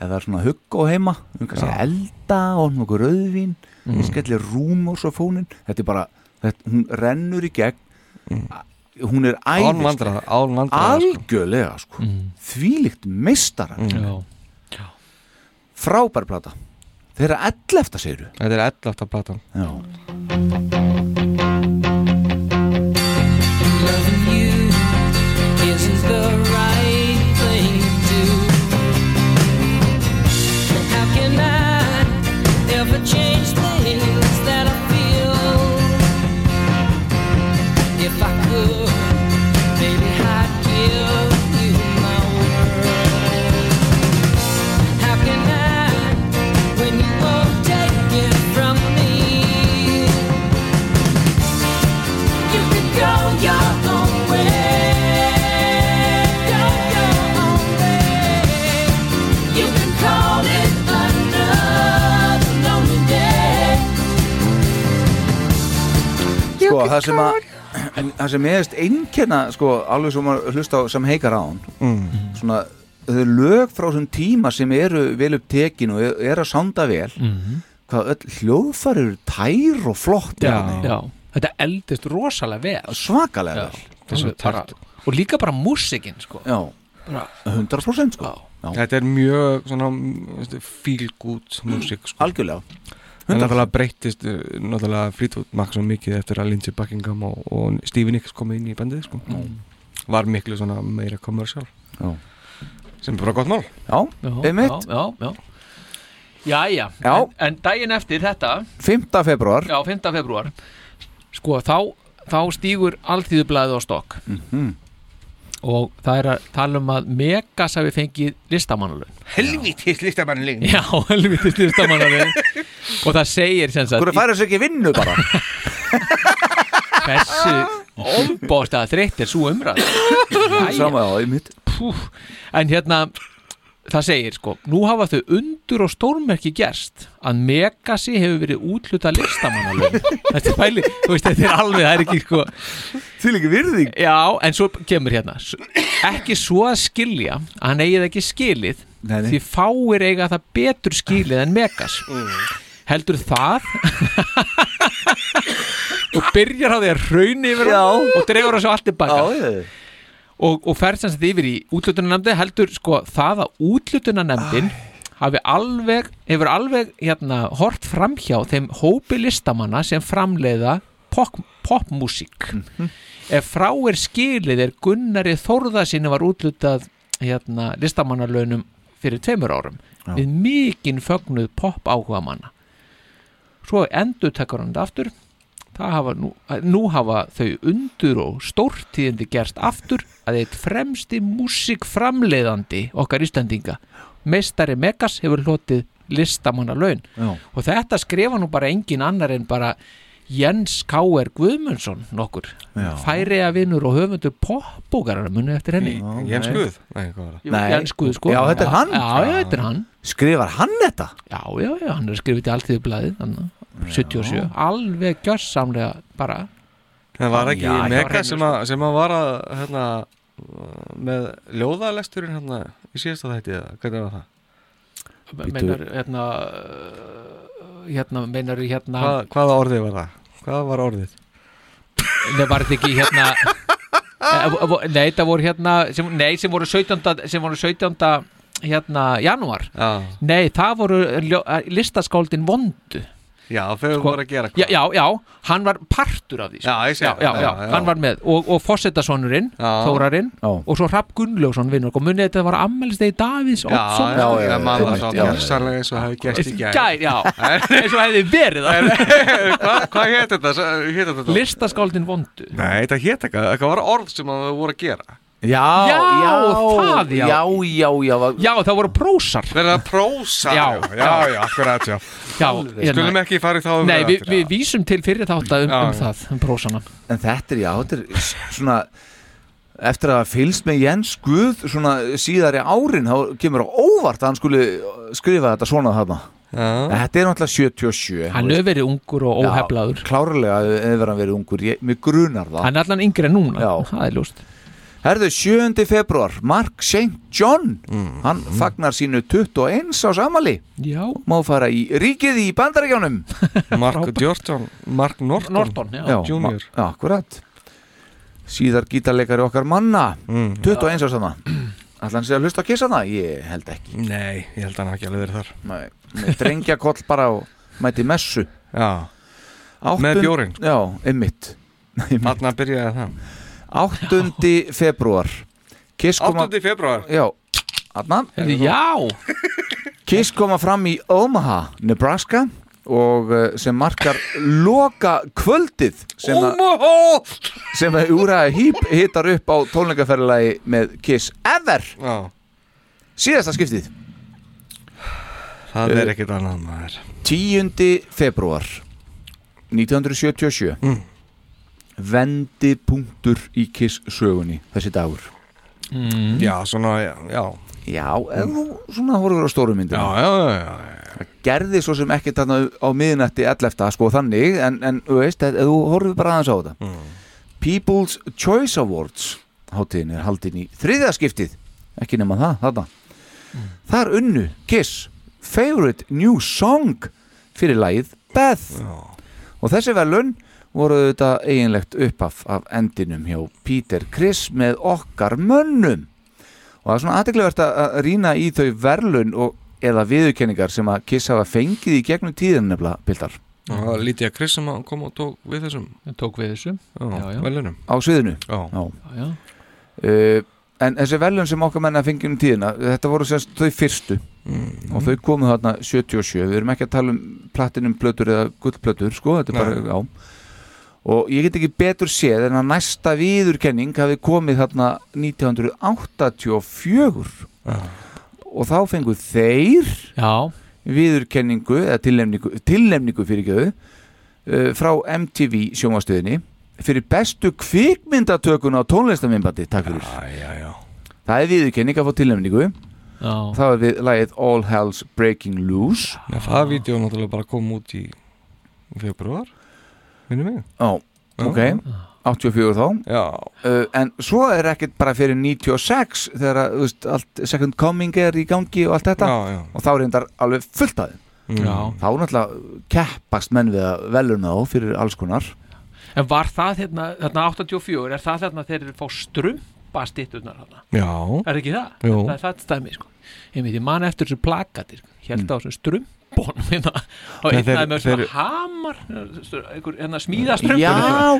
eða svona hugg á heima um kannski elda og nokkuð rauðvín mm. skellir rúm og svo fónin þetta er bara, þetta, hún rennur í gegn hún er æðisleg Mm. Án vandræða, án vandræða, sko. algjörlega sko, þvílíkt meistara Mm. frábær plata þeirra 11. segir du Þetta er 11. platan Já Loving you isn't the right thing to do. How can I ever change things that I feel? If I could, maybe I'd give you my world. How can I, when you won't take it from me? sko, það sem að það sem meðist einkenna sko, alveg sem maður hlusta á sem heikar á hann mm. svona, þau lög frá þessum tíma sem eru vel upp tekin og er- er að sanda vel Mhm. hvað öll hljóðfæri eru tær og flott Já. þetta eldist rosalega vel svakalega vel Alveg bara- og líka bara músikinn sko. já, bara, 100% sko. Þetta er mjög svona mm, feel good music sko. Algjörlega 100%. Það náttúrulega breyttist eh, náttúrulega Fleetwood Mac svo mikið eftir að Lindsey Buckingham og, og Stevie Nicks komið inn í bandið sko. Var miklu svona meira kommersial Já. sem er bara gott mál Já, einmitt. já, já. Jæja, Já. En, en daginn eftir þetta 5. februar Já, 5. februar Sko, þá, þá stígur alþýðublaðið á stokk Mhm. og það er að tala um að Megas hafi fengið listamannalun Helvítið listamannalun Já, helvítið listamannalun og það segir sem sagt Hverju færa þessu ekki vinnu bara? Þessu ombóðstæða þreytt er svo umræð Sama, já, einmitt Pú, en hérna það segir sko, nú hafa þau undur og stórmerki gerst að Megasi hefur verið útluta listamannalög þetta er fæli, þú veist þetta er alveg það er ekki sko til ekki virðing já, en svo kemur hérna s- ekki svo að skilja að hann eigi það ekki skilið Nei, nei. því fáir eiga það betur skilið en Megas heldur það og byrjar á því að raun yfir já. og dregur þessu allt tilbaka já, og, og fer sem sagt yfir í útlutunarnemndi heldur sko það að útlutunarnemndin hafi alveg, hefur alveg hérna, hort framhjá þeim hópi listamanna sem framleiða pop, popmusík ef frá er skilið er Gunnari Þórðarsinni var útlutað hérna, listamannalönum fyrir tveimur árum Já. við mikinn fögnuð pop áhuga manna svo endur tekur hann þetta aftur Það hafa nú, nú hafa þau undur og stórtíðindi gerst aftur að eitt fremsti músikframleiðandi okkar Íslandinga meistari Megas hefur hlotið listamanna laun Já. og þetta skrifa nú bara engin annar en bara Jens K.R. Guðmundsson nokkur, Já. færiða vinnur og höfundur popbúkarar muni eftir henni Jens Guð? Nei, hvað var það? Jú, Jens Guð sko Já, þetta er hann. Já, já, þetta er hann Skrifar hann þetta? Já, já, já, hann er skrifið til Alþýðublaðið 77, alveg gjörsamlega bara Það var ekki Já, sko. já, Mega hreinu, sem, að, sem að var að hérna, með ljóðalesturinn hérna, í síðasta þætti eða hvernig var það? Bíddu. meinar hérna uh, hérna meinar hérna Hvað, hvaða orðið var það? Hvað var orðið? Nei, var þetta ekki hérna Eh, vo- vo- Nei, það voru hérna sem, Nei, sem voru 17. sem voru 17. hérna janúar Já. Nei, það voru ljó, eh, listaskáldin vondu Já, þau voru að gera Sko, já, já, já, hann var partur af því sko. Já, ég segi já, já, það, já, já, já. hann var með og, og fossetasonurinn, Þórarinn og svo Rapp Gunnlaugsson vinnur og munið þetta var ammælstegi Davíðs Já, Oddsson já, já, maður var svo gersanlega eins og hafi gerst í gær. Gær, já, eins og hefði verið Hvað, hvað hétt þetta? Hétt þetta? Listaskáldin vondu Nei, þetta hétt eitthvað, eitthvað var orð sem að þau voru að gera Já, Já, það, já. Já, já, já Já, það voru prósar Verða prósar, já, já, já. já, akkurat, já Já, hérna. Skulum ekki fara í þá Nei, umræðu við, aftur. við vísum til fyrir þátt um, um já. það, um prósana En þetta er, já, þetta er s- svona eftir að hafa fylgst með Jens Guð svona síðari árin þá kemur á óvart að hann skuli uh, skrifa þetta svona þarna En Þetta er náttúrulega 77 þú Hann hefur veist. verið ungur og óheflaður Já, klárlega hefur hann verið ungur, ég, mér grunar það Hann er allan yngri en núna, það er ljóst Herðu, 7. februar, Mark St. John Hann fagnar sínu 21 á samali Já Má fara í ríkið í bandaríkjánum Mark Jordan, Mark Norton Norton, já. Junior. ma- já, Akkurat Síðar gítarleikari okkar manna Mm, 21 á sama Ætla hann sé að hlusta á kissana? Ég held ekki Nei, ég held að hann hafi ekki alveg verið þar Nei, með drengjakoll bara og mæti messu Já Áttund, Með bjórinn. sko. Já, einmitt Þarna byrjaði það 8. februar Kiss koma 8. februar Já, aðna Já Kiss koma fram í Omaha, Nebraska og eh, sem markar loka kvöldið sem að Omaha sem að Úra Hýp hittar upp á tónleikaferðalagi með Kiss Ever Já. síðasta skiptið Það er Eh, ekkert annað maður 10. februar 1977 vendipunktur í Kiss sögunni þessi dagur Mm. Já, svona, já Mhm. Já, já ef þú svona horfur á stóru myndina Já, já, já, já. Það gerði svo sem ekkert þarna á miðnætti 11. sko þannig en, en þú veist, ef þú horfur bara aðeins á þetta Mhm. People's Choice Awards hátíðin er haldin í þriðja skiptið ekki nema það, þarna Mhm. Þar unnu Kiss Favorite New Song fyrir lagið Beth og þessi velun voru þetta eiginlegt uppaf af endinum hjá Peter Chris með okkar mönnum og það er svona aðteglivert að rýna í þau verlun og eða viðurkenningar sem að Kiss hafa fengið í gegnum tíðin nefnilega, Bildar Það var lítið að Chris sem að kom og tók við þessum Tók við þessum Já, Já, já. velunum á sviðinu Já. Já. Uh, en þessi velun sem okkar menna fengjum tíðina þetta voru semst þau fyrstu og þau komu þarna 77 við erum ekki að tala um platinum plötur eða gullplötur sko, þetta er Nei. bara já. og ég get ekki betur séð en að næsta viðurkenning hafi komið þarna 1984 og þá fengu þeir já. viðurkenningu eða tilnefningu, tilnefningu fyrir göðu uh, frá MTV sjónvastöðinni fyrir bestu kvikmyndatökun á tónlistamimbandi takk fyrir já, já. það er viðurkenning að fá tilnefningu Já. þá er við lagið All Hells Breaking Loose Já, það vídeo náttúrulega bara kom út í februar Minni mig Já, Já. ok 84 þá uh, En svo er ekkert bara fyrir 96 Þegar að, þú veist, allt Second Coming er í gangi og allt þetta Já, Mm. já. Og þá er þetta alveg fullt af þeim Já. Þá náttúrulega keppast menn við að veluna á fyrir alls konar En var það hérna, þarna 84 er það þarna þeir eru fá strumpa stýtturnar þarna? Já Er ekki það? Jú. Það er það stæmi sko. Ég myndi, ég man eftir þessu plakatir held á þessum strumbónum hérna á Mm. Nei, einn þeir- af með svona þeir- hamar stu- einhver, hérna smíða strumpur Já,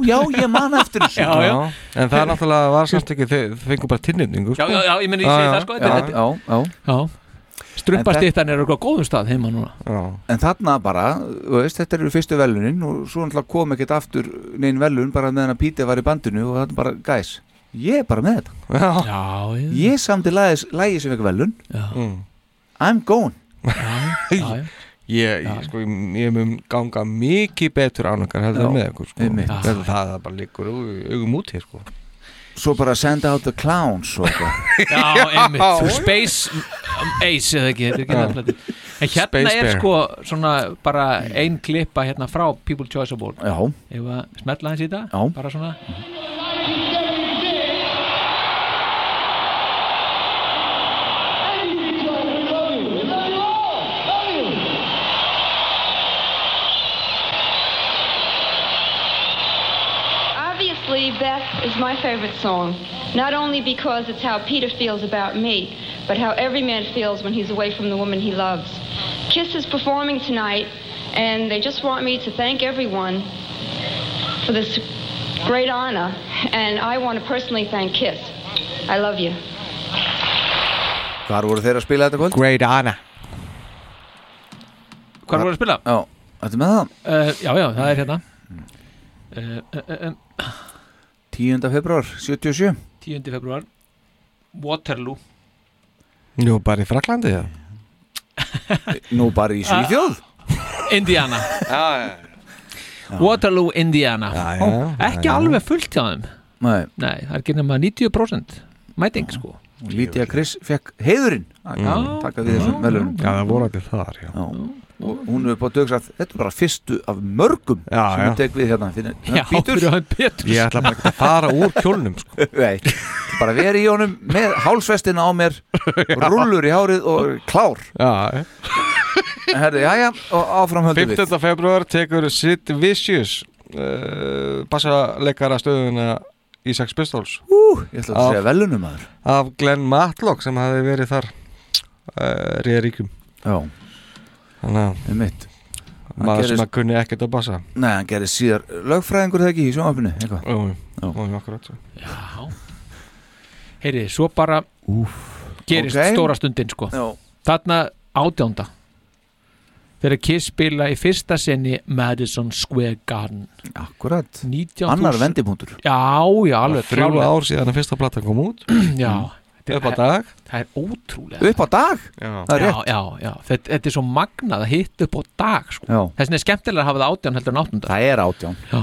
já, ég man eftir þessu Já, já. En það er náttúrulega var samt ekki Þeir þeir fengu bara tilnefningu Já, já, já, ég meina, ég segi það, sko, þetta er- Já, já, já. Strumpastýttan eru okkur á góðum stað heima núna En þarna bara, þú veist, þetta eru fyrstu velunin og svo náttúrulega kom ekkert aftur neinn velun bara meðan að Píti var í bandinu og þarna bara, gæs, ég er bara með þetta Já, já Ég samti lagið lagi sem ekki velun já. Mm. I'm gone já, Ég, ég, sko, ég ég mun ganga mikið betur ánöngar heldur Já, en með ykkur sko. einmitt. það, það, það bara liggur au- augum út hér sko. Svo bara send out the clowns og eitthvað Já, einmitt, Space um, Ace eða ekki, þetta er ekki Já. það plati En hérna Space er Bear. sko svona bara ein klippa hérna frá People Choice Award Já. Ef að smetla hans í þetta, Já. bara svona Obviously, Beth is my favorite song, not only because it's how Peter feels about me, but how every man feels when he's away from the woman he loves. Kiss is performing tonight, and they just want me to thank everyone for this great honor, and I want to personally thank Kiss. I love you. Hvar voru þeir að spila þetta kvöld? Great Anna Hvar voru að spila? Já, þetta með það uh, Já, já, það er hérna uh, uh, uh, 10. februar, 77 uh, 10. februar Waterloo Jú, bara í Fraklandi já. Nú bara í Ah. Svíþjóð Uh, Indiana já, já. Waterloo, Indiana já, já, já, Ekki já. alveg fullt hjá þeim Nei, Nei, það er ekki nema 90% mæting sko Lítið að Chris fekk heiðurinn að Já. taka við þessum velun Já, það voru allir þar já. Og hún hefur bara dögsað þetta er bara fyrstu af mörgum sem já. hún tek við hérna fyrir, Já, fyrir hann Péturs. Ég ætla bara ekki að fara úr kjólnum sko. Nei, bara verið í honum með hálsvestina á mér rullur í hárið og klár Já, Herði, já, já, og áframhöldum við 15. februar tekur Sid Vicious uh, bassaleikara stöðuna í Sex Pistols Ú, ég ætla að segja velunum maður af Glenn Matlock sem hafi verið þar uh, Ríðaríkum Já Þannig að mitt Hann maður gerist- sem að kunni ekkert að bassa Nei, hann gerði síðar lögfræðingur þegar ekki í sjónvapinu Jú, jú, akkurat Já Heyri, svo bara Úf, gerist ok. stóra stundin sko Já. Þarna átjánda Þegar Kiss spila í fyrsta sinni Madison Square Garden Akkurat, 19 annar vendipunktur Já, já, alveg Þrjú klárlega. ár síðan að fyrsta platan kom út Já Upp á dag Það er ótrúlega Upp á dag? Já, Það er já, rétt. já, já. Þetta, þetta er svo magnað að hitta upp á dag sko. Já. Þessin er skemmtilega að hafa það átján heldur en áttunda Það er átján já.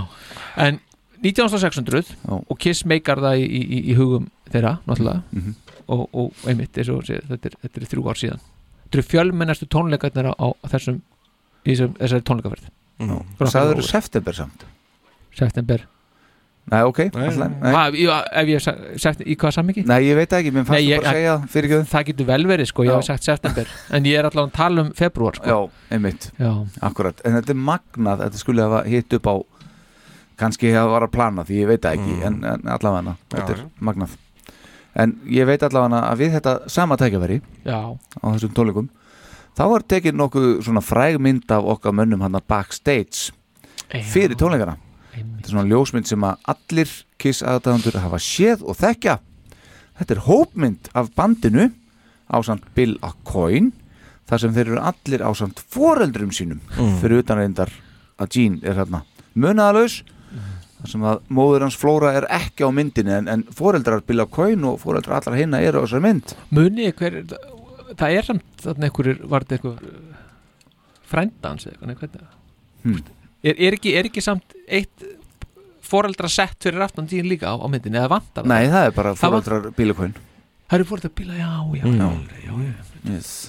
En 19.600 og Kiss meikar það í, í, í hugum þeirra náttúrulega Mhm. og, og einmitt eins og sé, þetta, er, þetta er þrjú ár síðan þetta eru fjölmennastu tónleikarnir á, á þessum, í þessum þessari tónleikaferð Já. Frá Sagðirðu Halloween. september samt? september Nei, ok, allt í lagi. Nei. Ha, ég- ef ég sa- sagt í hvað sammingi? Nei, ég veit það ekki, mér fannst þú bara að segja það fyrir Það getur vel verið sko, ég Já. hef sagt september en ég er allavega að tala um februar sko. Já, einmitt, Já. akkurat En þetta er magnað, þetta skulle hafa hitt upp á kannski hafa var að plana því ég veit það ekki, en, en allavega þetta Já, er já. magnað En ég veit allavega að við þetta sama tækjaveri Já. á þessum tónleikum þá var tekin nokkuð svona fræg mynd af okkar mönnum hann backstage fyrir tónleikana þetta er svona ljósmynd sem að allir kiss aðdæðandur hafa séð og þekkja þetta er hópmynd af bandinu á samt Bill Acoin þar sem þeir eru allir á samt foreldrum sínum Mm. fyrir utan reyndar að Gene er hérna munaðalaus þar sem að móður hans Flóra er ekki á myndinu en, en foreldrar Bill Acoin og foreldrar allra hinna eru á þessari mynd Muni, hver, það er samt þannig einhverjur, var þetta einhver frændans eða hvernig hvernig Hmm. er, er, ekki, er ekki samt eitt foreldra sett fyrir aftan tíðin líka á, á myndinni eða vantar það? Nei, það er bara Það var- foreldrar Bill Acoin Það eru fórt að bíla, já, já, Mm. já, já, já. yes.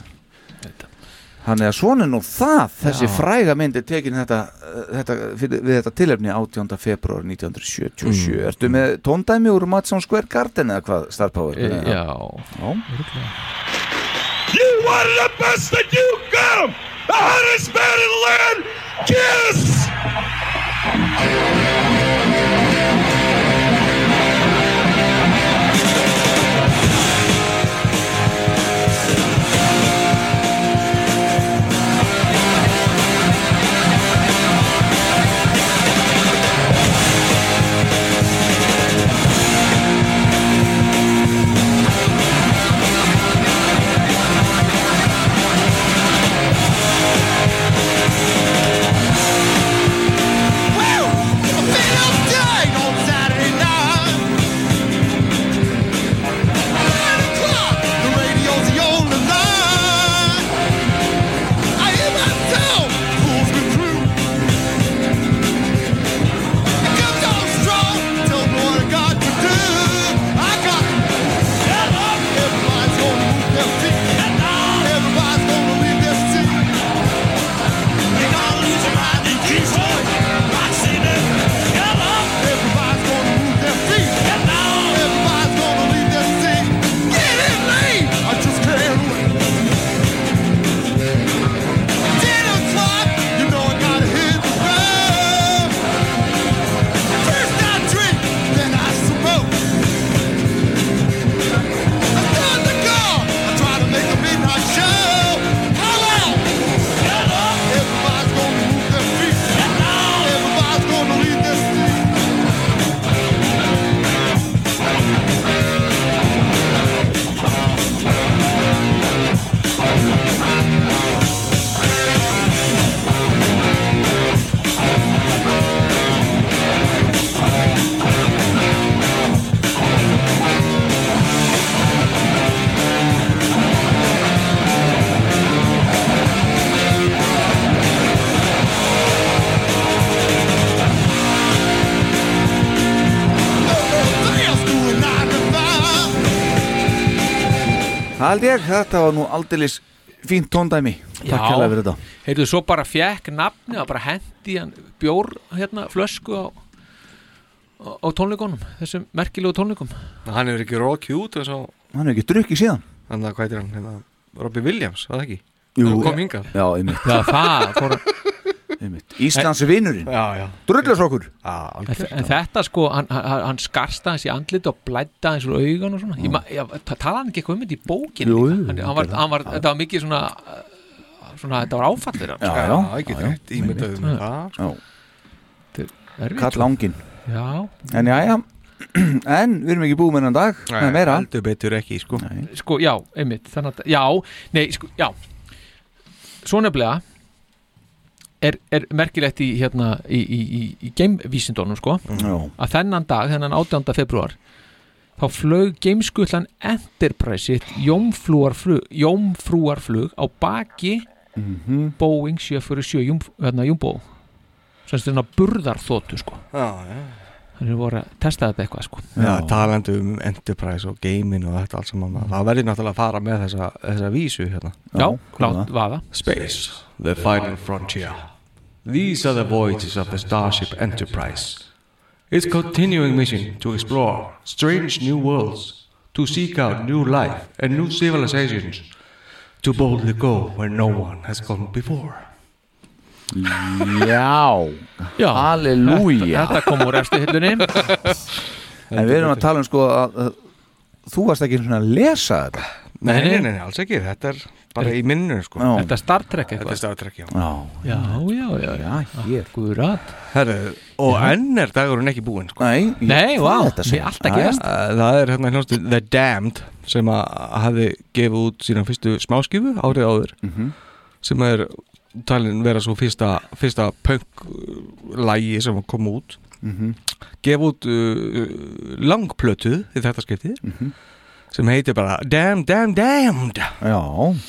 Þannig að svona er nú það þessi Já. fræga mynd er tekin þetta, uh, þetta, fyrir, við þetta tilefni 18. februar 1977 Mm. Ertu með tóndæmi úr Madsson Square Garden eða hvað Star Power? E, já. You wanted the best and you got him! The hottest man in the land! Kiss! Það held ég, þetta var nú aldeilis fínt tóndæmi Takk hérlega fyrir þetta heyrðu, svo bara fekk nafni og bara hendi hann bjór hérna, flösku á, á, á tónleikunum, þessum merkilegu tónleikum Hann hefur ekki rock út og svo Hann hefur ekki drukkið síðan Hann það hvað er hann, hérna, Robbie Williams, var það ekki? Jú. Hann kom hingað Já, einmitt. Já, það fór Íslands vinurinn Drullasokkur En, en þetta sko, hann, hann, hann skarsta hans í andlit og blædda hans úr augun og svona ég, ma- ég, ta- talaði hann ekki eitthvað um þetta í bókin Jú, jú, hann, hann var, hann var, þetta var mikið svona uh, svona, þetta var áfall fyrir hann Já, já, sko. já, já, einmitt. mér sko. Já. erfitt, Kall sko. ángin Já. En já, En við erum ekki búið með hennan dag Nei, Nei, meira heldur betur ekki, sko Nei. sko, já, einmitt þannig að, já, nei, sko, já svo nefnilega er, er merkilegt í hérna, í, í, í, í geimvísindónum, sko Já. að þennan dag, þennan 18. februar þá flög geimskutlan Enterprise sitt jómfrúarflug, jómfrúarflug á baki Mhm. Boeing 747 júm, hérna, Jumbo sem styrir burðarþótu, sko Já, já þannig að voru að testa þetta eitthvað sko Já, talandi um Enterprise og gaming og þetta allt saman Mm. það verður náttúrulega að fara með þessa, þessa vísu hérna Já, lát vaða. Space, the final frontier These are the voyages of the Starship Enterprise Its continuing mission to explore strange new worlds to seek out new life and new civilizations to boldly go where no one has gone before Já, Já halleluja Þetta kom úr efstu hillunni En við erum að tala um sko að, að þú varst ekki svona að lesa þetta Nei, nei, nei, nei, alls ekki, þetta er bara í minninu sko Já. Þetta er Star Trek eitthvað Þetta er Star Trek, já Já, já, já, já, hér Gurat Herru, og enn er dagurinn ekki búinn sko. Nei, Nei, vá, hvað er þetta sem- við alltaf gerast. Það er hérna hljóðstu The Damned sem að hafi gefið út sína fyrstu smáskifu árið áður sem er talin vera svo fyrsta, fyrsta punk lægi sem kom út Mhm. gefið út uh, langplötu í þetta skiptið sem heitir bara Damn, Damn, Damned Já og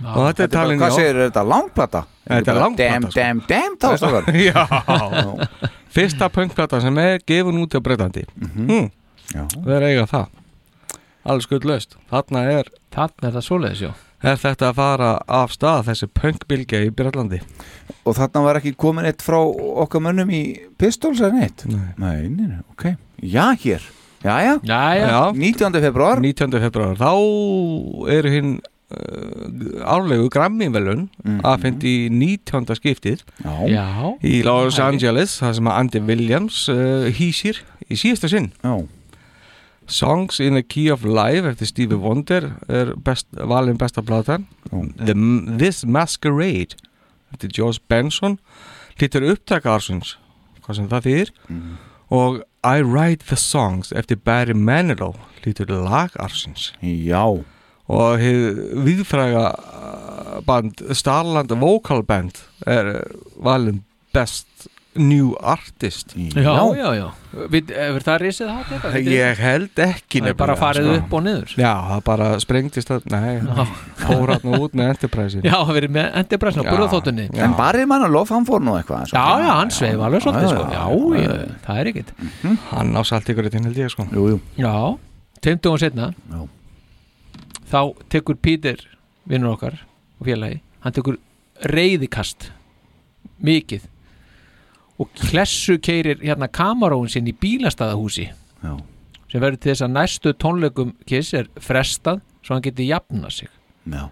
þetta er bara- talin Hvað segir þetta langplata? Þetta er bara langplata, sko." Damn, damn, damn, þá stofar Já Fyrsta punkplata sem er gefin út á Breitlandi mm. Það er eiga það Alls gull löst Þarna er Þarna er það svoleiðis, já Er þetta að fara af stað þessi punkbilgja í Breitlandi Og þarna var ekki komin eitt frá okkar mönnum í Pistols eða neitt? Nei Nei, nei, nei, ok Já, hér, já, já, já. 19. februar 19. februar Þá eru hinn uh, árlegu gramminvelun Mhm. afhengt í 19. skiptið Já. í Los Angeles það sem að Andy Williams uh, hýsir í síðasta sinn Já. Songs in the Key of Life eftir Stevie Wonder er best, valin besta platan the, This Masquerade eftir George Benson hlýttur upptaka ársins hvað sem það þýðir Mhm. og I Write the Songs eftir Barry Manilow hlýttur lag ársins Já og hið viðfræga uh, band Starland Vocal Band er uh, valin best new artist Já, já, já Við, hefur það risið hátt eitthvað? Vitið þið? Ég held ekki Það er bara nefnilega, farið sko. upp og niður Já, það bara sprengtist að, nei, fór hann út með Enterprise Já, við erum með Enterprise á burðaþóttunni En Barry Manilow, hann fór nú eitthvað Já, já, hann sveif alveg svolítið, sko Já, já, það er ekkit Hann á salt ykkur held ég, sko Jú, jú Já, teimtum og setna Já. Þá tekur Pítur, vinnur okkar og félagi, hann tekur reyðikast mikið og klessu keirir hérna kamaróin sinn í bílastæðahúsi Já. sem verður til þess að næstu tónleikum kiss er frestað svo hann geti jafnað sig Já.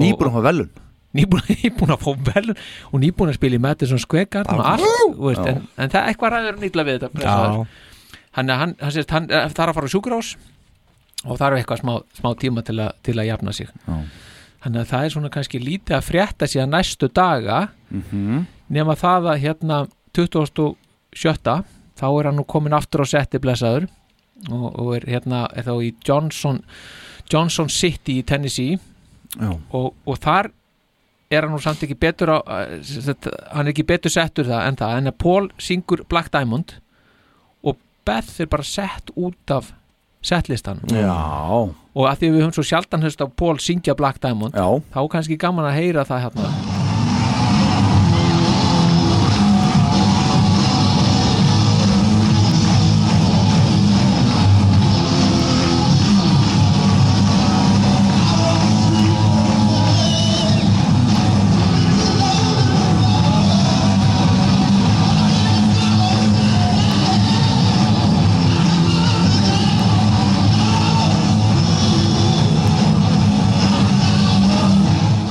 Nýbúin að fá velun Nýbúin, nýbúin að fá velun og nýbúin að spila í Madison Square Garden og Já. allt, þú veist, Já. en, en það eitthvað ræður nýtla við þetta pressaður. hann, hann, hann, sérst, hann eh, þarf að fara á sjúkrás og þarf eitthvað smá, smá tíma til, a, til að jafna sig Já. þannig að það er svona kannski lítið að frétta síðan næstu daga Mhm. nema það að hérna 27. þá er hann nú komin aftur á setti blessaður og, og er hérna er þá í Johnson, Johnson City í Tennessee Já. og, og þar er hann nú samt ekki betur á, eh, sem sagt, hann er ekki betur settur það en það en að Paul syngur Black Diamond og Beth er bara sett út af settlistan Já og að því að við höfum svo sjaldan höfst á Paul syngja Black Diamond Já. þá er kannski gaman að heyra það hérna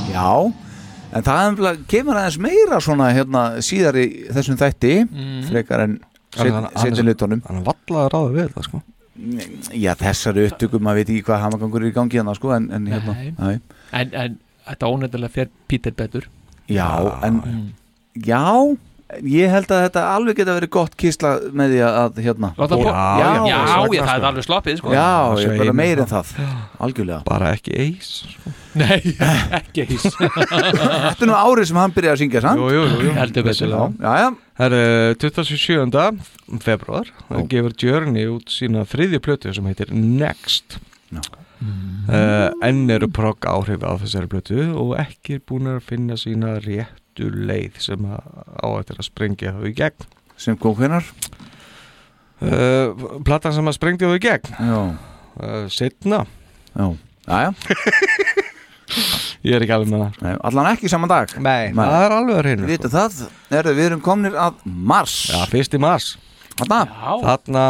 Já, en það er nefnilega- kemur aðeins meira svona hérna síðar í þessum þætti Mhm. frekar en Hann- hann- setin hlutunum Mm, Hann vallaði ráði við það sko Já, þessari upptökum, maður veit ekki hvað hamagangur er í gangi hérna sko, en, en hérna Nei. Nei. en, en þetta ónefnilega fer Peter betur Já, en Já, ég held að þetta alveg geta verið gott kísla með því að hérna Láta Paul- já, já, já, það er alveg sloppið sko. Já, ég er bara Svei mér meir en það. það Algjörlega Bara ekki eis sko. Nei, ekki eis Þetta er nú árið sem hann byrjaði að syngja, sant? Jú, jú, jú, jú. Heldur betur. Vissulega. Já, já Það er eh, 27. februar það gefur Journey út sína þriðju plötu sem heitir Next uh, enn eru progg áhrif á þessari plötu og ekki búin að finna sína réttu leið sem að- á eftir að sprengja þau í gegn sem kom hvenar? uh, Platan sem að sprengdi á í gegn Já uh, Setna Já, aðja Ég er ekki alveg með það Nei, Allan ekki saman dag Nei, það er alveg sko. að reyna Við vitum það, er, við erum komnir að Mars Já, fyrst í Mars Þarna, Þarna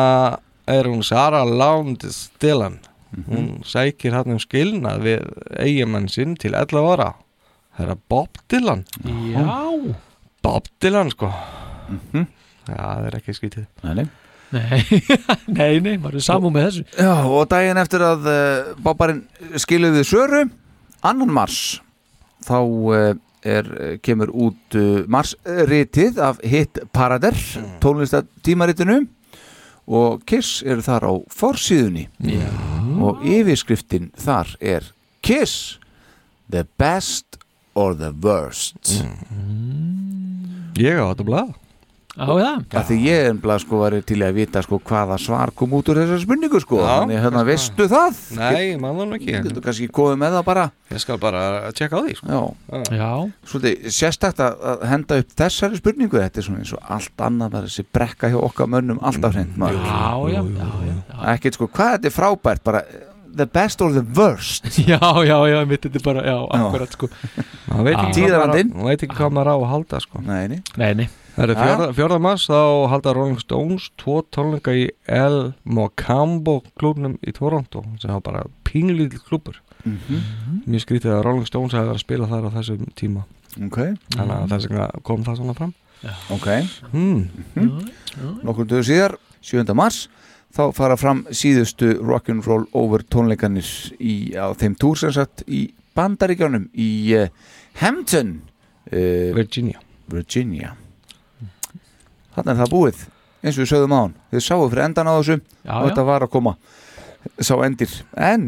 er hún Sara Lound Stillan Mhm. Hún sækir hann um skilnað við eigimann sinn til 11 ára Það er að Bob Dylan Já. Bob Dylan sko Já, það er ekki skvítið Nei, nei Mhm. Nei, nei, nei, maður er samú með þessu Já, og daginn eftir að uh, Bobbarinn skiluði við Söru annan mars þá uh, er, uh, kemur út uh, marsritið af Hit Parader mm. tónlistatímaritinu og Kiss eru þar á forsíðunni Já. og yfirskriftin þar er Kiss the best or the worst Mm. Ég á þetta blað Á það Af því ég ennbla sko var til í að vita sko hvaða svar kom út úr þessar spurningu sko Já, þannig hérna kannski veistu það Nei, maður ekki Þú getur kannski komið með það bara Ég skal bara tjekka á því sko. Já, Svolítið, sérstakt að að henda upp þessari spurningu þetta er svona eins og allt annað bara þessi brekka hjá okkar mönnum alltaf hreint maður Mm, Já, já, já, Ekkert sko, hvað þetta er frábært bara the best or the worst já, já, já, mitt þetta er bara, já, akkurat sko Maður veit ekki hvað maður á- maður veit ekki hvað maður á að halda sko. Nei, nei Nei, nei Það er fjörða, fjörða mass þá halda Rolling Stones tvo tónleika í El Mocambo klubnum í Toronto sem var bara pinglítill klubur Mhm. Mér skrítið að Rolling Stones hefði verið að spila þar á þessum tíma Ok Þannig Mhm. að þess vegna kom það svona fram Ok Mhm. mm. Nokkur dögur síðar, 7. mars þá fara fram síðustu rock'n'roll over tónleikanir í, á þeim túr sem sagt í bandaríkjónum í uh, Hampton uh, Virginia Virginia Þannig er það búið eins og við sögðum á hann Þið sáu fyrir endan á þessu Já, og já. þetta var að koma sá endir en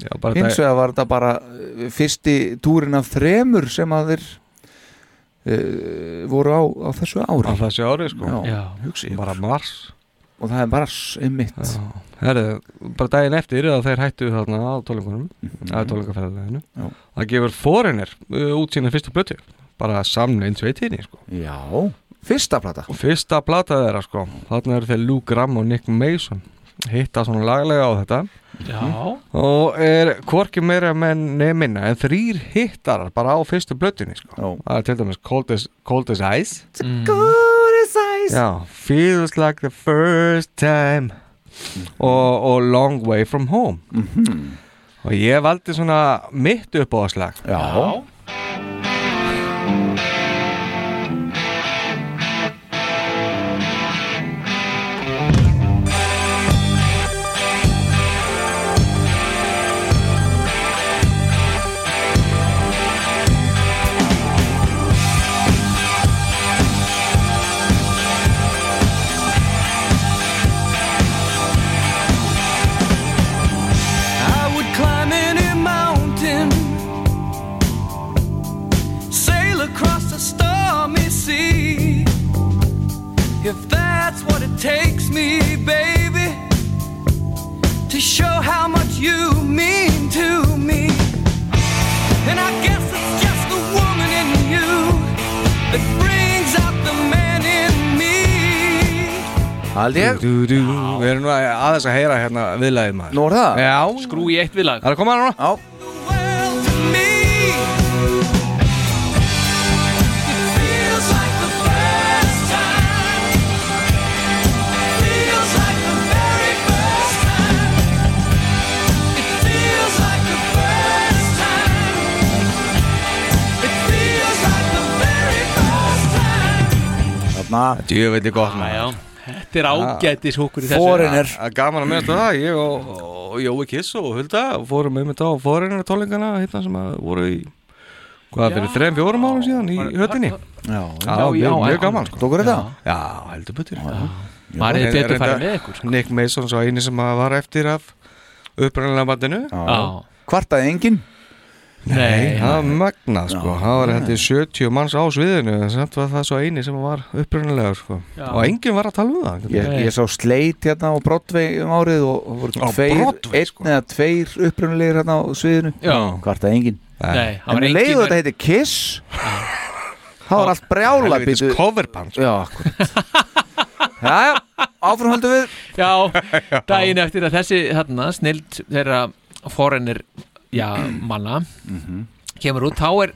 já, dag- hins vegar var þetta bara uh, fyrsti túrin af þremur sem að þeir uh, voru á, á þessu ári Á þessu ári sko Já, hugsi Bara mars og það er bara s- einmitt Herru, bara daginn eftir að þeir hættu þarna á tólingunum Mhm. að tólingaferðaleginu það gefur Foreigner uh, út sína fyrstu blötu bara samneinn sveitinni sko. Já, fyrsta plata Fyrsta plata þeirra sko þarna eru þeir Lou Gramm og Nick Mason hitta svona laglega á þetta Já. og er hvorki meira menn neminna en þrýr hittarar bara á fyrstu blötunni sko. það er til dæmis Cold as, cold as Ice Mm. Já, feels like the first time Mhm. og, og long way from home og ég valdi svona mitt upp á slag Já I would climb any mountain, sail across a stormy sea. If that's what it takes me, baby, to show how much you mean to me. And I guess it's just the woman in you that brings out the man in me. Haldi ég du, du, Við erum nú aðeins að heyra hérna viðlagið maður Nú er það? Já Skrú í eitt viðlag Það er að koma núna Já Þarna Djöfelli gott maður Þetta er ágætis húkur í þessu Það er gaman að minnast á það Ég og, og Jói Kiss og Hulda fórum um þetta á Foreigner tólingana hérna sem að voru í hvað fyrir þreim, fjórum árum síðan í höttinni Já, Já, já, mjög, já, mjög gaman sko. Tókur þetta? Já, heldur betur Maður hefði betur farið með sko. ykkur Nick Mason svo eini sem að var eftir af upprænilega bandinu Já. Kvartaði enginn? Nei, Nei, það var magnað sko Það var hætti 70 manns á sviðinu en samt var það svo eini sem var upprænilega sko. Já. og enginn var að tala um það Ég, ég sá sleit hérna á Broadway um árið og, og voru Á tveir, Broadway, sko. einn eða tveir upprunalegir hérna á sviðinu Já. Hvarta engin Nei, það var En enginn- leiðu þetta heiti Kiss Það var allt brjála Helvítis coverband sko. Já, akkurat Já, já áframhaldu við Já, daginn eftir að þessi þarna, snild þeirra forenir já, manna Mhm. kemur út, þá er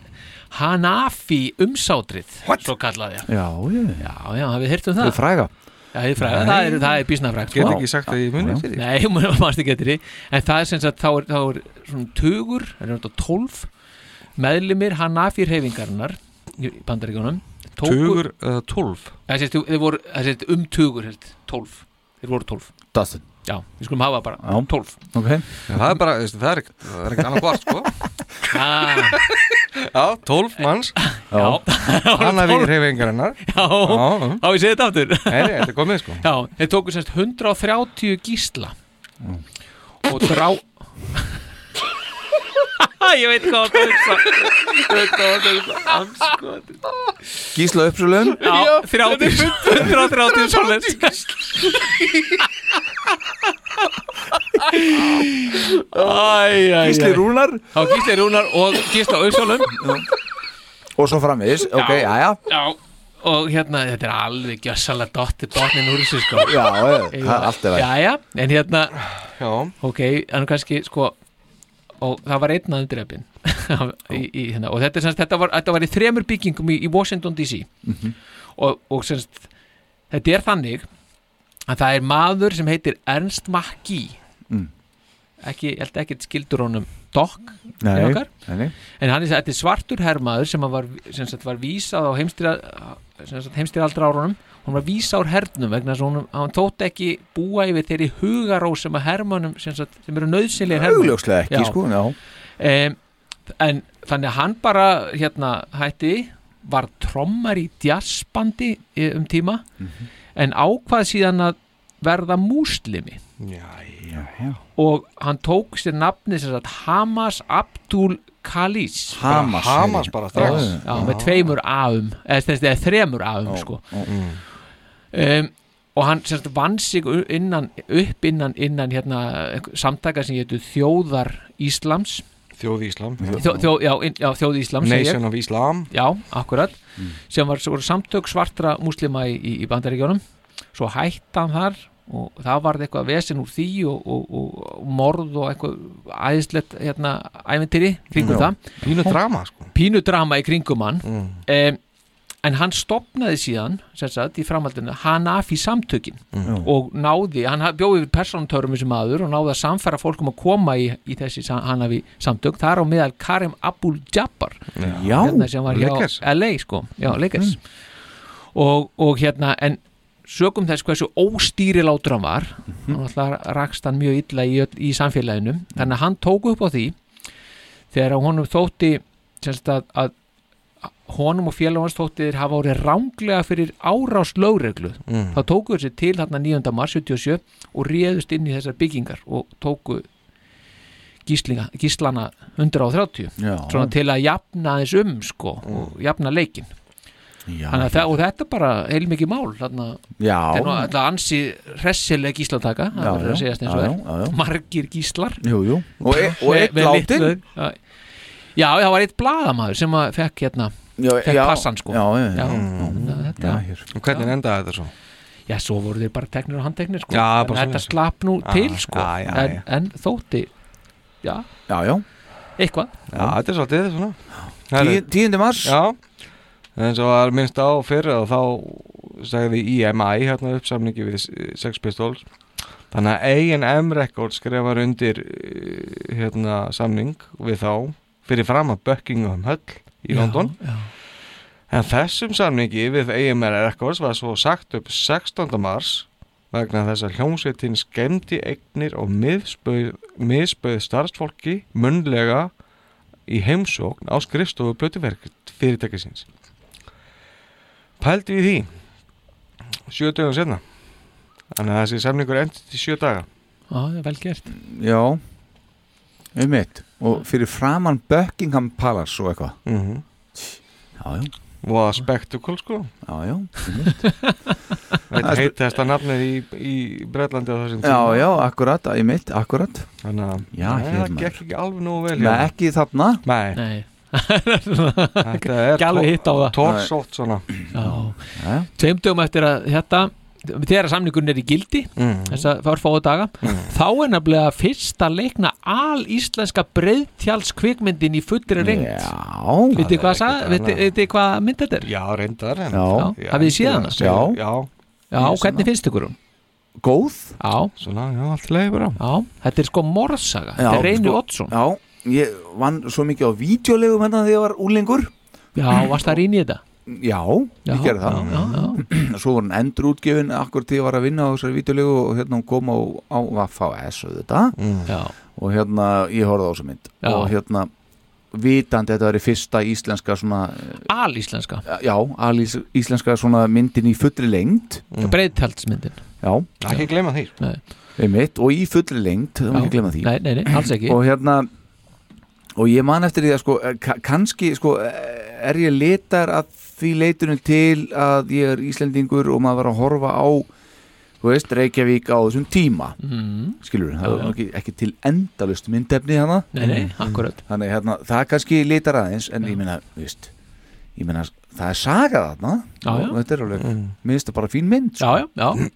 Hanafi umsátrið What? svo kallaði ég Já, ég Já, já, hafið heyrt um það Það er fræga Já, það er fræga, Nei. það er, það er bísnafrægt Get ekki sagt að ég muni eftir því. Nei, muni- manst ekki eftir því En það er sem sagt, þá er, þá er svona tugur, það er náttúrulega tólf meðlimir Hanafi reyfingarinnar í bandaríkjónum Tugur eða tólf? Það sést, þeir voru, það sést um tugur, held, tólf Þeir voru tólf Dustin Já, við skulum hafa bara Já. tólf Ok Já, það er bara, veist, það er ekkert- það er ekkert annað hvort sko Ah. Já, tólf manns Já. Hanna við reyfingarinnar Já, á ég segi þetta aftur Nei, nei, þetta er komið sko Já, þeir tóku semst 130 gísla og drá Ég veit hvað það Gísla uppsölun Já, 30 130 svoleiðis. Mm-hmm. Æ, æ, æ. Gísli Rúnar Já, Gísli Rúnar og Gísla Auðsálum Og svo framvegis, ok, já, já Já, og hérna, þetta er alveg gjössalega dotti botnin úr þessu sko Já, já, það er allt í lagi. Já, já, en hérna Já Ok, en kannski sko og það var einn að undrefin í, í, hérna. og þetta, er semst, þetta, var, þetta var í þremur byggingum í, í Washington DC og, og semst, þetta er þannig að það er maður sem heitir Ernst Mackey Mm. ekki, ég held ekki skildur honum Doc Nei, við okkar. nei. en hann er þetta er svartur herrmaður sem að var, sem sagt, var vísað á heimstýraldra árunum hún var vísað úr hernum vegna þess að hún, hann þótt ekki búa yfir þeirri hugaró sem að hermanum sem, sagt, sem eru nöðsynlega hermanum Augljóslega ekki, sko, já. um, en þannig að hann bara hérna hætti var trommar í jazzbandi eh, um tíma Mhm. en ákvað síðan að verða múslimi Já, já og hann tók sér nafni sem sagt Hamas Abdul Khalis Hamas, Bara Hamas bara strax. já, já, Já. með tveimur A-um eða, sem sagt, eða þremur A-um sko. um, og hann sem sagt, vann sig u- innan, upp innan, innan hérna, einhver- samtaka sem hétu Þjóðar Íslams Þjóð Íslam Þjó, þjó, já, inn- já, Þjóð Íslam segi ég. Nation of Islam Já, akkurat Mm. sem var, sem voru samtök svartra múslima í, í, í bandaríkjónum svo hætti hann þar og það varð eitthvað vesen úr því og, og, og, og morð og eitthvað æðislegt hérna æventýri kringum Já. það Pínu drama, Mm. sko Pínu drama í kringum hann um, en hann stopnaði síðan sem sagt, í framhaldinu Hanafi samtökin Mm. og náði, hann bjóði yfir persónutörum sem aður og náði að samfæra fólkum að koma í, í þessi sa- Hanafi samtök þar á meðal Karim Abul Jabbar Já. hérna sem var hjá Lakers. Mm. LA sko, já, Lakers og, og hérna, en sögum þess hversu óstýrilátur hann var Mhm. mm -hmm. rakst hann mjög illa í, öll- í samfélaginu Mm. þannig að hann tók upp á því þegar honum þótti semst að, að honum og félagum hans þótti þeir hafa orðið ránglega fyrir árás lögreglu Mm. þá tóku þessi til þarna 9. mars 77 og réðust inn í þessar byggingar og tóku gíslinga, gíslana 130 Já. Mm. svona til að jafna aðeins um sko, og jafna leikin Já. Þannig að það, og þetta er bara heilmikið mál þarna, Já. þetta er nú alltaf ansi hressileg gíslataka það Já, verður að já, segjast eins já, og já, já. er margir gíslar Jú, jú. Og e- og Með- einn með látinn. litlu- Já, já, það var eitt blaðamaður sem að fekk hérna fekk já. e- Mm. passan sko Mm. Já, já, já. þannig að þetta- Já, hér. Og hvernig endaði þetta svo? Já, svo voru þeir bara teknir og handteknir sko. Já, bara Þannig að svoleiðis. þetta slapp nú Já, til sko. Ah, já, já, en, já. en þótti já, Já, já eitthvað Já, þetta er svolítið svona Tíu- Tíundi mars Já En svo var minnst á fyrir og þá sagði IMI hérna uppsamningi við Sex Pistols Þannig að A&M Records skrifar undir eh, hérna samning við þá fyrir fram að Buckingham Hall í Já, London já. En þessum samningi við A&M Records var svo sagt upp 16. mars vegna þess að hljómsveitin skemmti eignir og miðspauð, miðspauð starfsfólki munnlega í heimsókn á skrifstofu plötuverk fyrirtækisins. Pældu í því, sjö dögum senna. Þannig að þessi samningur endur til sjö daga. Já, það er vel gert Já Um eitt Og fyrir framann Buckingham Palace og eitthvað -hmm. Já, já Voða spektakul sko Já, já Þetta heiti þetta nafnið í, í Breitlandi á þessum Já, já, akkurat, ég mitt, akkurat um Þannig að Já, hérna. Nei, hér það maður gekk ekki alveg nógu vel hérna. Nei, ekki þarna Nei, Nei. Þetta er Ekki alveg hitt á það Tórsótt svona Já. Tveim dögum eftir að þetta þegar samningun er í gildi Mhm. þess að fórfáðu daga þá er nefnilega fyrsta leikna al íslenska breyðtjáls kvikmyndin í fullri reynd Já Vitið hvað, sag, viti, viti hvað mynd þetta er? Já, reyndar en- Já, hafið þið séð hana? Já, já. Já, hvernig finnst ykkur hún? Góð Já Svona, já, allt leiði bara Já, þetta er sko morðsaga Þetta er sko. Reynir Oddsson Já, ég vann svo mikið á vídeolegum hérna þegar ég var úlingur Já, varst það rýn í þetta? Já, ég gerði það já, Svo voru hann endur útgefin akkur til ég var að vinna á þessari vídeolegu og hérna hún kom á, á Vaffa S og þetta mm. og hérna ég horfði á þessu mynd Já. og hérna vitandi að þetta var fyrsta íslenska svona eh, Alíslenska já, alís, íslenska svona myndin í fullri lengd mm. Breiðtjaldsmyndin Já Ekki gleyma þýr Nei Einmitt, og í fullri lengd, það má Já. ekki glemma því Nei, nei, nei, alls ekki. Og hérna, og ég man eftir því að sko, eh, ka- kannski sko, eh, er ég letar að því leitunum til að ég er Íslendingur og maður var að horfa á þú veist, Reykjavík á þessum tíma Mhm. skilur við, það Já, var já. nú ekki, ekki til endalust myndefni hana Nei, nei, akkurat Þannig hérna, það kannski letar aðeins en ég meina, þú veist ég meina, það er saga þarna Já, já. og þetta er alveg, mm. minnst það bara fín mynd sko. Já, já,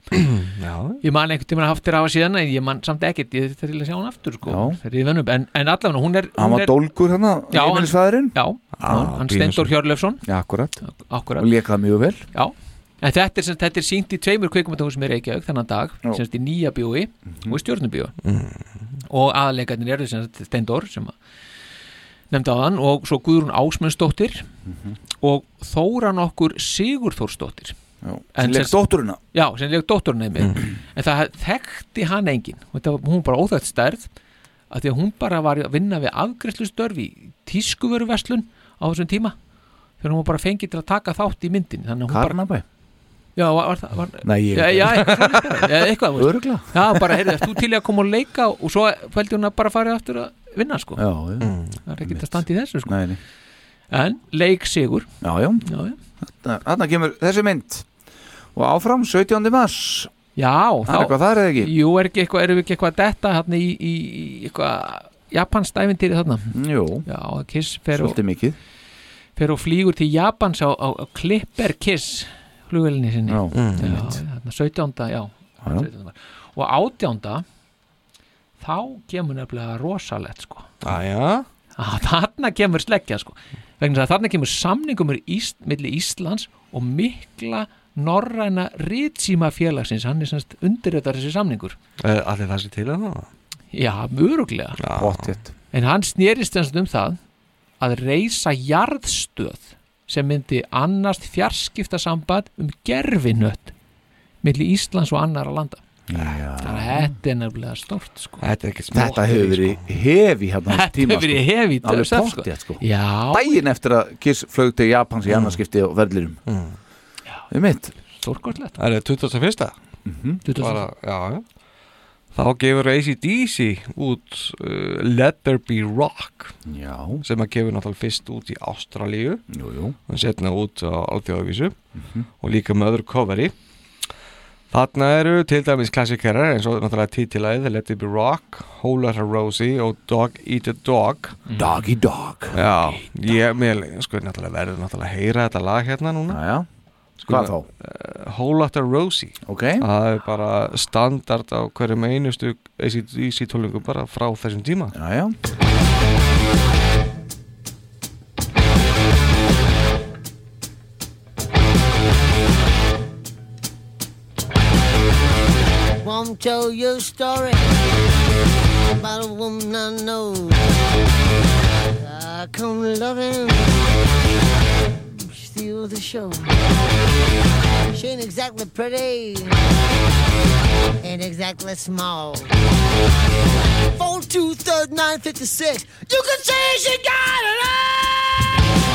já Ég man einhvern tímann haft þér á að síðan en ég man samt ekkert, ég þetta til að sjá hann aftur sko, Já. þegar ég venn upp, en, en allavega hún er Hann hún var er- dólgur hérna, Já, hann- heimilisfæðurinn Já, hann- hann Ah, pínu Steindór Hjörlefsson Já, akkurat, akkurat. og lék það mjög vel Já, en þetta er, sem, þetta er sínt í tveimur kveikumatungum sem er Reykjavík þennan dag, Já. Mhm. semst í nýja bjói og í stjórnubjói og aðleikarnir eru semst Steindór sem að nefndi á þann og svo Guðrún Ásmundsdóttir Mhm. og Þóra nokkur Sigurþórsdóttir Já, sem En leik sem- dótturina Já, sem leik dótturinn einmitt Mm. en það þekkti hann engin og þetta var, hún var bara óþægt stærð að því að hún bara var að vinna við afgreslustörf í tískuvöruverslun á þessum tíma þegar hún var bara fengið til að taka þátt í myndin Karnabæ? Já, var, var, það- var, Nei, ég já, veit já, ekki. eitthvað, svoleiðis bara, já, eitthvað þú veist. Örugglega. Já, bara, heyrðu, ert þú til í að koma og leika og svo fældi hún að bara fara aftur að vinna, sko Já, já. Það er ekki að standa í þessu, sko Nei, nei. En, leik sigur Já, já, já, já. Þarna, þarna kemur þessi mynd og áfram 17. mars Já, Það er eitthvað þar eða ekki? Jú, er ekki eitthvað, erum við ekki eitthvað að detta hérna í, í, í eitthvað Japans dævintýri þarna Jú, Já, að Kiss fer og, svolítið mikið fer og flýgur til Japans á, á, á Clipper Kiss flugvelinni sinni Já, Mm. já, einmitt. þarna 17. já, Já, já. 17. mars. og 18. þá kemur nefnilega rosalett sko Ah, Aja. að þarna kemur sleggja sko vegna þess að þarna kemur samningum Ís, milli Íslands og mikla norræna ritsíma félagsins hann er semst undirröðar þessi samningur Allir Eh, það sé til að það já, möruglega Pottitt. en hann snerist semst um það að reysa jarðstöð sem myndi annast fjarskiptasamband um gerfinött milli Íslands og annara landa þannig að þetta er nefnilega stórt sko Þetta, er Þetta hefur verið hefi hérna á þessum Þetta tíma, hefur verið sko. hefi í Alveg döðsef, sko. pottitt sko Já. Dægin eftir að Kiss flög til Japans í annarskipti og verðlirum Mm. Við mitt Stórkortlegt Það er 21. Mhm. 21.. Bara- Já, já Þá gefur ACDC út uh, Let There Be Rock Já. sem að gefur náttúrulega fyrst út í Ástralíu Jú, jú Mhm. og setna út á alþjóðavísu og líka með öðru coveri Þarna eru til dæmis klassikarar eins og náttúrulega títilæð Let There Be Rock, Whole Lotta Rosie og Dog Eat a Dog Doggy Dog Já, ég mér sko náttúrulega verður náttúrulega að heyra þetta lag hérna núna Já, já Hvað þá? Uh, Whole Lotta Rosie okay. Það er bara standard á hverjum einustu ACDC tólingum bara frá þessum tíma Já, já Won't tell you a story about a woman I know. I come loving, steal the show. She ain't exactly pretty, ain't exactly small. Four, two, third, nine, fifty-six. You can say she got it all.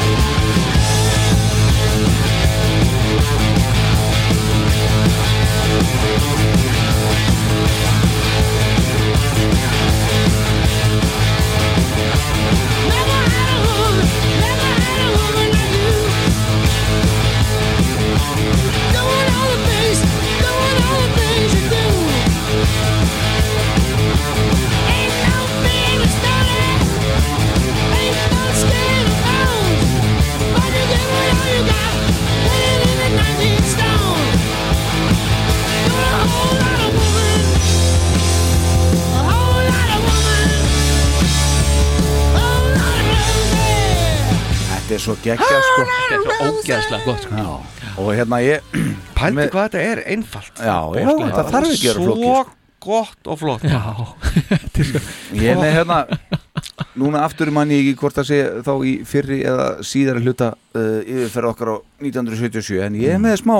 Ain't no fear of starting, ain't no scared. er svo geggja sko Þetta er svo ógeðslega gott sko Já, og hérna ég Pældi hvað þetta er einfalt Já, já, sko, þetta þarf ekki að vera Svo flókið sko. gott og flott Ég er með hérna Núna aftur mann ég ekki hvort að segja þá í fyrri eða síðari hluta uh, yfirferð okkar á 1977 en ég er með smá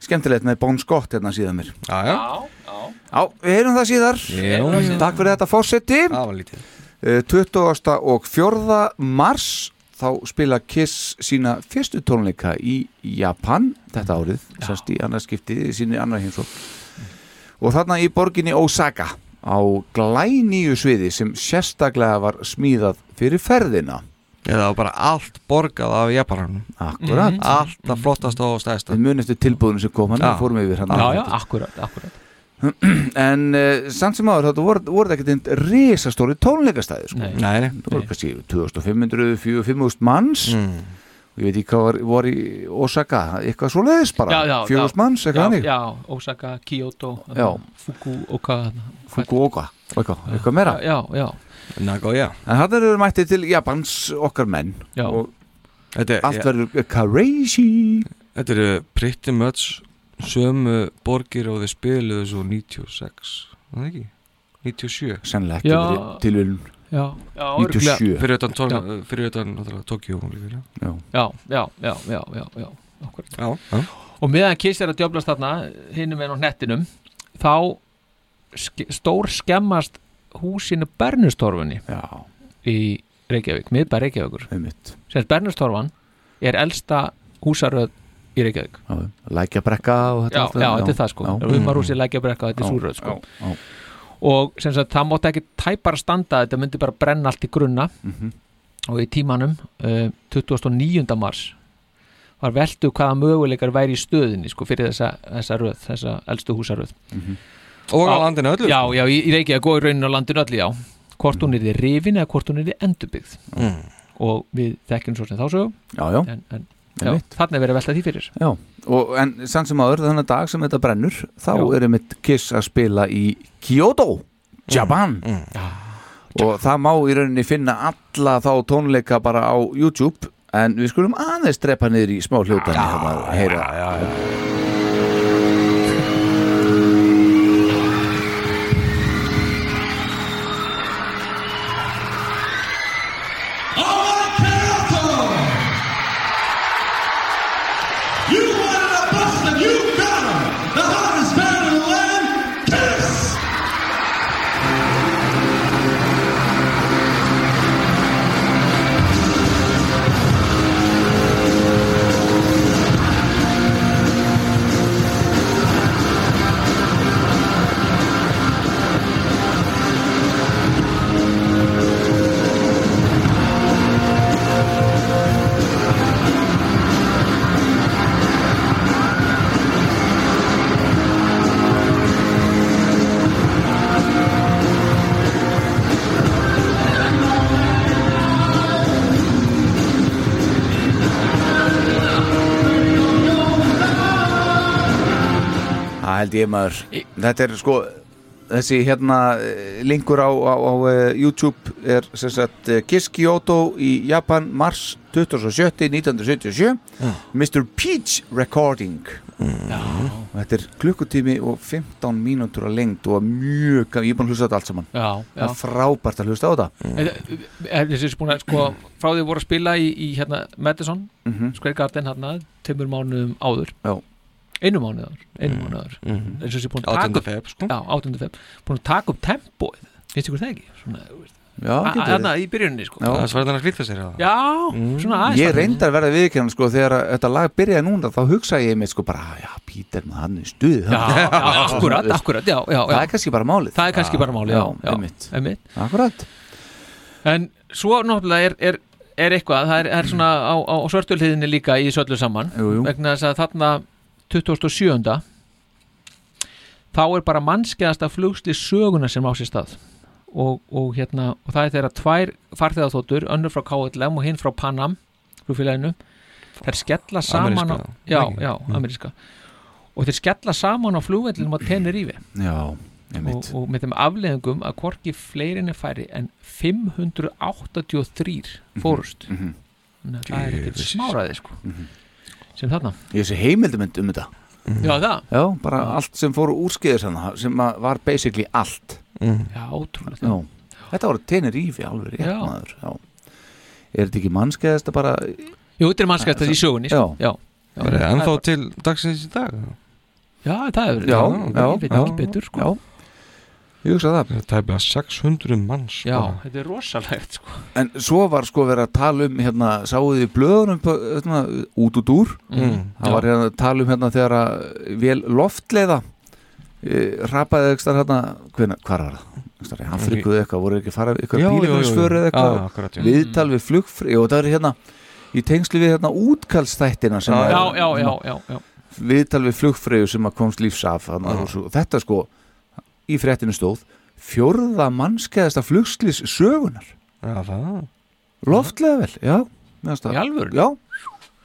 skemmtilegt með Bon Scott hérna síðan mér Já, já Já, við heyrum það síðar Heyrum það síðar. Takk fyrir þetta fórseti Það var lítið 20. og 4. mars þá spila Kiss sína fyrstu tónleika í Japan þetta árið, sérst í annarskipti síni annar heimsók og þarna í borginni Osaka á glænýju sviði sem sérstaklega var smíðað fyrir ferðina Eða það var bara allt borgað af Japanum Akkurat Mhm. Allt það flottast og stæðst Við munum eftir tilbúðinu sem kom hann Já. og fórum yfir hérna. hann Já, já, akkurat, akkurat En uh, samt sem áður þetta voru, voru ekkert einn risastóri tónleikastæði sko. Nei, nei Það voru kannski 2500, 4500 manns Mm. og ég veit ekki hvað var, voru í Osaka eitthvað svo leiðis bara, 4000 manns eitthvað já, hannig já, Osaka, Kyoto Já. Fukuoka Fukuoka og eitthvað, eitthvað meira hérna? já, já. Nagoya En hann eru mættið til Japans okkar menn Já. og Þetta, allt verður crazy Þetta eru pretty much sömu borgir og þið spiluðu svo 96 var það ekki? 97 Sennilega ekki Já. verið tilviljun. Já, já, 97. örugglega. Fyrir utan, Já. tóna, fyrir utan náttúrulega Tokjó líka, Já já, já, já, já, já, já, akkurat. Já, já. og meðan Kiss er að djöflast þarna hinnum en á hnettinum þá ske, stór skemmast húsinu Bernustorfunni já. í Reykjavík, miðbæ Reykjavíkur sem Bernustorfan er elsta húsaröð í Reykjavík Já, lækjabrekka og þetta já, allt það, já, þetta er það sko, já. Mm-hmm. umarhúsi lækjabrekka þetta Já, er súröð sko já, já. og sem sagt, það mátti ekki tæpar standa þetta myndi bara brenna allt í grunna Mhm. og í tímanum uh, 29. mars var veldu hvaða möguleikar væri í stöðinni sko fyrir þessa, þessa röð, þessa elstu húsaröð Mm-hmm. Mhm. Og á landinu öllu, já, sko. já, í, í Reykjavík og í rauninu á landinu öllu, já hvort Mm. hún er í rifin eða hvort hún er í endurbyggð Mm. og við þekkjum svo sem þá sögum Já, já. en, en, já Einmitt. þarna er verið að velta því fyrir Já, og en samt sem áður þannig dag sem þetta brennur þá Já. er einmitt Kiss að spila í Kyoto, Japan Mm. og það má í rauninni finna alla þá tónleika bara á YouTube en við skulum aðeins drepa niður í smá hljóðbæni hérna og heyra já, já, já. You wanted a bust and you got him. The hottest band in the land, Kiss. Það held ég maður Þetta er sko þessi hérna eh, linkur á, á, á eh, YouTube er sem sagt eh, Kiss Kyoto í Japan mars 27. 1977 Mr. Peach Recording Mm. og þetta er klukkutími og 15 mínútur að lengt og mjög, gaman. ég er búin að hlusta á þetta allt saman Já, það já. Mm. er frábært að hlusta á þetta Er er þessi búin að sko frá því voru að spila í, í hérna Madison, Mhm. Square Garden hérna tveimur mánuðum áður Já. Mm. einu mánuð áður, einu mánuð áður Mhm. eins og þessi búin að 18. taka upp feb, sko. já, 18. feb, búin að taka upp tempóið finnst ykkur það ekki? Svona, þú veist. Já, A- getur a- verið. þarna í byrjuninni sko Já. Mm. Það er svæðan að flýta sér að já, svona aðeins ég þarna. reyndar að verða viðkjörn sko þegar að þetta lag byrjaði núna þá hugsaði ég mig sko bara, já, Peter maður hann er í stuði Já, já, akkurat, akkurat, já, já, já. það er kannski bara málið það er kannski bara málið, já, já, einmitt. einmitt. akkurat en svo náttúrulega er, er, er eitthvað það er, er svona á, á svörtulhiðinni líka í söllu saman Jú, jú. vegna þess að þarna 27. þá er bara mannskeiðasta flugsti söguna sem á sér stað og, og, hérna, og það er þeirra tvær farþegaþóttur önnur frá KLM og hinn frá Panam flugfélaginu þær skella saman Ameríska, á, já, ekki? já, Mm. ameríska og þeir skella saman á flugvellinum á Tenerife Já, og, og með þeim afleðingum að hvorki fleirinni færi en 583 fórust Mhm. Nei, það er ekkert Jesus. smáraði sko sem þarna Mhm. Ég sé heimildumund um þetta Já, það. Já, bara allt sem fóru úrskeiðis hann sem að var basically allt mm. Já, ótrúlega Já, þetta voru Tenerife alveg rétt Já. maður Já Er þetta ekki mannskeiðasta bara Jú, þetta er mannskæðast í sögunni sko. Já, já. Er það ennþá til dagsins í dag? Já, það er Já, já, Ég veit ekki já. betur sko. Ég hugsa það Það er tæplega 600 manns Já, bara. þetta er rosalegt sko. En svo var sko verið að tala um hérna, sáuði blöðunum hérna, út út úr Mm, það já. var hérna að tala um hérna þegar að vel loftleiða e, rapaði ekstar hérna hvena, hvar var það? Ekstar, Afriku eða eitthvað, voru ekki að fara eitthvað Já, já, já, já. bílumsföru eða Já, akkurat, já. eitthvað viðtal við flugfri og það er hérna í tengslu við hérna útkallstættina sem hérna, að- já, já, já, já, já. viðtal við flugfreyju sem að komst lífs af þarna, og svo- þetta sko í fréttinu stóð fjórða mannskæðasta flugslýs sögunar Já, það Loftlega vel, já meðast það- Í alvöru? Já,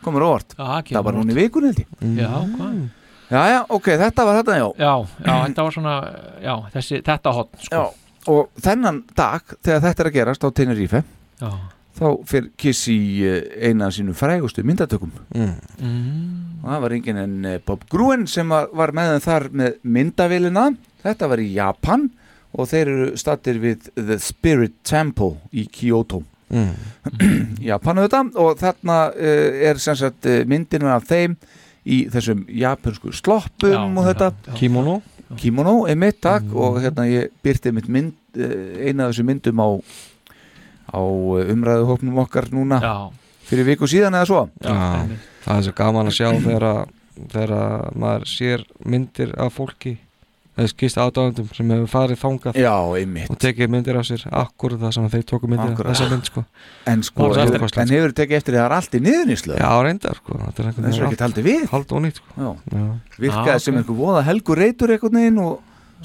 komur óvart Já, það kemur Það var á Mm. hún í vikunni held ég Já, hvað? Mm. Já, já, ok, þetta var þetta, já Já, já, þetta var svona Já, þessi, þetta hotn sko. Og þennan dag, þegar þetta er að gerast á Tenerife Já. þá fyrir Kiss í eh, eina af sínum frægustu myndatökum mm. og það var enginn en eh, Bob Gruen sem var, var með þeim þar með myndavélina þetta var í Japan og þeir eru stattir við The Spirit Temple í Kyoto Mm. Japan auðvitað og þarna uh, er sem sagt uh, myndinu af þeim í þessum japansku sloppum og þetta Kimono Kimono er mitt takk og hérna ég byrti mitt mynd uh, eina af þessum myndum á á umræðuhóknum okkar núna já. fyrir viku síðan eða svo Já, það er svo gaman að sjá þegar, að, þegar að maður sér myndir af fólki eða skýst aðdáðandum sem hefur farið þangað Já, einmitt og tekið myndir af sér akkur það sem þeir tóku myndir Akkúrat. af þessa mynd sko. En sko, Það var hefur, stórkostlegt, en hefur tekið eftir því að það er allt í niðurníslu Já, reyndar sko Það er Þessu er ekki haldið við Haldið ónýtt sko Já. Virkaði Já, sem ok. einhver voða helgur reytur einhvern veginn og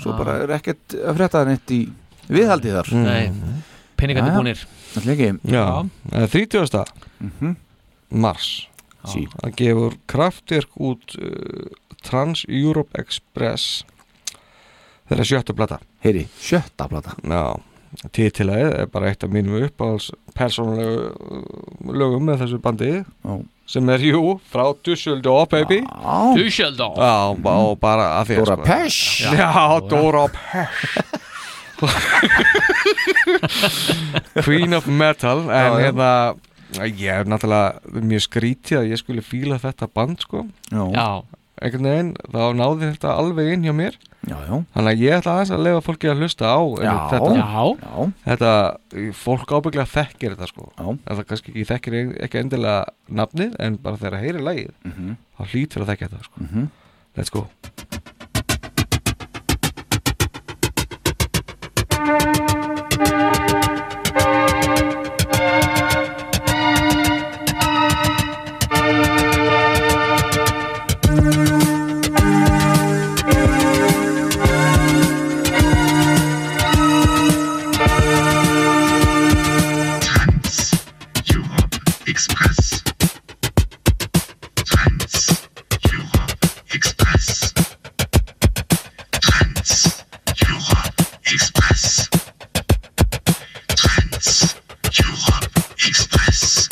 svo Já. bara er ekkert að frétta það neitt í viðhaldið þar Nei, peningarnir búnir Alltaf ekki Mm. Já, eða 30. mars Mhm. sí. að gefur kraftverk út uh, Trans-Europe Express þeirra sjötta plata Heyri, sjötta plata Já, titilaðið er bara eitt af mínum uppáhalds persónulegu uh, lögum með þessu bandi Já. sem er jú frá Dusseldorf baby Dusseldorf. Já, ba- og bara að því að Dora sko- Pesch. Já, Já, Dora Pesch Queen of Metal en Já, já. hérna ég er náttúrulega mjög skrítið að ég skulle fíla þetta band sko Já. Já. einhvern veginn, þá náði þetta alveg inn hjá mér Já, já Þannig að ég ætla aðeins að leifa fólki að hlusta á einmitt Já. þetta, Já. þetta fólk ábygglega þekkir þetta sko Já. en það kannski ekki þekkir ein- ekki endilega nafnið en bara þegar að heyri lagið Mhm. þá hlýtur að þekkja þetta sko Mhm. Let's go Express. Trans Europe Express. Trans Europe Express. Trans Europe Express.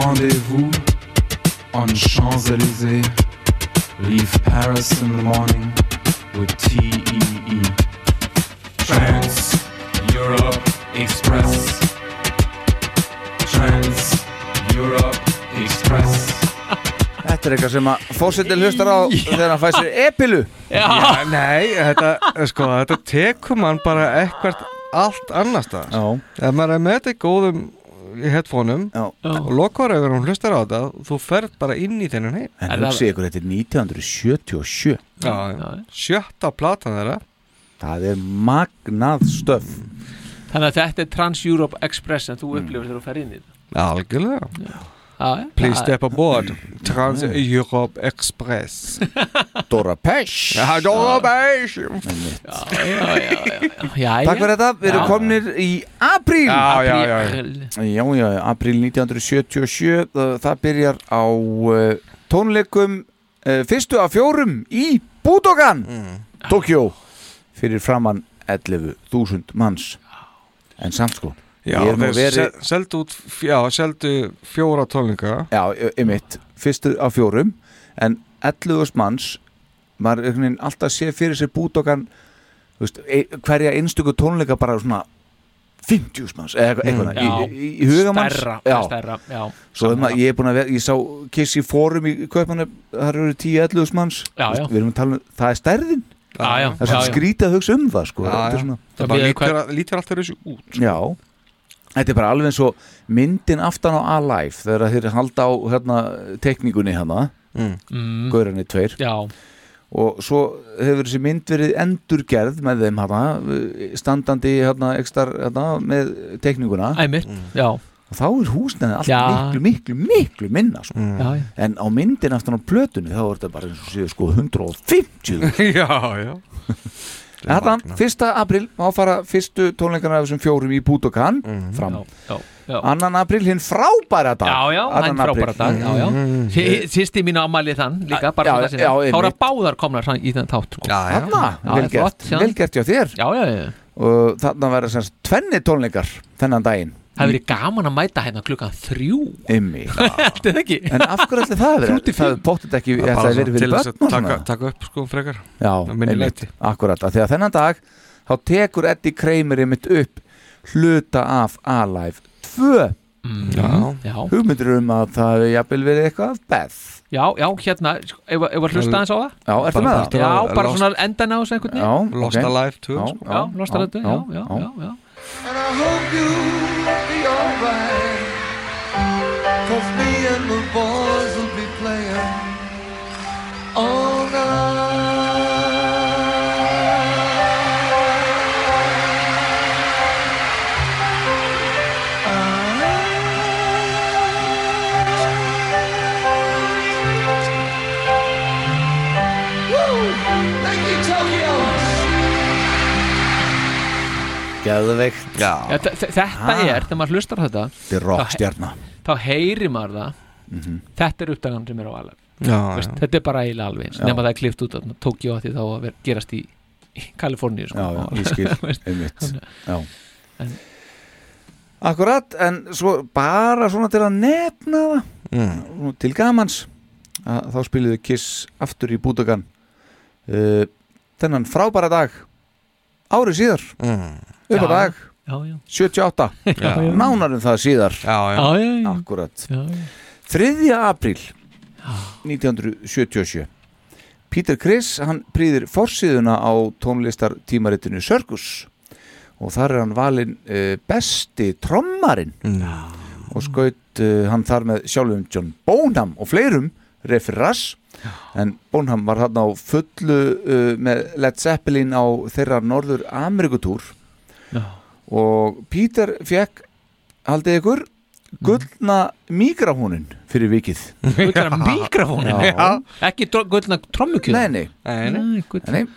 Rendezvous on Champs Elysees. Leave Paris in the morning with E TEE. Trans Europe Express. Trans Europe Express. Þetta er eitthvað sem að fórsetin hlustar á þegar hann fæ sér epilu Já, nei, þetta, sko, þetta tekur mann bara eitthvað allt annars það ef maður er með þetta í góðum í headphoneum og lokar ef hún hlustar á þetta þú ferð bara inn í þennan heim En hugsið ykkur, þetta er 1977 Já, já. sjötta platan þeirra Það er magnað stöf Þannig að þetta er Trans-Europe Express sem þú upplifir þegar þú fer inn í þetta Algjörlega Já, já. Please Það- step aboard Trans-Europe Express Dora Pesh Já, Dora Pesh já, já, já. Takk fyrir þetta, við erum Já. komnir í apríl Já, já, já, já. Já, já, apríl 1977 Það, eh, það byrjar á uh, tónleikum uh, fyrstu af fjórum í Budokan Mm. Tokjó fyrir framann 11.000 manns En samt sko Já, ég er nú þeir verið- sel- seldu út f- Já, seldu fjóra tónlinga Já, ymmit, fyrstur af fjórum en 11.000 manns maður einhvern veginn alltaf sé fyrir sér bútokan þú veist, e, hverja einstöku tónleika bara svona 50.000 manns eða eitthvað, eitthvað Mm, Já. í, í, í huga manns Stærra, stærra, já. Svo þeim að ég er búin að vera, ég sá Kiss í fórum í Kaupmannu, þar eru 10-11.000 manns Já, Þú já. veist, Við erum að tala um, það er stærðin Já, já, Það er svona já, já. skrítið að hugsa um það sko Já, Þetta já. er svona- Það bara lítur, lítur alltaf þessu út Já, þetta er bara alveg eins og myndin aftan á Alive þegar þeir halda á hérna, tekningunni hérna Mm. Mm. Gaurarnir tveir Já. og svo hefur þessi mynd verið endurgerð með þeim hérna, standandi hérna, ekstar, hérna, með tekninguna Æmitt, Mm. já og þá er húsnæðið allt Já. Mm. miklu, miklu, miklu minna sko. Já, já. en á myndin aftan á plötunni þá er þetta bara eins og séu sko 150 Já, já Þetta, fyrsta april, má fara fyrstu tónleikana af þessum fjórum í Budokan Mhm. fram. Já, já. Annan april, hinn frábæra dag. Já, já, hann Annan frábæra apríl. dag já, já. Mhm. Sí- Sýsti mín ámæli þann líka bara Já, svona sinna. já, Þá eru einmitt. báðar komnar fram í þann þátt sko. Já, Þarna, Eh, hérna, vel gert, vel gert hjá þér. Já, já, já Og þarna verða semst tvenni tónleikar þennan daginn. Það hefur verið gaman að mæta hérna klukkan þrjú Ymmi. Þetta er ekki En af hverju ætli það að vera? Það hefur pottet ekki, Það er þetta bara hefur verið svona til fyrir þess að börn og taka, svona. taka upp sko frekar Já, að minni einmitt, leyti. akkurat. Af Því að þennan dag, þá tekur Eddie Kramer einmitt upp hluta af Alive 2. Já. Mm. Já. Hugmyndir um að það hefur jafnvel verið eitthvað af Beth. Já, já, hérna, sko, ef ef að hlusta aðeins á það Já, ertu Bara- með það? bara- Já, bara Lost- svona endan á þessu einhvern Já, ok. Lost Alive 2, Já, sko. já, Lost Alive 2, já, já, já. já, já And I hope you be alright. Cause me and the boys will be playing all night. Woo! Thank you, Tokyo! Geðveikt. Já, þe- þe- Þetta Ah. er, þegar maður hlustar á þetta Þetta er Mhm. rockstjarna. þá heyrir maður það þetta er uppdagan sem er á alveg Já, já. þetta er bara eiginlega alveg eins Já. nema það er klift út að Tókjó að því þá að vera, gerast í, í Kaliforníu sko. Já, já, ég skil, Þú veist, einmitt. þannig að- Já. en, Akkurat, en svo bara svona til að nefna það mm. til gamans að þá spiliðu Kiss aftur í Búdokan uh, þennan frábæra dag árið síðar mm. upp á Já, dag já, já. 78 Já, já. nánar um það síðar já, já. Já, já, já. Akkurat já, já. 3. apríl 1977 Peter Criss, hann prýðir forsiðuna á tónlistartímaritinu Sörgus og þar er hann valinn uh, besti trommarinn no. og skaut uh, hann þar með sjálfum John Bonham og fleirum referas en Bonham var hann á fullu uh, með Led Zeppelin á þeirra Norður Amerikutúr Já. og Peter fekk haldið ykkur gullna mikrafónin fyrir vikið Gullna mikrafónin? Já. ekki dro- gullna trommukjöð Nei, nei. nei, nei, gull- Nei,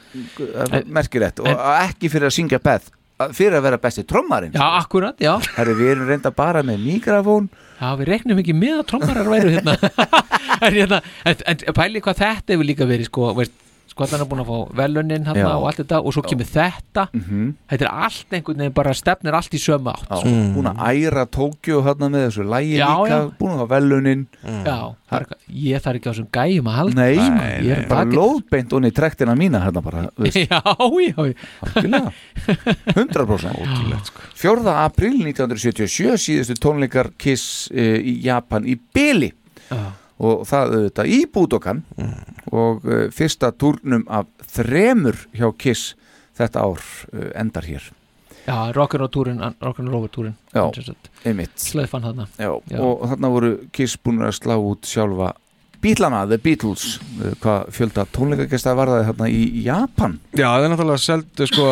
Eh, merkilegt og ekki fyrir að syngja Beth að- fyrir að vera besti trommarinn já, akkurat, já Herri, við erum reynda bara með mikrofón Já, við reknum ekki með að trommarar væru hérna en, hérna, en, en pæli hvað þetta hefur líka verið sko, veist, sko hann er búin að fá velunin Já. hérna og allt þetta og svo kemur þetta Mhm. þetta er allt einhvern veginn bara stefnir allt í sömu átt Já, Mm. sko. búin að æra Tókjó hérna með þessu lægi Já, líka, já. búin að hafa velunin Já, bara eitthvað, ég þarf ekki á þessum gæjum að halda sko. Nei, ég ég er er bara bakið. lóðbeint onni í trektina mína hérna bara, þú veist, Já, já, já. 100% 4. april 1977 síðustu tónleikar Kiss uh, í Japan í Bili og það auðvitað í Búdokan og uh, fyrsta turnum af þremur hjá Kiss þetta ár uh, eh, endar hér já, rock'n'roll túrin rock'n'roll over túrin Já, Hann sem sagt einmitt. slaufann þarna Já, og þarna voru Kiss búinir að slá út sjálfa Bílana, The Beatles eh, hvað fjölda tónleikagesta varðaði þarna í Japan Já, það er náttúrulega seldu sko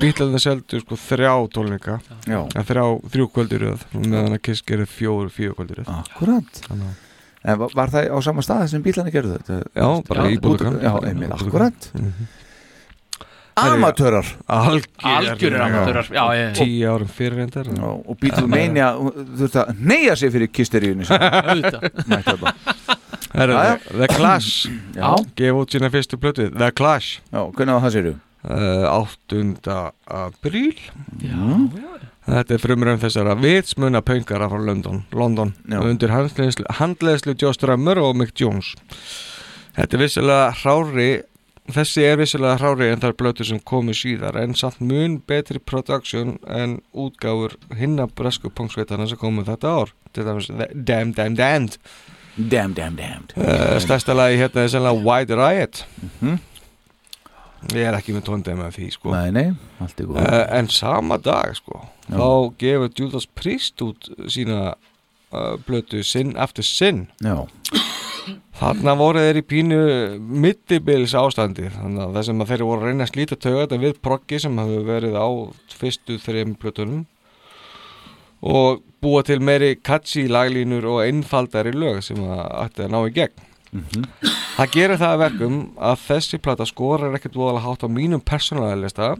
Bílarnir seldu sko þrjá tólninga Já. Þrjá, þrjú kvölduröð meðan að Kiss gerir fjóru, fjóru kvölduröð Ah. Akkurat En var- var það á sama stað sem bílarnir gerðu þetta? Já, bara í Budokan. Já, einmitt, Budokan. akkurat Mhm. Amatörar Algjörir amatörar, já, já, já. Tíu árum fyrir reyndar Já, og Beatlemania þurfti að neyja sig fyrir kisteríunni Herru, Jæja. The Clash Já. Gef út sína fyrstu plötu The Clash Já, hvernig á það séru? Uh, 8. apríl Þetta er frumröfn þessara vitsmuna pöngara frá London, London Já. undir handleðslu, handleðslu Joe Strummer og Mick Jones Þetta er vissilega hrári þessi er vissilega hrári en þar blötu sem komu síðar en samt mun betri production en útgáfur hinna bresku punktsveitana sem komu þetta ár til dæmis The Damn Damn Damned Damn Damn Damned uh, Stærsta lagi hérna er sennilega Wide Riot Ég er ekki með tóndæmi af því sko Nei, nei, allt er góð uh, En sama dag sko Já. Þá gefur Judas Priest út sína uh, blötu Sin After Sin Já. Þarna voru þeir í pínu mittibils ástandi þannig að þessum að þeir voru að reyna að slíta taugat við proggi sem hafðu verið á fyrstu þreim plötunum og búa til meiri catchy laglínur og einfaldari lög sem að ætti að ná í gegn Það gerir það að verkum að þessi plata skorar ekkert voðalega hátt á mínum persónulega lista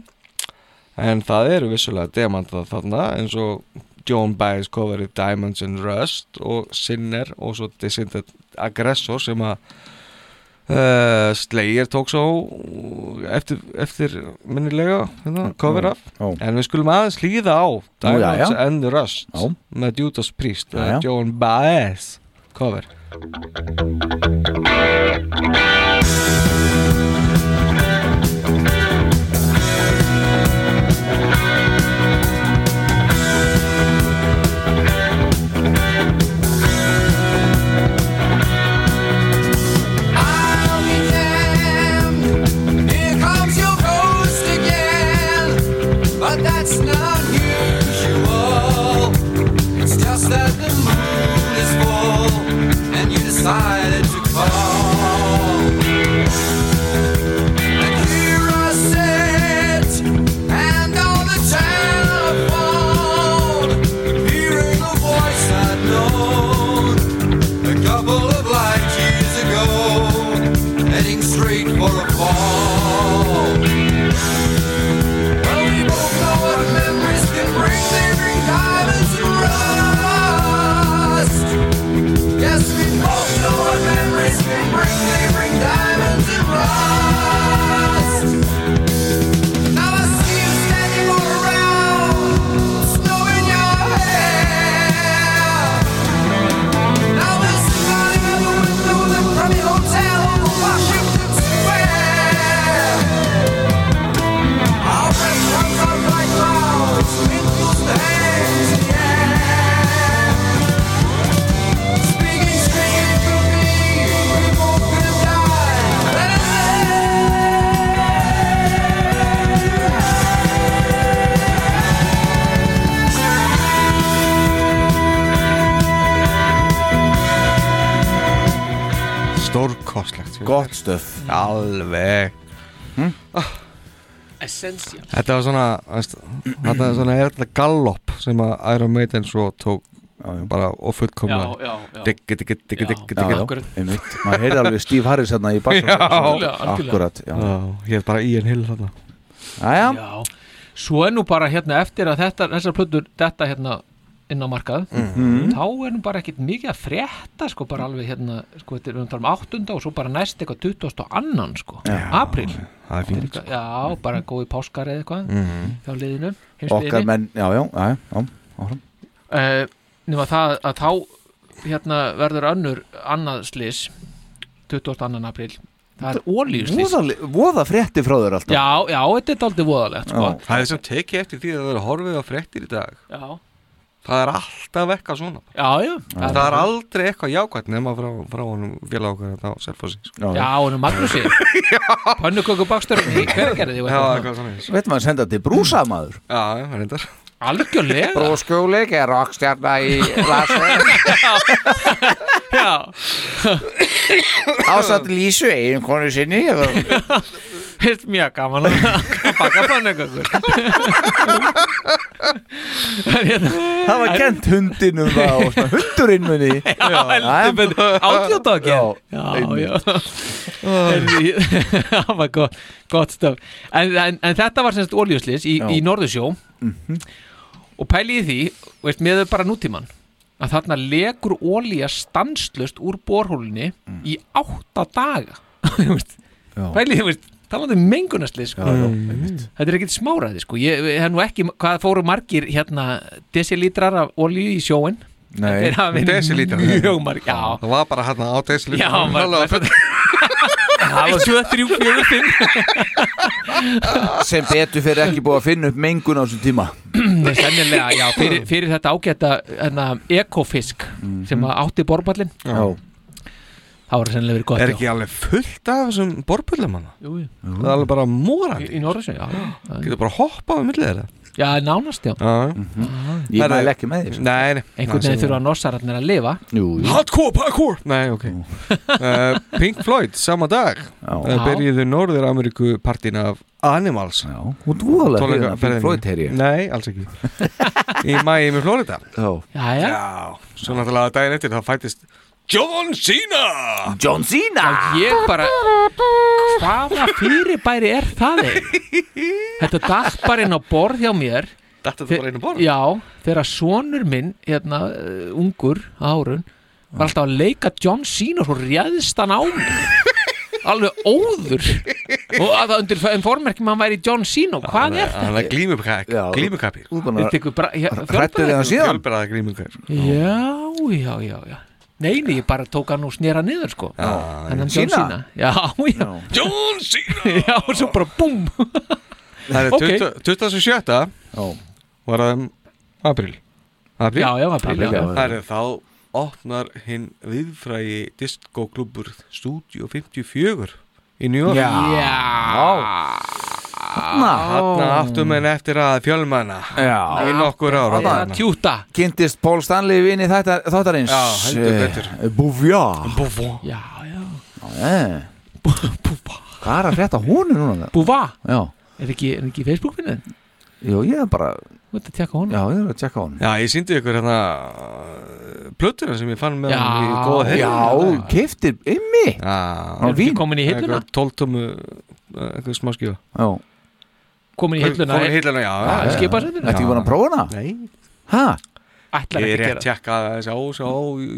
en það eru vissulega demandað þarna eins og Joan Baez coverið Diamonds and Rust og Sinner og svo Dissented Aggressor sem að uh, Slayer tók svo eftir, eftir minnilega hérna, cover af en við skulum aðeins hlýða á Diamonds jæja. and Rust Já. með Judas Priest Já, já. eða Joan Baez cover I'll be damned. Here comes your ghost again. But that's not usual. It's just that the moon is full and you decided to call. And here I sit and on the telephone, hearing a voice I'd known a couple of light years ago, heading straight for a fall. Well, we both know what memories can bring. They bring diamonds and rust. Yes, we both know what memories can bring. They bring diamonds and rust. Now I see you standing all around, snow in your hair. Now we're smiling out the window of the crummy hotel on Washington Square. Our friends comes up like clouds, wrinkles the hands in the air. Speaking straight to me, we both could have died. Let us Stórkostlegt Gott Hm? stöf Alveg Ah. Essential Þetta var svona veist, Þetta er svona er þetta gallop sem að Iron Maiden svo tók bara og fullkomna Já, já, já. diggi, diggi, diggi, diggi, Já, já, diggi einmitt, maður heyrði alveg Steve Harris hérna í bakgrunni Já, algjörlega. akkurat já. Já, Ég er bara Ian Hill þarna Jæja. Já. svo er nú bara hérna eftir að þetta, þessar plötur þetta hérna inn á markað Mhm. þá er nú bara ekkit mikið að frétta sko bara alveg hérna, sko þetta er við erum að tala um 8. og svo bara næst eitthvað 20. annan sko, Já. apríl Það er fínt. Eitthvað- Já, bara góði páskar eða eitthvað Mhm. hjá liðinu, okkar heimsbyðinu menn, já, já, já, já, áfram. uh, nema það að þá hérna verður önnur annað slis 22. apríl það er ólíuslis Voðale- voða frétti frá þér alltaf Já, já, þetta er daldið voðalegt sko. Það er sem tekið eftir því að það er horfið á fréttir í dag Já það er alltaf eitthvað svona Já, já. það er aldrei eitthvað jákvæmt nema frá, frá honum félag okkar þetta á Selfossi sko. Já, honum Magnúsi Pönnuköku baksturinn í hverjargerði Já, eitthvað svona Veitum maður að senda til brúsa maður Já, já, reyndar Algjörlega Brúskjúlik er rockstjarna í lasa Já Ásatt Lísu einu konu sinni Hitt mjög gaman að baka pönnukökur Það var kent hundinum það og svona hundurinn muni Já, heldur betur Átjóttakinn Já, já Heyrðu, ég- Það var gott, gott stöf en, en, en þetta var semst oljuslis í, Já. Mhm. í Norðursjó Og pæli í því, veist, með bara nútíman Að þarna legur olja stanslust úr borhólinni Mm. í átta daga Pæli í því, veist, talandi um mengunaslis sko. Já, já, einmitt. Þetta er ekkit smáraði, sko Ég ég hef nú ekki, hvað fóru margir hérna desilítrar af olju í sjóin Nei. Þeir hafa verið Desilítrar. Mjög margir, já það var bara hérna á desilíf Já, maður- maður- það var 7-3-4-5 sem betur fyrir ekki búið að finna upp mengun á þessum tíma Nei, sennilega, já, fyrir, fyrir þetta ágæta hérna, ekofisk Mhm. sem að átti borballin Já. Það var sennilega verið gott er já. ekki alveg fullt af þessum borpullum hann Jú, jú. það er alveg bara morandi í, í Norðursjó, já getur bara hoppað um millið þeirra Já, nánast, já Ég Herðu, mæli ekki með sko. því Nei, nei Einhvern veginn þurfa norsararnir að lifa Jú, Hardcore, parkour Nei, ok uh, Pink Floyd, sama dag uh, Byrjiðu Norður Ameríku partin af Animals Já, hún voðalega hrifin af hérna, Pink Floyd, heyri ég. Nei, alls ekki Í mæi með Florida Já, já Svo náttúrulega daginn eftir, það fættist John Cena John Cena Ég bara, hvaða fyrirbæri er það einn? Þetta datt bara inn á borð hjá mér Datt þetta bara inn á borð? Já, þegar sonur minn, hérna, uh, ungur á árun var alltaf að leika John Cena og svo réðst hann á mig alveg óður og að það undir þeim formerkjum að hann væri John Cena hvað er Hann þetta? er glímukak Glímukapir Þetta ykkur bara- hér- fjölbreiðar- Fjölbræða glímukapir Já, já, já, já Nei, nei, ég bara tók hann og snera niður sko Já, Þannig já. John Cena Já, já John Cena Já, og svo bara búm Það er Ok. 20 27. Var það um april April? Já, já, apríl, já. Það er þá opnar hinn viðfrægi diskoklubur Studio 54 í New York Já. Já. Hanna Hanna aftur menn eftir að fjölmanna Já. Í nokkur ára Þarna. Tjúta Kynntist Pól Stanley vinni þetta, þáttarins eh, Já, heldur betur. Búfjá Búfá Já, Hvað er að frétta húnu núna? Búfá? Já Er ekki, er ekki Facebook minnið? Jú, ég er bara Þú ert að tjekka honum Já, ég er að tjekka honum Já, ég síndi ykkur hérna uh, plötuna sem ég fann með Já. hann í góða heim Já, keftir ymmi Já, Er ekki komin í hilluna? Tóltumu, uh, eitthvað smá skíða Já Komin í hilluna eh? Ah, Komin í hilluna, já, já, já. Skipa sér Þetta ég búin að prófa hana? Nei Hæ? Ætlar ekki að Ég er rétt gera það. tjekka þessi á, þessi á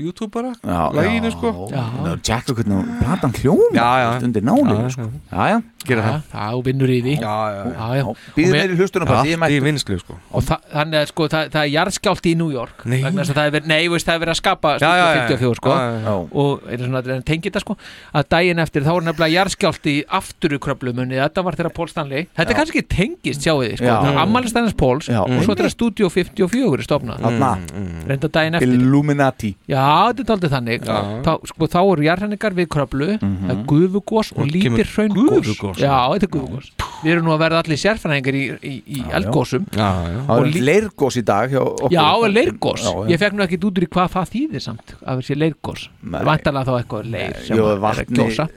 YouTube bara Já, Læginu sko Já. Tjekka hvernig hún- platan hljóma Já, já Undir nálinu, sko Já, já Gera Já, já, þú vinnur í því Já, já, já, já. Býðu Og mér- meiri hlustunarparti, ég Allt í mættur. vinnslu sko Og þa þannig að sko, það, það er jarðskjálti í New York Nei. vegna þess að það er verið, nei, þú veist, það er verið að skapa Já, já, Studio já. 54 sko Já, já, já. og er svona að tengja þetta sko að daginn eftir þá er nefnilega jarðskjálti í afturukröflumunni, þetta var þeirra Pól Stanley þetta Já. er kannski tengist, sjáu þið sko, Já. það er ammælistænins Póls Já. Mm. og svo þetta er Studio 54 stofna Þarna. Mm, reynda Mm. daginn eftir Illuminati Já, þetta er aldrei þannig Já. þá, sko, þá eru jarðhenningar við kröflu Mhm. það er gufugós og lítir hraungós gufugos. Já, þetta er gufugós Við erum nú að verða allir sérfræðingar í, í, í eldgósum Já, Það Og er lí- leirgós í dag hjá okkur Já, leirgós Já, já. Ég fekk nú ekkit út úr í hvað það þýðir samt að vera sér leirgós Vantalega þá eitthvað leir sem Jó, að- er að vatni, gjósa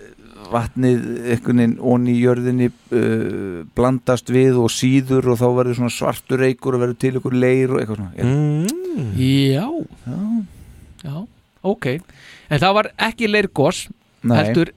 vatnið einhvern veginn onni í jörðinni uh, blandast við og síður og þá verður svona svartur reykur og verður til ykkur leir og eitthvað svona mm. Já Já, ok En það var ekki leirgós Nei. heldur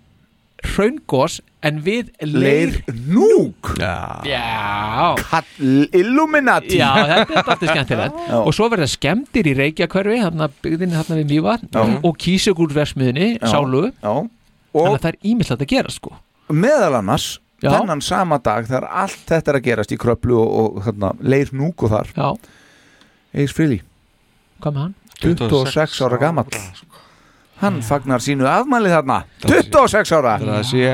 hraungós en við leir Leir núk Já, Já Kall Illuminati Já, þetta er alltaf skemmtilegt Já. Og svo verða skemmtir í Reykjakverfi þarna byggðin þarna við Mývatn Mhm. Já. og kísugúrversmiðinni, Já. Sálu Já. og... Þannig að það er ímyndilegt að gera sko meðal annars Já. þennan sama dag þegar allt þetta er að gerast í kröplu og, og þarna, leir núk og þar Já. Eis Frili Hvað með hann? 26 ára gamall sko. Hmm. hann fagnar sínu afmæli þarna 26 ára Það sé,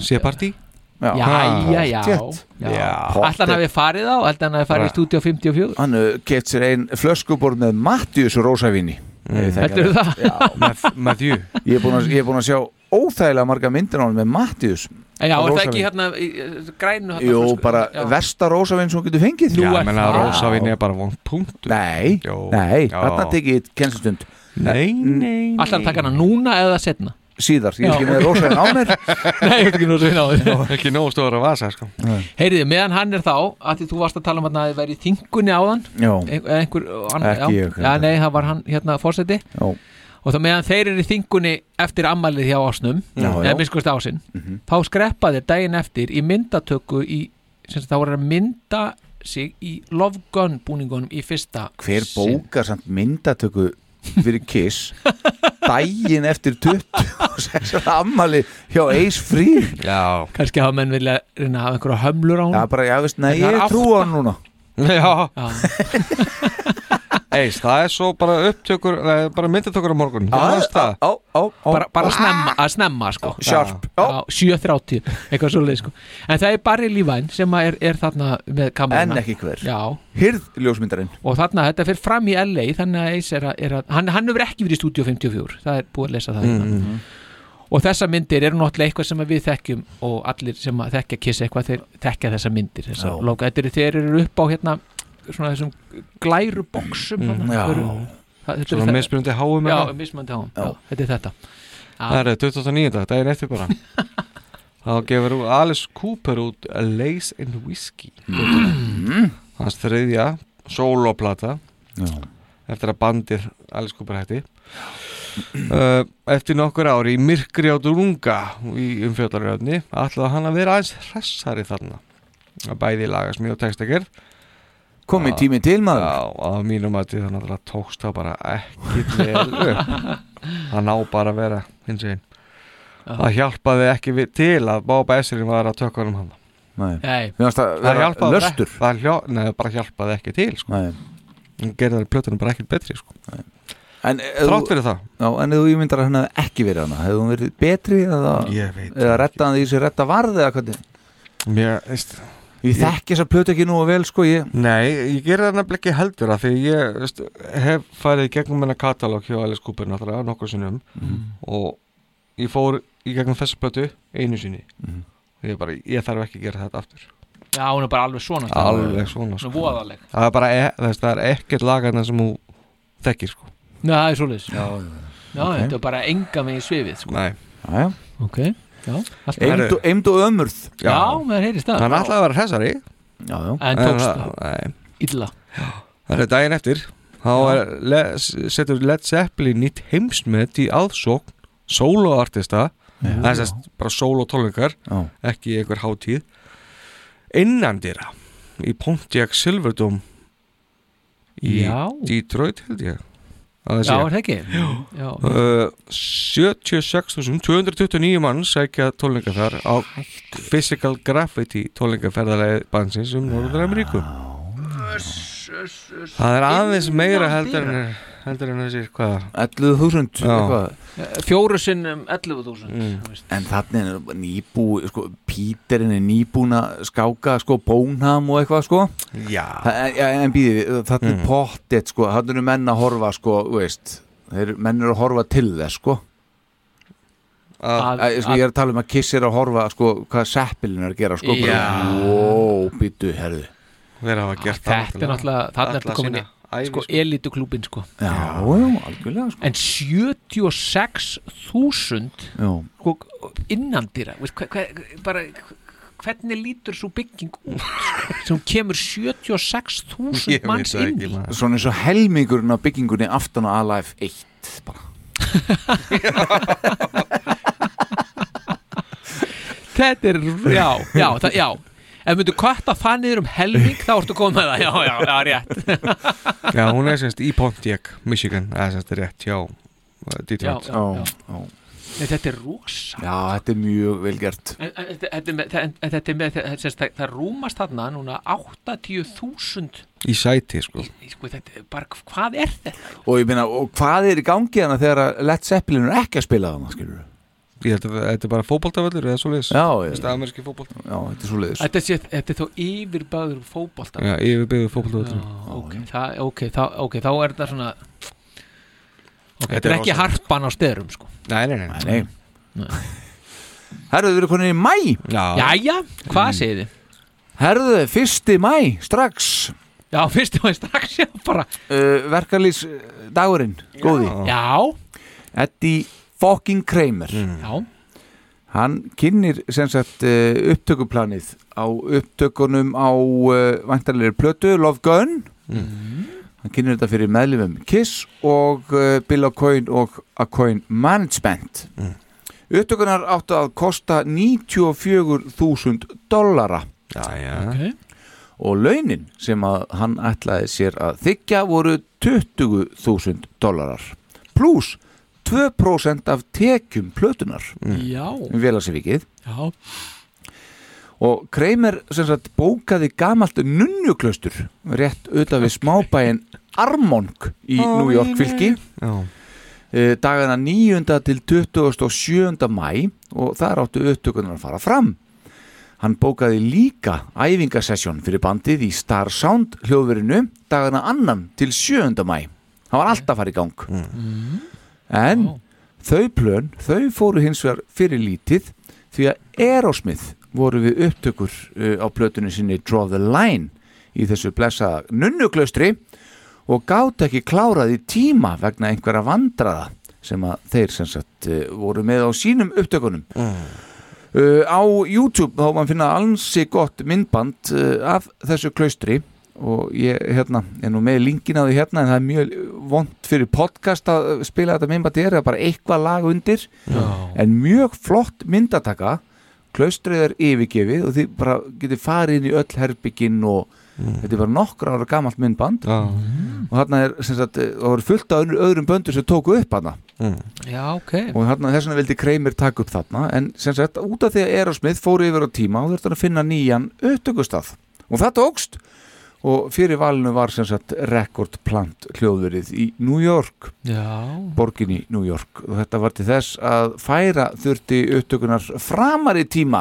sé partí Já. Jæja, já, Pottþétt. já. Ætla hann hafi farið á, ætla hann hafi farið í stúdíu á 54 Hann keft sér ein flöskubor með Mattius og Rósavíni Mm. Heldurðu það? Matthew Ég er búinn að- ég er búinn að sjá óþægilega marga myndir á hann með Mattius Já, og er það ekki Rósavín. hérna í, eh, grænu hérna, Jú, flösku? bara Já. versta Rósavín sem hún getur fengið Nú Já, er menna Rósavín er bara vond punkt Nei, nei, þarna tekið ég kennslustund Nei, nei, Ætla hann að taka hana núna eða setna Síðar, ég Já. er ekki með Rósavín á mér Nei, ég er ekki nóg sveina á þér Ekki nóg stóra vasa sko. Heyriði, meðan hann er þá að því þú varst að tala um hérna að þið væri í þingunni áðan Já. Ein, einhver, annar, Ekki já. ég, Já, nei, það var hann hérna fórseti já. og þá meðan þeir eru í þingunni eftir ammælið hjá ásnum Já, já. Mhm. eða minnskust ásinn þá skreppa þeir daginn eftir í myndatöku í, sem sagt, þá voru að mynda sig í Love Gun búningunum í fyrsta Hver bókar samt myndatöku fyrir Kiss daginn eftir 26 ára ammali hjá Ace Free Já kannski hafa menn vilja reyna að hafa einhverja hömlur á hún Já, bara, já, veist, nei, En það er ég trú á hann núna Já, Eis, það er svo bara upptökur nei, bara myndatökur á morgun Já, á, á, á, bara, bara snemma, að snemma sko Sharp. Já, 7.30 eitthvað svoleið sko en það er Barry Lívæn sem að er, er þarna með kameruna En ekki hver. já. Hirð ljósmyndarinn og þarna þetta fyrir fram í LA þannig að Ace er að, er að hann, hann hefur ekki verið í Studio 54 það er búið að lesa það mm Mm-hmm. og þessa myndir eru náttúrulega eitthvað sem að við þekkjum og allir sem að þekkja kiss eitthvað þeir þekkja þessa myndir þessa Já. logo. Þetta eru þeir eru upp á hérna svona þessum glæru boksum Mm, þarna, já. einhverju- það- þetta eru Svona þetta- mismunandi háum já, hérna. mismunandi háum, Já. já. þetta er þetta Það eru 29. daginn eftir bara Þá gefur út Alice Cooper út A Lace and Whiskey Mm. Hans þriðja soloplata eftir að bandir Alice Cooper hætti uh, Eftir nokkur ári í myrkri á drunga í umfjöldaröfni ætlaði hann að vera aðeins hressari þarna að bæði lagasmíð og textagerð Komið tími til maður Já, á mínum að það náttúrulega tókst það bara ekkit vel upp Það ná bara að vera hins veginn Það hjálpaði ekki við, til að Bába Esserinn var að tökka honum hann Nei, Nei. Mér fannst það vera hjálpaði löstur. ekki- Það hljó, nei, það bara hjálpaði ekki til sko. Hún gerði það plötunum bara ekkit betri sko. En, ef Þrátt þú- fyrir það. Já, en ef þú ímyndar að hann hefði ekki verið hana Hefði hún verið betri eða, Ég veit eða retta hann því sem retta varði eða hvernig Mér, veist Ég þekki þess að plötu ekki nú og vel sko ég Nei, ég gerði það nefnilega ekki heldur að því ég veist, hef farið í gegnum hennar katalóg hjá Alice Cooper náttúrulega nokkur sinnum Mhm. og ég fór í gegnum þessa plötu einu sinni Mhm. og ég bara, ég þarf ekki að gera þetta aftur já, hún er bara alveg svona sko. alveg svona Hún er voðaleg það er bara, e, þess, það er ekkert lagarna sem hún þekkir sko Já, það er svoleiðis Já, Já, Ok. þetta er bara enga megin svifið sko. Nei Já, ok Já, allt í Eimd lagi. og, eimd og ömurð Já, maður heyrist það Hann ætlaði að vera hressari Já, já En tókst það. það Illa Það er daginn eftir Þá er, le, setur Led Zeppelin nýtt heimsmet í aðsókn soloartista Það er sest, bara solotónleikar Já. Ekki einhver hátíð Innandýra Í Pontiac Silverdome Í Já. Detroit held ég Já, er það ekki? Já. Uh, 76.229 mann sækja tólinga þar á Physical Graffiti tólingaferðarlega bansins um Norður Ameríku Það er aðeins meira heldur en, heldur en þessi sko. hvað 11.000 eitthvað. Fjóru Eh, sinnum 11.000 Mm. En þannig er bara nýbú sko, Píterinn er nýbúin að skáka sko, bónham og eitthvað sko Já En býði við, þannig Mm. mm. pottet sko, þannig eru menn að horfa sko, þú veist, þeir, menn eru að horfa til þess sko Að, sko, ég er að tala um að Kiss er að horfa sko, hvað seppilin er að gera sko, bara, Já. wow, býtu, herðu Þeir hafa gert Þetta er náttúrulega, þarna ertu komin í sko, elitu sko. Já, já, algjörlega sko En 76.000 Já, sko, innandýra veist, hver, hver, bara, hvernig lítur svo bygging út sko, sem kemur 76.000 manns inn í Svona eins og helmingurinn af byggingunni aftan á Alive 1 bara. Þetta er, já, já, það, já Ef myndu kvarta það niður um helming þá ertu komið með það, já, já, já, rétt Já, hún er semst í Pontiac, Michigan Það er semst rétt hjá uh, Detroit Já, já, já. Nei, Þetta er rosa já, þetta er mjög vel gert En- en- en- Þetta er með- en- en þetta er með, þetta- sem sagt, það- það rúmast þarna núna 80.000 Í sæti sko Í, sko, þetta er bara, hvað er þetta? Og ég meina, og hvað er í gangi hana þegar að Led Zeppelin er ekki að spila þarna, skilur Ég held að þetta er bara fótboltavöllur eða svo liðs Já, já. Ameríski fótbolta Já, þetta er svo liðs Þetta, sé, þetta er þó yfirbæður fótbolta Já, yfirbyggður fótboltavöllur ok, það, ok, þá, ok, þá er þetta svona ok, Þetta þetta er er ekki rosalegt. harpan á sterum sko. Nei, nei, nei, nei. Herðu, við erum konin í mæ Jæja, Mm. hvað segir þið? Herðu, fyrsti mæ, strax Já, fyrsti mæ, strax, já, bara uh, Verkarlýs dagurinn, góði Já Eddie fucking Kramer Mm. Já Hann kynir sem sagt uh, upptökuplanið á upptökunum á uh, vantarlegri plötu, Love Gun Hann kynir þetta fyrir meðlifum Kiss og uh, Bill O'Coin og O'Coin Management Mm. Upptökunar áttu að kosta 94.000 dollara Já, já okay. og launin sem að hann ætlaði sér að þykja voru 20.000 dólarar pluss 2% af tekjum plötunar Mm. Já. Vélagsvíkið Já. og Kramer sem sagt bókaði gamalt nunnuklaustur rétt auðvitað við smábæin Armonk í Ó, New York fylki Já. Eh, dagana 9. til 27. mæ og þar áttu upptökunar að fara fram Hann bókaði líka æfingasessjón fyrir bandið í Star Sound hljóðverinu dagana annan til 7. mæ. Hann var alltaf farið í gang. Mm. En þau plön, þau fóru hins vegar fyrir lítið því að Aerosmith voru við upptökur uh, á plötunni sinni Draw the Line í þessu blessa nunnuklaustri og gátt ekki klárað í tíma vegna einhverja vandraða sem að þeir sem sagt uh, voru með á sínum upptökunum. Uh, á YouTube þá mann finna ansi gott myndband uh, af þessu klaustri og ég hérna, er nú með linkin á því hérna en það er mjög vond fyrir podcast að spila þetta myndband er það er bara eitthvað lag undir Já. en mjög flott myndataka klaustrið er yfirgefið og þið bara getið farið inn í öll herbygginn og þetta er bara nokkra ára gamalt myndband Já. og þarna er sem sagt, uh, það voru fullt af öðru- öðrum böndur sem tóku upp hana Já, ok og þarna, þess vegna vildi Kramer taka upp þarna en sem sagt, út af því að Aerosmith fóru yfir á tíma og þurfti hann að finna nýjan upptökustað og það tókst og fyrir valinu var sem sagt rekordplant hljóðverið í New York Já borgin í New York og þetta var til þess að færa þurfti upptökunar framar í tíma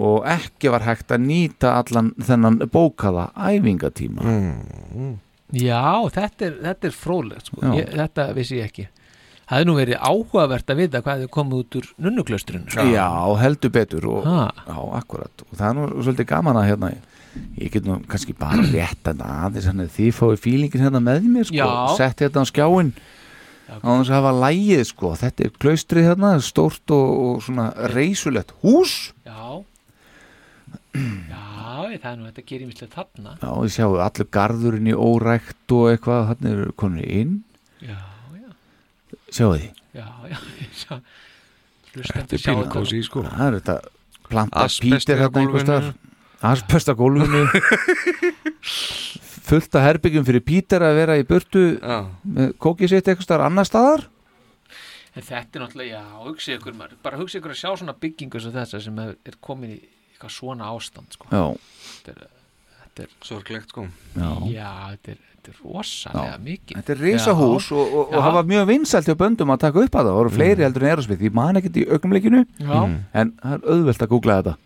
og ekki var hægt að nýta allan þennan bókaða æfingatíma mm. Já, þetta er, þetta er fróðlegt sko. Já. ég, Þetta vissi ég ekki Það hefði nú verið áhugavert að vita hvað þau komið út úr nunnuklaustrinu sko. Já, heldur betur og, Ha. Já, akkurat og það er nú svolítið gaman að hérna ég get nú kannski bara rétt að aðeins hann að þið fáið fílingin hérna með mér sko, Já. sett hérna á skjáin á þess að hafa lægið sko þetta er klaustrið hérna, stórt og, og svona reysulegt hús Já Já, það er nú þetta gerir mislega þarna Já, ég sjáu allur garðurinn í órækt og eitthvað, hann er komin inn Já, já Sjáu því Já, já, ég sá Þetta er pínu kósí, sko. Það er þetta planta Asbest pítir er á hérna einhvers staðar gólfinu. Asbest á gólfinu Fullt af herbyggjum fyrir pítir að vera í burtu með kókið sitt einhvers staðar annar staðar En þetta er náttúrulega, já, hugsa ykkur maður bara hugsa ykkur að sjá svona byggingu sem þessa sem er er komin í eitthvað svona ástand sko. Já. Þetta er, þetta er Sorglegt sko Já. Já, þetta er, þetta er rosalega mikið Þetta er risahús Já. og, og, Já. og hafa mjög vinsælt hjá böndum að taka upp að það, það voru Mm. fleiri heldur en erosmið ég man ekkert í augnumleikinu Já. en það er auðvelt að googla þetta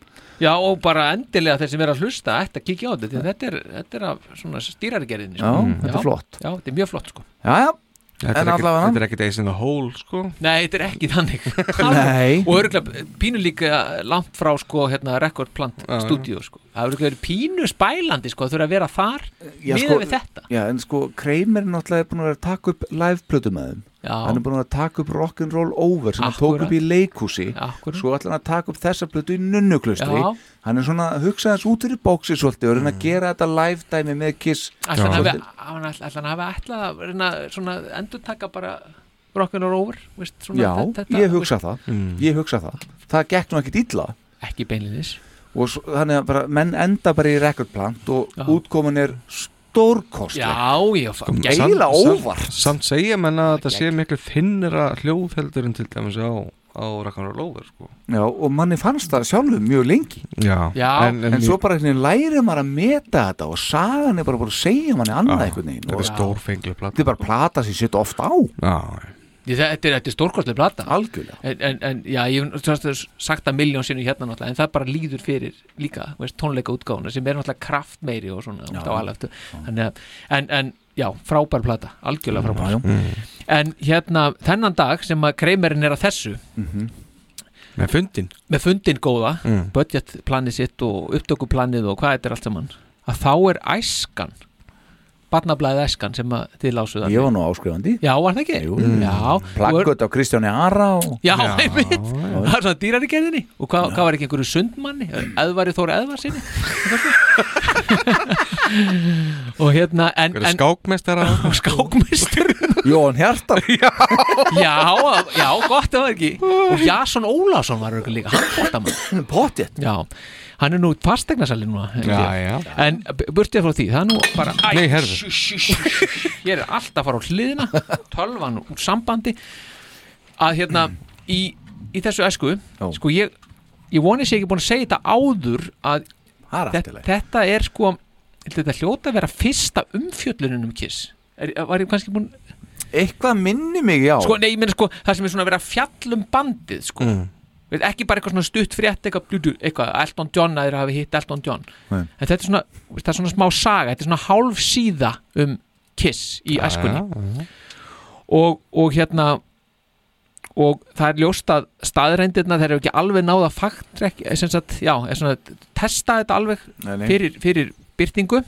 Já, og bara endilega þeir sem er að hlusta ætti að kíkja á þetta, því að þetta er, þetta er af svona stýrargerðinni sko. Já, þetta er flott. Já, þetta er mjög flott sko Já, já, Þetta en er ekkit- allavega Þetta er ekkit eis in the hole sko Nei, þetta er ekki þannig Nei. Og örgulega pínu líka langt frá sko, hérna, rekordplant já. stúdíu sko. Það er örgulega pínu spælandi sko, þurfa að vera þar Já, miðað sko, við þetta Já, en sko, Kramer náttúrulega er búin að vera að taka upp liveplötu með þeim Já. Hann er búin að vera að taka upp rock'n'roll over sem hann tók Akkúrat. upp í leikhúsi Akkúrat. Svo ætla hann að taka upp þessa plötu í nunnuklustri Já. Hann er svona að hugsa þess út fyrir bóksi svolítið og reyna að gera þetta live dæmi með Kiss Ætla hann hafi- Svolítið- hann ætla- ætla hann hafi ætlað að reyna svona endur taka bara rockunar over veist, svona, Já, þetta, þetta- ég hugsa það Ég hugsa það Það gekk nú ekkit illa Ekki beinlinis Og svo- þannig að bara, menn enda bara í rekordplant og útkomin er stórkostleg Já, já, Sko, Geila óvart samt, samt segja menn að þetta sé miklu þinnra hljóðheldur en til dæmis á, á Rakkanar Lóður sko Já, og manni fannst það sjálfum mjög lengi Já. Já. En, En- en- svo bara einhvern veginn lærið maður að meta þetta og sagan er bara búin að segja manni annað Já, einhvern veginn þetta er Og- stórfengleg plata. Þetta er bara plata sem ég setja ofta á Já, Ég, þe- þetta er, þetta er stórkostlega plata Algjörlega En, en, en já, ég hef sem sagt sagt það miljón sinni hérna náttúrulega En það bara líður fyrir líka þú veist, tónleika útgáfuna Sem er náttúrulega kraftmeiri og svona já, á alveg, Þannig að, en, en já, frábær plata Algjörlega Já, frábær já. Mm. En hérna, þennan dag sem að kreimerinn er að þessu Mhm. Með fundin Með fundin góða, Mm. budgetplanið sitt og upptökuplanið og hvað þetta er allt saman Að þá er æskan Barnablaðið æskan sem að þið lásuð Ég var nú áskrifandi Já, var það ekki? Jú. Mm. Já, Plakkut á Kristjáni Ara og... Já, einmitt, það var svona dýrari gerðinni og hvað, hvað var ekki einhverju sundmanni Eðvari Þóri Eðvarsinni og hérna en, en, skákmestara skákmestara Jón Hjartar já, já, gott ef það ekki og Jason Ólafsson var auðvitað líka handbóltamann Pottet Já, hann er nú fastegnasalinn núna held ég. Já, já. En b- burtið frá því, það er nú bara Æ, Nei, herðu. shh, shh, shh, shh. Ég er alltaf að fara á hliðina Tölvan úr sambandi Að hérna, í, í þessu æsku Sko, ég, ég voni sé ekki búin að segja þetta áður Að er allt í þetta, þetta er sko Þetta hljóta að vera fyrsta umfjöllunin um Kiss er, Var ég kannski búin Eitthvað minni mig, já Sko, nei, ég meina sko, það sem er svona að vera að fjalla um bandið Sko mm. Veit, ekki bara eitthvað svona stutt frétt eitthvað, blú, blú, eitthvað Elton John að þeir hafi hitt Elton John Nei. en þetta er svona, það er svona smá saga þetta er svona hálf síða um Kiss í Já, æskunni já. Og, og hérna og það er ljóst að staðreindirna þeir eru ekki alveg náða faktrekk sem sagt, já, er svona testa þetta alveg Nei, nei. fyrir, fyrir byrtingu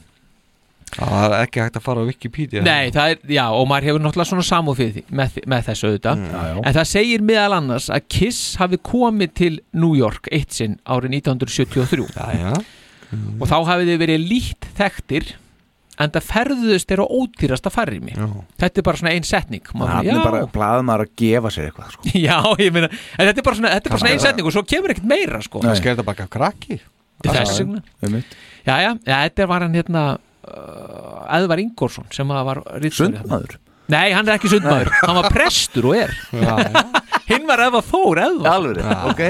Það er ekki hægt að fara á Wikipedia Nei, það er, já, og maður hefur náttúrulega svona samúð fyrir því, með, því- með þessu auðvitað En það segir meðal annars að Kiss hafi komið til New York eitt sinn árið 1973 já, já. Og þá hafið þið verið lít þekktir En það ferðuðust er á ódýrasta farrimi Þetta er bara svona ein setning maður- Hann já. er bara blaðmaður að gefa sér eitthvað sko. Já, ég meina, en þetta er bara svona, þetta er bara svona ein setning og svo kemur ekkert meira sko Nei. Kannski er þetta bara krakki Þess vegna Einmitt. Já, já, þetta var hann hérna uh, Æðvar Ingórsson sem að var ritstjóri þarna. Sundmaður? Nei, hann er ekki sundmaður, hann var prestur og er Já, Hinn var Æðvar Þór, Æðvar Alveg, ok.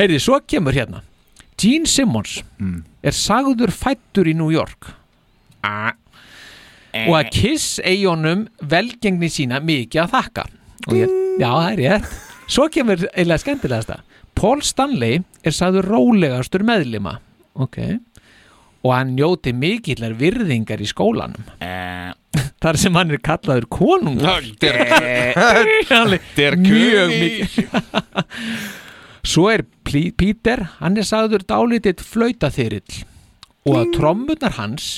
Heyrði, svo kemur hérna Gene Simmons Mm. er sagður fættur í New York ah. og að Kiss eigi honum velgengni sína mikið að þakka og ég, já, það er rétt svo kemur eiginlega skemmtilegasta Paul Stanley er sagður rólegastur meðlima okay. og hann njóti mikillar virðingar í skólanum þar sem hann er kallaður konungur Der mjög mikið svo er Pl- Peter hann er sagður dálítið flautaþyrill og að trommunar hans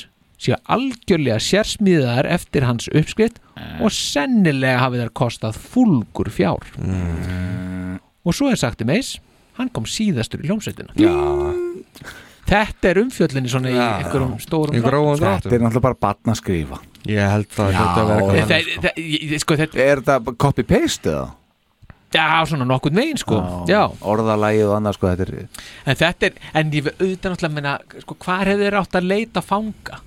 séu algjörlega sérsmíðar eftir hans uppskrift og sennilega hafi þær kostað fúlgur fjár og svo er sagt um eis hann kom síðastur í hljómsveitina já. þetta er umfjöllinni svona í einhverjum stórum Þetta er náttúrulega bara batna að skrifa Ég held það Já, hljóti að vera eitthvað Þe- þe- ég- ég- sko, þetta, Er þetta copy-paste eða? já, svona nokkurn veginn sko. já, Orðalagið og annað sko, þetta er en þetta er, en ég við auðvitað náttúrulega meina, sko, hvað hefur þeir átt að leita fanga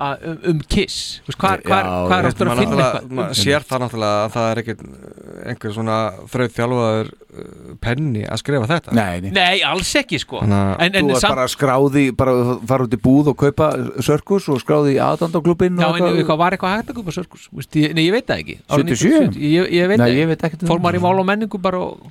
að, um, um kiss Þú veist, hvað hvar, Já, hvar ég- áttur að maður finna náttúrulega- eitthvað maður sér það náttúrulega að það er ekkert uh, einhver svona þraut þjálfaður eh, penni að skrifa þetta Nei, nei, alls ekki sko en, en þú er samt, bara skráði, bara fara út í búð og kaupa sörkus og skráði í aðdandaklubin já, en eitthvað var eitthvað hægt að kupa sörkus Vist, ég, nei, ég veit það ekki Árið 77? 1970, ég, ég veit Nei, það ég veit ekkert um fór það. maður í mál og menningu bara og,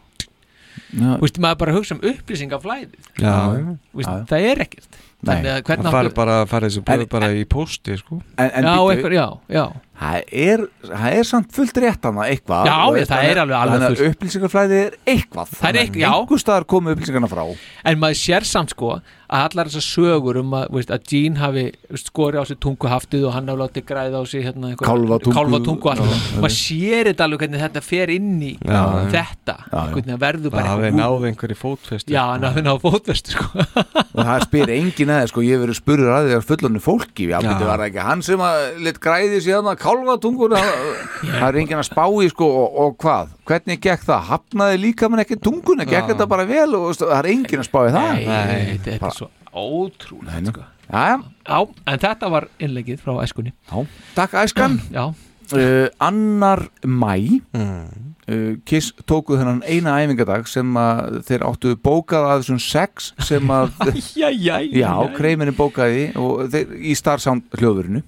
Já. Vist, maður bara hugsa um upplýsingaflæðið Já, já. Vist, Já, já. það er ekkert þannig að það hvernig fari áttu bara, fari þessu blöð bara í pósti sko. En, en Já, bíddu, einhver- já, já. Það er, það er samt fullt rétt hana eitthvað Já, þú ég, veist, það þannig- er alveg- alveg Þannig að fullt. upplýsingaflæði er eitthvað Það er eitthvað, já. Einhver staðar komu upplýsingarna frá en maður sér samt sko að allar þessar sögur um að, veist, að Gene hafi veist, skori á sig tunguhaftið og hann hafi látið græða á sig hérna, einhver- Kálfatungu. kálfatungu og allt Já, þetta. maður sér þetta alveg hvernig þetta fer inn í Já, já. þetta hvernig það verður það bara hafi eitthvað- náð einhverju fótfestu já, hann hafi náðu fótvestu sko og það spyr engin aðeins sko, ég hef verið spurður að því að fullunni fólki já, betur var það ekki hann sem að lit græði hérna síðan að kálfa tunguna það er engin að spá í sko og, og hvað, hvernig gekk það, hafnaði líka mann ekki tunguna, gekk Já. þetta bara vel og veist, það er engin að spá í það Nei, Nei. þetta er svo ótrúlega sko. já, já, en þetta var innlegið frá æskunni já. Takk æskan Já uh, Annar mæ uh, Kiss tóku þennan eina æfingadag sem að þeir áttu bókað að þessum sex sem að Æjæjæj Já, kreiminni bókaði og þeir, í starfsánd hljóðurinu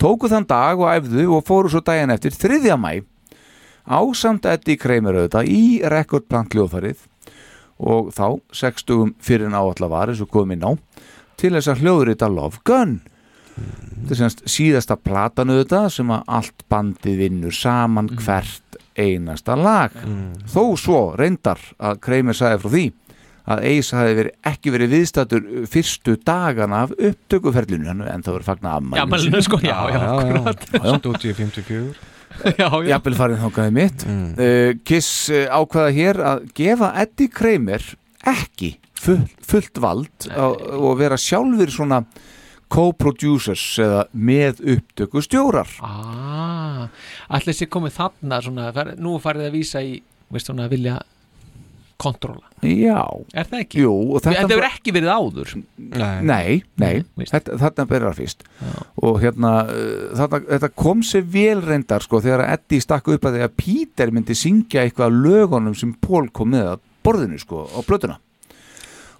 tóku þann dag og æfðu og fóru svo daginn eftir 3. mæ ásamt Eddie Kramer auðvitað í rekordplant hljóðfarið og þá sextugum fyrir en áallar var eins og komið ná til þess að hljóðrita Love Gun þetta er semst síðasta platan auðvitað sem að allt bandið vinnur saman Mm. hvert einasta lag þó svo reyndar að Kramer sagði frá því að Ace hafi verið, ekki verið viðstættur fyrstu dagana af upptökuferlinu hann- en það verið fagna afmælinu Afmælinu, sínu. sko, já, já, akkurat. Stúdíu 54 jafnvel farið þangaði mitt uh, Kiss uh, ákvaða hér að gefa Eddie Kramer ekki full, fullt vald á, og vera sjálfur svona co-producers eða með upptöku stjórar Ah, allir sér komið þarna svona, fer, nú farið að vísa í veist svona að vilja kontróla Já Er það ekki? Jú, og þetta- Þetta hefur ekki verið áður Nei, nei, þetta, þarna byrjar fyrst og hérna uh, þarna, þetta kom sér vel reyndar sko þegar að Eddie stakk upp að því að Peter myndi syngja eitthvað af lögunum sem Pól kom með að borðinu sko á blötuna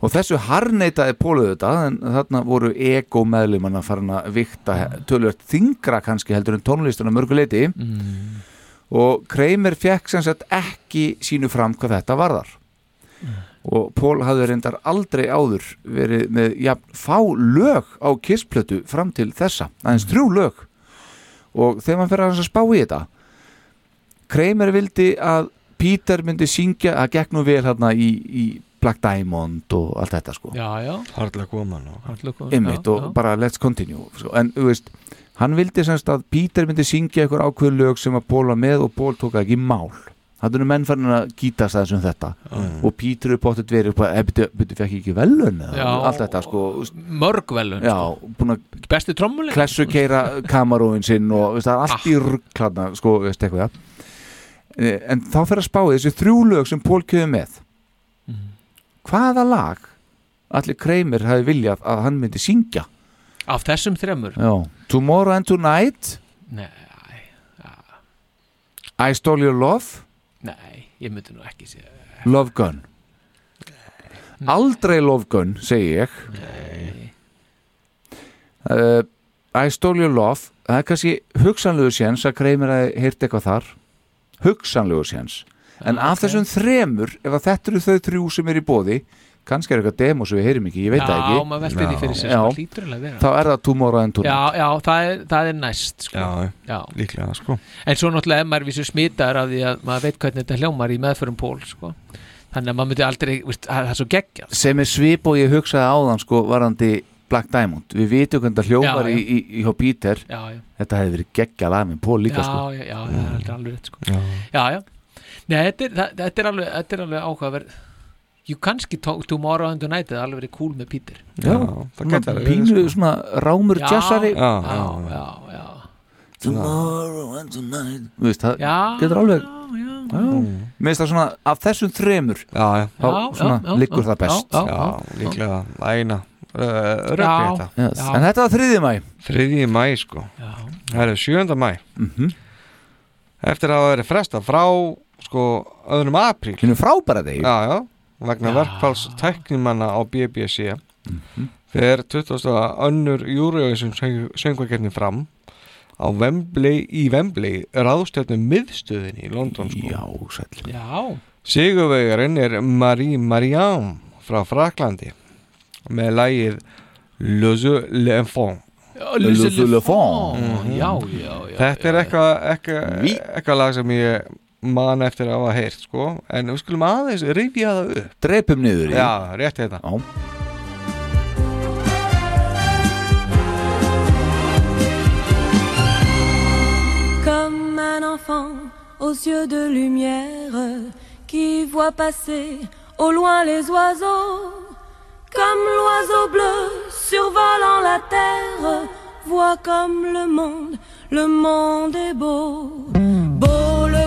og þessu harneitaði Pól auðvitað en þarna voru ego meðlumann að farin að vikta tölvöld þingra kannski heldur en tónlistuna mörguleiti Mm. og Kramer fekk sem sagt ekki sínu fram hvað þetta varðar og Pól hafði reyndar aldrei áður verið með jafn fá lög á kissplötu fram til þessa aðeins þrjú lög og þegar maður fyrir að spá í þetta Kramer vildi að Peter myndi syngja að gegn og vel hérna í, í Black Diamond og allt þetta sko Já, já Hardlega koman Hardlega einmitt og bara let's continue sko. en þú veist, hann vildi semst að Peter myndi syngja einhver ákveð lög sem að Ból var með og Ból tók það ekki í mál hann er menn farin að gítast aðeins um þetta og Peter er bóttið verið upp "Eh, að byrju, byrju, fekk ég ekki velun Já. allt þetta sko þú veist. Mörg velun sko. já, búin að Bestu trommuleik klessu keira kamaróin sinn og veist, það er allt í ruggkladna sko, veist eitthvað Eh, en þá fer að spáði þessi þrjú lög sem Pól kefði með hvaða lag allir kreimir hafi viljað að hann myndi syngja Af þessum þremur Já. Tomorrow and Tonight Nei, I Stole Your Love nei, ég myndi nú ekki segja Love Gun Aldrei Love Gun, segi ég uh, I Stole Your Love Það er kannski hugsanlegu séns að Kramer að heyrta eitthvað þar Hugsanlegu séns En Ah, af þessum þremur, ef að þetta eru þau þrjú sem er í bóði kannski er eitthvað demo sem við heyrim ekki, ég veit það Já, ekki maður veltir því fyrir sér, Já. svona hlýtur alveg að vera. Þá er það Tomorrow and Tonight Já, já, það er, það er næst sko. Já, já. líklega sko En svo náttúrulega er maður vísu smitaður af því að maður veit hvernig þetta hljómar í meðförum pól sko. Þannig að maður myndi aldrei, veist, það það er svo geggjað sem er svip og ég hugsaði áðan sko varandi Black Diamond við vitum hvernig það hljómar Já, já. í, í, í hjá Peter Já, já. þetta hefði verið geggja lag með Pól líka já, sko já, já, það Mm. er aldrei alveg rétt sko. Já. já. já, Nei, þetta er, það, þetta er alveg, þetta er alveg áhugaverð Jú, kannski tók Tomorrow and Tonight eða alveg verið cool með Peter Já, það svona gæti alveg pínu verið, sko. svona rámur Já, jazzari já, já, já, já. Tomorrow and tonight Þú veist, það Já, getur alveg Já. Mér finnst það svona af þessum þremur Mm. já, já. þá svona liggur það best já, líklega, æna eh, Já. rökk þetta Yes. Já. En þetta var 3. mæ 3. mæ sko það eru 7. mæ Mhm. eftir að það verið fresta frá sko öðrum apríl hinn frábæra degi já, já, vegna verkfalls tæknimanna á BBC Mhm. þegar 20. önnur júrióðisum söngvakerni fram á Wembley, í Wembley ráðstjöfnum miðstöðinni í London sko. já, sæll Já, Sigurvegarinn er Marie Mariam frá Fraklandi með lægið Lose le Fond Já, Les Lose Le Fond. Já, já, já, Þetta er eitthvað eitthvað eitthvað lag sem ég man eftir að hafa heyrt sko en við skulum aðeins rifja það upp Dreipum niður í. Já, rétt hérna. þetta Já comme un enfant aux yeux de lumière qui voit passer au loin les oiseaux, comme l'oiseau bleu survolant la terre, voit comme le monde, le monde est beau. Beau le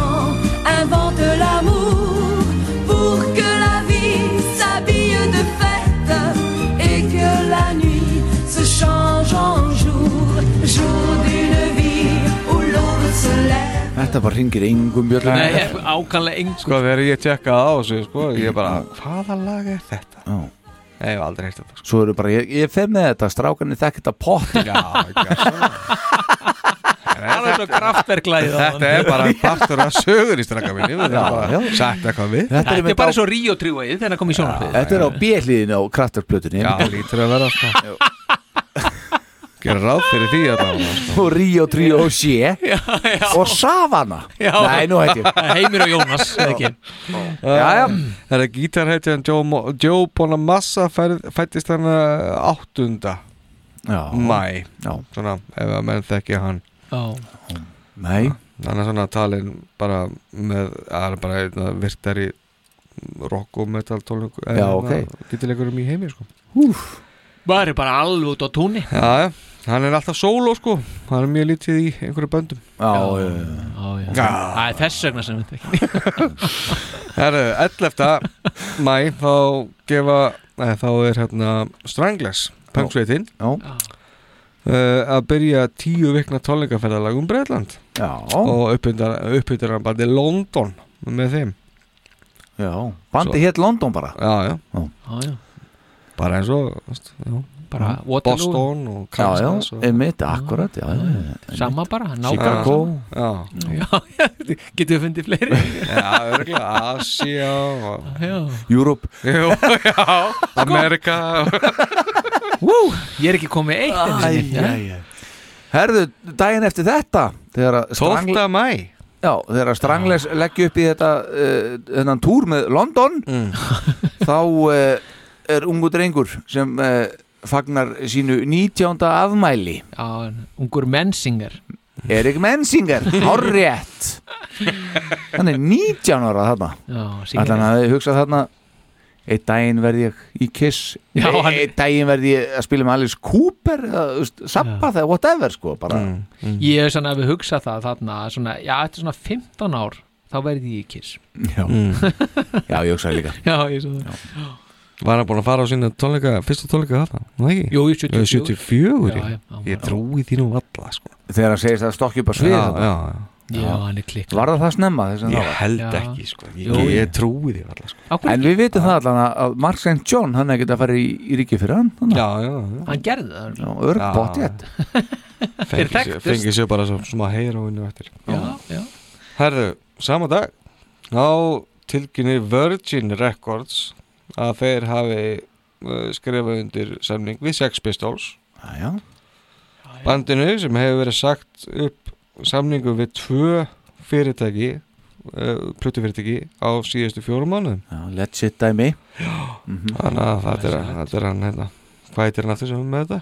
invente l'amour pour que la vie s'habille de fête et que la nuit se change en jour. Þetta bara ringir engum bjöllum Nei, ákvæmlega engum Sko þegar ég tjekkaði á þessu sko Ég bara, hvaða lag er þetta? Já. Ég hef aldrei heyrt þetta sko. Svo eru bara, ég, ég fer með þetta Strákan er þekkt að potta Það er svo kraftverklæðið Þetta er bara partur af sögur í strakka minni Við Já, erum bara sagt eitthvað við Þetta er bara svo ríotrífaðið þegar það kom í sjónarfið Þetta er á bjelliðinu á kraftverkblötunni Já, lítur að vera sko Gera ráð fyrir því að það sko. Og Ríó, Tríó og Sjé Og Savana Nei, nú heit ég Heimir og Jónas eða ekki. Jæja Það er gítarheitjan Joe, Mo- Joe Bonamassa fæð- fæddist hann eh, 8. Já. mæ Já. Svona ef að menn þekki hann Já. Nei Hann er svona talin bara með Það er bara einn af virtari rock og metal tónleiku Já, ok. Gítilegurum í heimi sko Var ég bara alveg út á túnni Já, já Hann er alltaf sóló sko Hann er mjög lítið í einhverju böndum Já, já, já, Það er þess vegna sem við þekki Herru, 11. mæ þá gefa, nei, þá er hérna Stranglers, punksveitinn uh, að byrja tíu vikna tónleikaferðalag um Breitland Já. og uppbyttur hann bara London með þeim Já, bandi hétt London bara Já, já, Já, já. bara eins og veist, já. Bara Waterloo. Mm. Boston og Já, já, Kansas og- Mm. einmitt, akkurat já, já, já, Sama bara, nákvæmlega Chicago Já, já Getum við fundið fleiri Já, örgulega Asia og... Já. Sko- Europe Jú, já, Amerika Wú, ég er ekki komið eitt einu sinni. Æ, æ, æ. Herðu, daginn eftir þetta þegar að 12. mæ Já, þegar að Stranglers leggja upp í þetta uh, þennan túr með London þá uh, er ungu drengur sem uh, fagnar sínu 19. afmæli Já, en ungur mensingar Erik Mensinger, Ah. horrétt Hann er 19 ára þarna Þannig Já, að Singer. hann hafði hugsað þarna Eitt daginn verði ég í Kiss Já, Nei, hann- Eitt daginn verði ég að spila með Alice Cooper eða, þú veist, Zappa þegar whatever sko bara Mm, Ég hef svona að við hugsa það þarna svona, Já, eftir svona 15 ár þá verði ég í kiss Já, Mm. já ég hugsaði líka Já, ég svo það Var hann búin að fara á sína tónleika, fyrsta tónleika þarna? var það ekki? Jú, í Jú, 74. 74 Já, já, já, Ég trúi þínu alla sko. Þegar hann segist að stokki upp að svið Já, þarna. já, já. Já, hann er klikk Var það það snemma þess að Ég það var? held ekki sko. ég, Jú, ég, jú. ég trúi því alla sko. En við vitum það allan að- að Mark St. John hann er ekkert að fara í, í ríki fyrir hann þannig Já, já, Hann gerði það Já, örg bóttið Þeir Fengi sér- þekktust. Fengi sér bara svo, svona heyra og innu eftir Já, já. Herðu, sama dag Ná tilkynir Virgin Records að þeir hafi uh, skrifað undir samning við Sex Pistols já, já. Bandinu sem hefur verið sagt upp samningu við tvö fyrirtæki uh, plötufyrirtæki á síðustu fjórum mánuðum Let's it dæmi Þannig að þetta er, þetta er hann hérna Hvað heitir hann aftur sem er með þetta?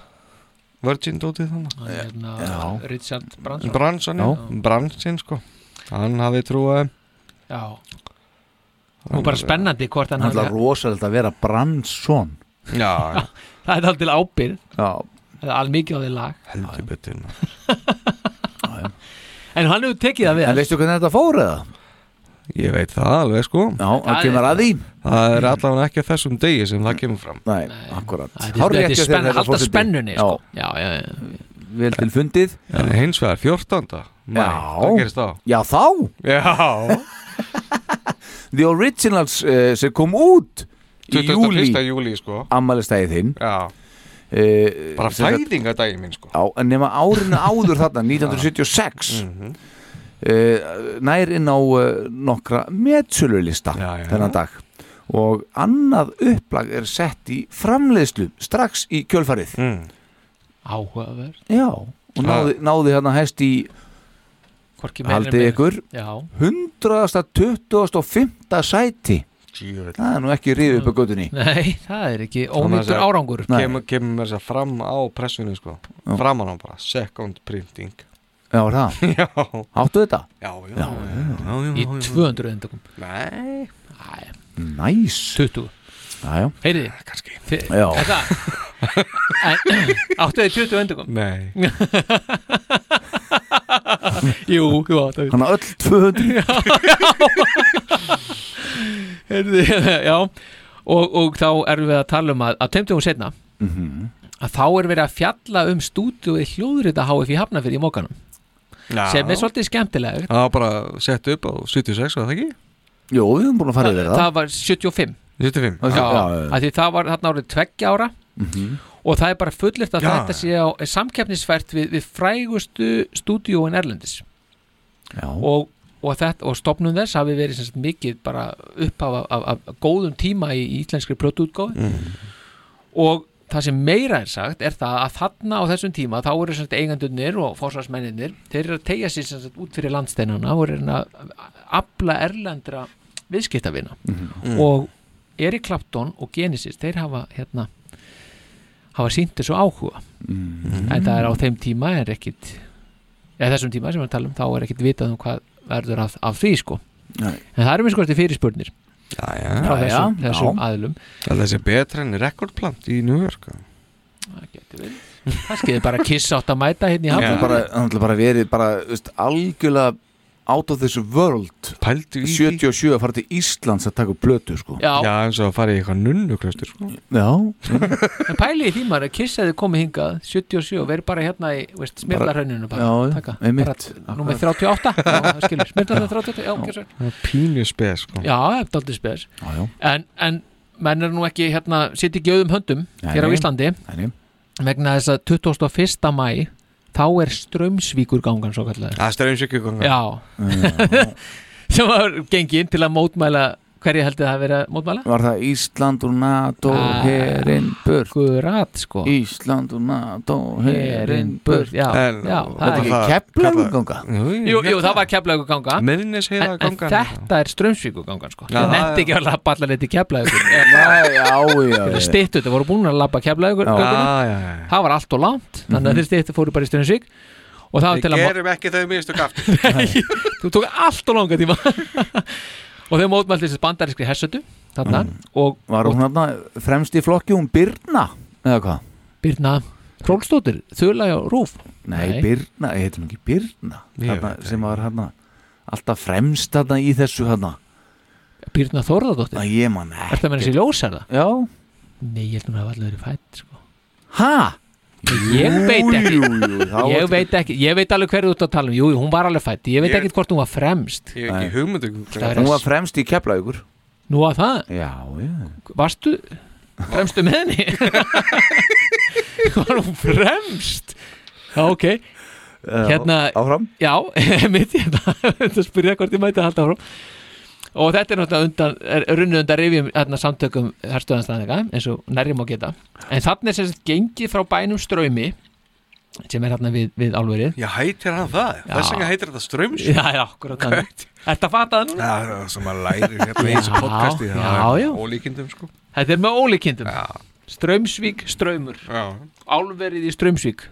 Virgin dótið þannig hérna, Já. Richard Branson Branson, já, Branson sko Hann hafi trúið þeim. Já, og bara spennandi hvort hann Hann er rosalega að vera Branson Já, Það er alltaf ábyrð já Það er almikið á því lag heldur betur En hann hefur tekið það við En veistu hvernig þetta fór eða? Ég veit það alveg sko Já, hann kemur að því Það er allavega ekki að þessum degi sem það kemur fram Nei, akkurat Þetta er spenn, halda spennunni sko. já, já, já. Vel til fundið En hins vegar 14. Mæ, það gerist þá Já, þá Já The Originals uh, sem kom út í 21. júli júli sko Ammælistæði þinn Já uh, Bara fæðingadaginn minn sko Já, en nema árinu áður þarna 1976 Mm. uh, nær inn á uh, nokkra metsölulista þennan dag og annað upplag er sett í framleiðslu strax í kjölfarið mm. Áhugaverð Já, og náði, náði hérna hæst í Hvorki meira haldið né minna. ykkur Já. 125. sæti Djöfull. Það er nú ekki rífið upp á götunni Nei, það er ekki ómyndur árangur Kemur, kemur mér þess að fram á pressunni sko Já. Framan á bara, second printing Já, er það? Já Áttu þetta? Já, já, já, já, já, Í 200 endagum Nei Næs 20 Já, já Heyriði Kanski Já. Þetta En, Áttu þið 20 endagum? Nei Jú, jú áttu þið. Þannig að öll 200 Já, já Heyrðu, Já og, og þá erum við að tala um að, að tömtum hún setna Mhm. að þá er verið að fjalla um stúdíu í hljóðrita HF í Hafnafyrði í mókanum Já. sem er svolítið skemmtilegt Það var bara sett upp á 76, var það ekki? Jú, við höfum búin að fara yfir það. það var 75 75 já, af því það var þarna árið tveggja ára Mhm. og það er bara fullirt að Já. þetta sé á er samkeppnisfært við, við frægustu stúdíóin Erlendis Já. og Og, þetta, og stopnum þess hafi verið sem sagt, mikið bara upphafa af, af, af góðum tíma í í íslenskri plötuútgáfi Mhm. og það sem meira er sagt er það að þarna á þessum tíma þá eru sem sagt, eigandunir og fórsvarsmenninir þeir eru að tegja sér sem sagt, út fyrir landsteinana og eru að afla erlendra viðskiptavina Mhm. og Erik Clapton og Genesis þeir hafa hérna hafa sínt þessu áhuga en það er á þeim tíma er ekkit eða þessum tíma sem við erum að tala um þá er ekkit vitað um hvað verður af, af því sko Nei. en það eru mér sko eftir fyrirspurnir já, já, frá þessum, þessum aðlum Ah, Það þessi betra enn rekordplant í New York kannski þið bara kiss átt að mæta hérna í Það er hafnum bara, það er bara verið bara, veist, algjörlega out of this world Pældu í 77 að fara til Íslands að taka upp blötu sko Já. Já, eins og að fara í eitthvað nunnuklaustur sko. Já, en pæli í því maður að kiss hefði komið hingað 77 og verið bara hérna í veist, smirlarhrauninu bara, já, taka einmitt Númer 38, já, það sko. skilur, smirlarhraun 38 já, gjörðu svo vel. Það er pínu spes sko. já, það er daldið spes Já, já. en, en menn er nú ekki hérna, sitt ekki auðum höndum Nei, hér á nei. Íslandi Nei. vegna þess að 21. mæ þá er strömsvíkur gangan svo kallar Það er um strömsvíkurgangan. Já, sem var gengin til að mótmæla hverju heldur það að vera mótmæla? Var það Ísland og NATO, Ah, herinn burt Akkurat sko Ísland og NATO, herinn Herinn burt burt, já, En- já, það Þetta er- er ekki kepplagur ganga Jú, jú, það var keflaðu ganga Miðnesheiðar En gangan. þetta er strömsvíku gangan sko Já, Það nefndi já. ekki að lappa allar leiti keflaðu Já, já, já. Stittu, það voru búin að lappa keflaðu Já, já, já. Það var allt og langt Mhm. Þannig að þeir stittu fóru bara í strömsvík Og það var til Við að mo- gerum ekki þau mistu gaft þú tók allt og langa tíma og þau mótmælti þessi bandarískri hersötu Mhm. þarna og Mm. Var hún þarna fremst í flokki, hún Birna eða hvað? Birna Królstóttir, Þula og Rúf Nei, Nei. Birna, ég heitum ekki Birna Ég þarna, sem var hérna alltaf fremst þarna í þessu hérna Birna Þórðardóttir að ég man Er það með þessi ljósarða? Já Nei, ég held hún að hafa allir verið fætt sko. Hæ? Ég veit ekki jú, jú, þá Ég var- veit ekki, ég veit alveg hverju þú ert að tala um Jú, jú, hún var alveg fætt, ég veit Ég- ekki hvort hún var fremst Ég hef ekki um hugmyndu er- Hún var fremst í Keflavíkur Nú að það, Já, já varstu Fremstu með henni Var hún fremst? Já, ok Hérna, áfram? Já, mitt hérna Þetta spyrja hvort ég mæti að halda áfram Og þetta er náttúrulega undan, er runnið undan rifjum hérna, samtökum herstöðanstæðinga eins og nærjum á geta En þannig er sem sagt gengið frá bænum ströymi sem er hérna við, við álverið Já, heitir hann það? Já. Þess vegna heitir þetta ströms Já, já, akkurat þannig. Þetta fattaði núna Já, það sem að læri hérna í þessu Já, podcasti já, já. Ólíkindum sko Þetta er með ólíkindum Strömsvík, ströymur Álverið í Strömsvík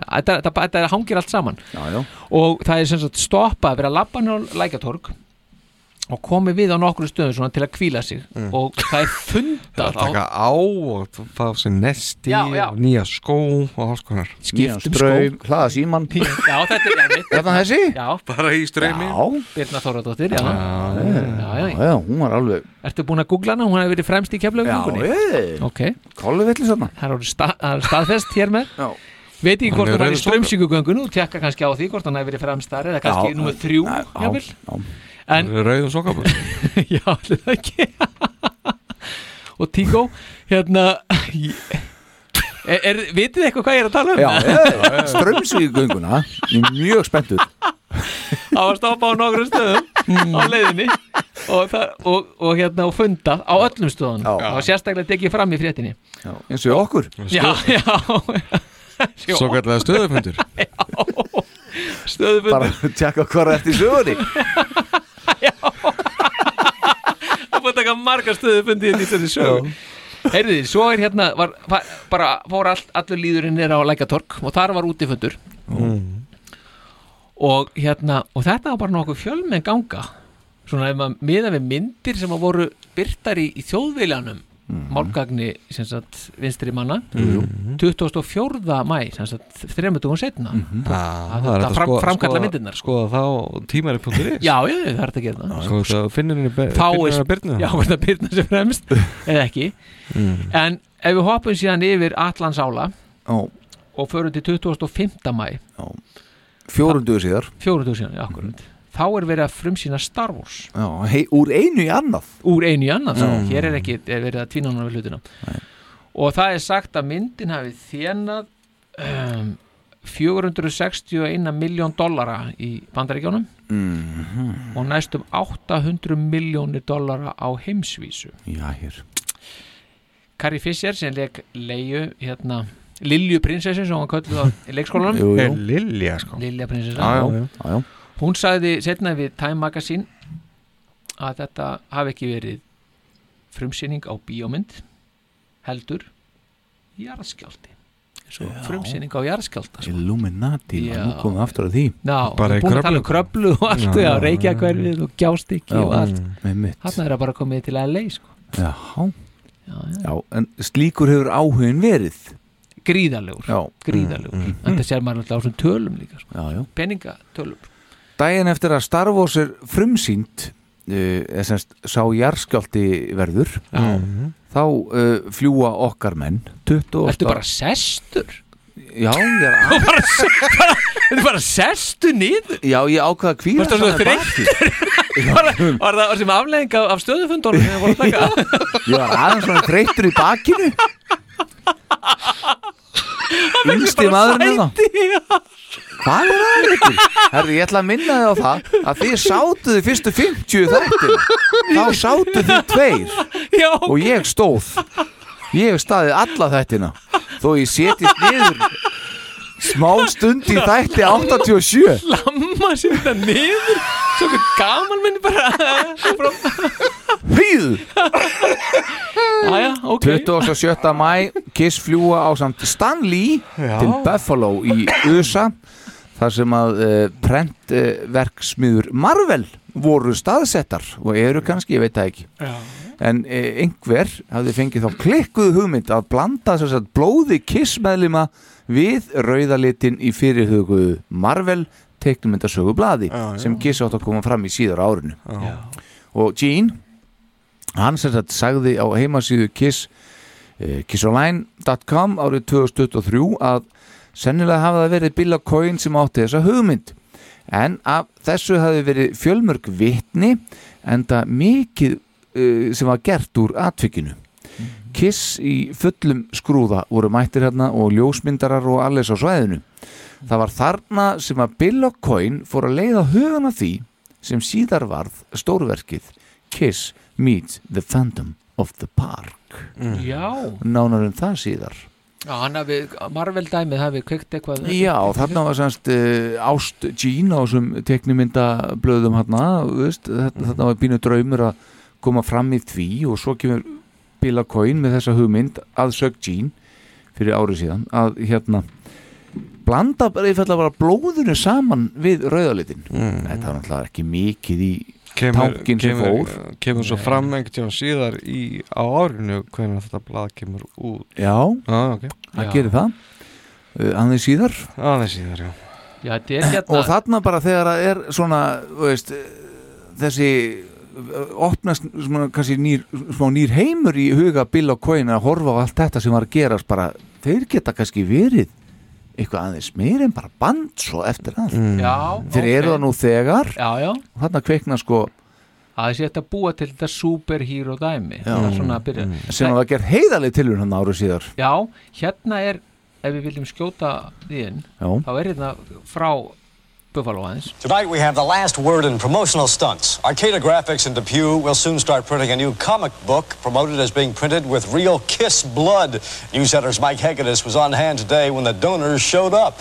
Þetta, þetta, þetta hangir allt saman já, já. Og það er sem sagt stoppað að vera labban á lækjatorg og komið við á nokkru stöðum svona til að kvíla sig Mm. og það er fundað Það taka á á og fá sér nesti Já, já. og nýja skó og alls konar Skiptum Nýjan straum, hlaða síman Já, þetta er erfitt Þarna Hérna, þessi? Já, Bara í streymi Já, Birna Þóradóttir, já. já, já, hún var alveg Ertu búin að googla hana? Hún hefur verið fremst í keflaugungunni Já, Ok Kollu villis þarna Það er orðið sta- það er staðfest hér með Já Veit ekki Hún er hvort hún var í rauður stóllur. strömsíkugöngun og tekka kannski á því hvort hann hefur verið fremst þar eða kannski Já, nummer þrjú já, jafnvel. En Rauðum sokabur Já, allir það ekki Og Tíkó Hérna ég- er, er, Vitið þið eitthvað hvað ég er að tala um? Já, já, strömsvíkugönguna Ég er mjög spenntur Það var stoppað á nokkrum stöðum á leiðinni og, það, og, og, hérna, og fundað á öllum stöðunum Það var sérstaklega tekið fram í fréttinni já, Eins og í okkur Já, já Svo kallega stöðufundur Stöðufundur Bara tjekka hvað er eftir sögunni Það búið að taka marga stöðufundi hérna í þessari sögu Heyrðu því, svo er hérna var, var, bara fór all, allur líðurinn nýra á Lækjatorg og þar var útifundur og hérna og þetta var bara nokkuð fjölmenn ganga svona ef maður miða við myndir sem að voru byrtar í, í þjóðviljanum málgagni sem sagt vinstri manna Mhm. 24. mæ sem sagt þremur dugum setna Ah, það er Ah, þetta fram, framkalla myndirnar sko. Skoða sko- þá tímari.is já, já, það er þetta að gera það Svo það finnir henni be- þá sko, finnur er henni að byrna já, hvort að byrna sem fremst eða ekki Mm. en ef við hoppum síðan yfir Atlans ála Ó. og förum til 25. mæ Fjórum dugur síðar Fjórum dugur síðar, já, akkurat Þá er verið að frumsýna Star Wars Já, hei, úr einu í annað Úr einu í annað, Já. mm. hér er ekki er verið að tvína hana við hlutina Og það er sagt að myndin hafi þjenað um, 461 miljón dollara í bandaríkjónum Mhm. og næstum 800 miljónir dollara á heimsvísu Já, hér Carrie Fisher sem leik Leiu hérna, Lilju prinsessu sem hún kölluð á í leikskólanum Jú, jú. Nei, Lilja, sko. Lilja prinsessa Já, já, já, já. já. Hún sagði setna við Time Magazine að þetta hafi ekki verið frumsýning á bíómynd heldur jarðskjálti Svo frumsýning á jarðskjálta Illuminati, Já. nú komum við aftur að því Já, Bara við erum í búin að tala um kröflu og allt já, reykjakverfið og gjástikki Já, og allt einmitt. Þarna er það bara komið til að leið sko. Já, já, en slíkur hefur áhugin verið Gríðarlegur, já. gríðarlegur mm, mm. sér maður alltaf á þessum tölum líka sko. Já, já peningatölum Dæin eftir að Star Wars er frumsýnd uh, eða semst sá jarskjálti verður Já. þá uh, fljúa okkar menn 28 Ertu bara sestur? Já, ég er að bara, bara, Þetta er bara sestu niður Já, ég ákvaða að kvíða Varstu saman svona Var, var það sem afleðing af, af stöðufundunum sem þið voru að taka? Ég var aðeins svona þreyttur í bakinu Yngsti maðurinn hérna. það Hvað er það ykkur? Herðu, ég ætla að minna þið á það að þið sátuðu fyrstu 50 þættir þá sátuðu þið tveir Já, og ég stóð ég hef staðið alla þættina þó ég setist niður smá stund í þætti 87 Lamma sér þetta niður Svo hvað gaman minn bara Hýð Æja, ok 27. mæ Kiss fljúa á samt Stan Lee Já. til Buffalo í USA þar sem að uh, prentverksmiður Marvel voru staðsettar og eru kannski, ég veit það ekki Já. en uh, einhver hafði fengið þá klikkuðu hugmynd að blanda þess að blóði Kiss meðlima við rauðalitin í fyrirhuguðu Marvel teiknumyndasögu blaði sem Kiss átt að koma fram í síðar árinu Já. og Gene hann sem sagt sagði á heimasíðu Kiss eh, kissonline.com árið 2023 að sennilega hafa það verið Bill Coyne sem átti þessa hugmynd en af þessu hafi verið fjölmörg vitni en það mikið uh, sem var gert úr atvikinu Kiss í fullum skrúða voru mættir hérna og ljósmyndarar og alles á svæðinu það var þarna sem að Bill Coyne fór að leiða hugana því sem síðar varð stórverkið Kiss meets the Phantom of the Park Já nánar um það síðar Já, hann hafi, Marvel dæmið hafi kveikt eitthvað Já, þarna var semst uh, Ást Jean á þessum teknimyndablöðum hérna, þú veist, þetta, þarna var bínu draumur að koma fram í því og svo kemur Bill Coyne með þessa hugmynd að sög Jean fyrir árið síðan að hérna blanda bara, ég fælla bara blóðinu saman við rauðalitin þetta var náttúrulega ekki mikið í tankin sem fór Mm. kemur svo fram einhvern tíma síðar í, á árinu hvernig þetta blað kemur út Já, ah, ok. það gerir það uh, aðeins síðar aðeins síðar, já Já, þetta er hérna og þarna bara þegar það er svona þú veist, eh, þessi eh, opnast svona, kannski nýr, smá nýr heimur í huga Bill og Coyne að horfa á allt þetta sem var að gerast bara, þeir geta kannski verið eitthvað aðeins meir en bara band svo eftir allt Já, þeir ok. eru það nú þegar Já, já og þarna kveikna sko að þessi þetta búa til þetta superhero dæmi Já. Mm. Það er svona að byrja sem var gerð heiðalið tilur hann árið síðar Já, hérna er ef við viljum skjóta því inn Já. þá er hérna frá Buffalo aðeins Tonight we have the last word in promotional stunts. Arcada Graphics in Depew will soon start printing a new comic book promoted as being printed with real Kiss blood. Newsletters Mike Hegedus was on hand today when the donors showed up.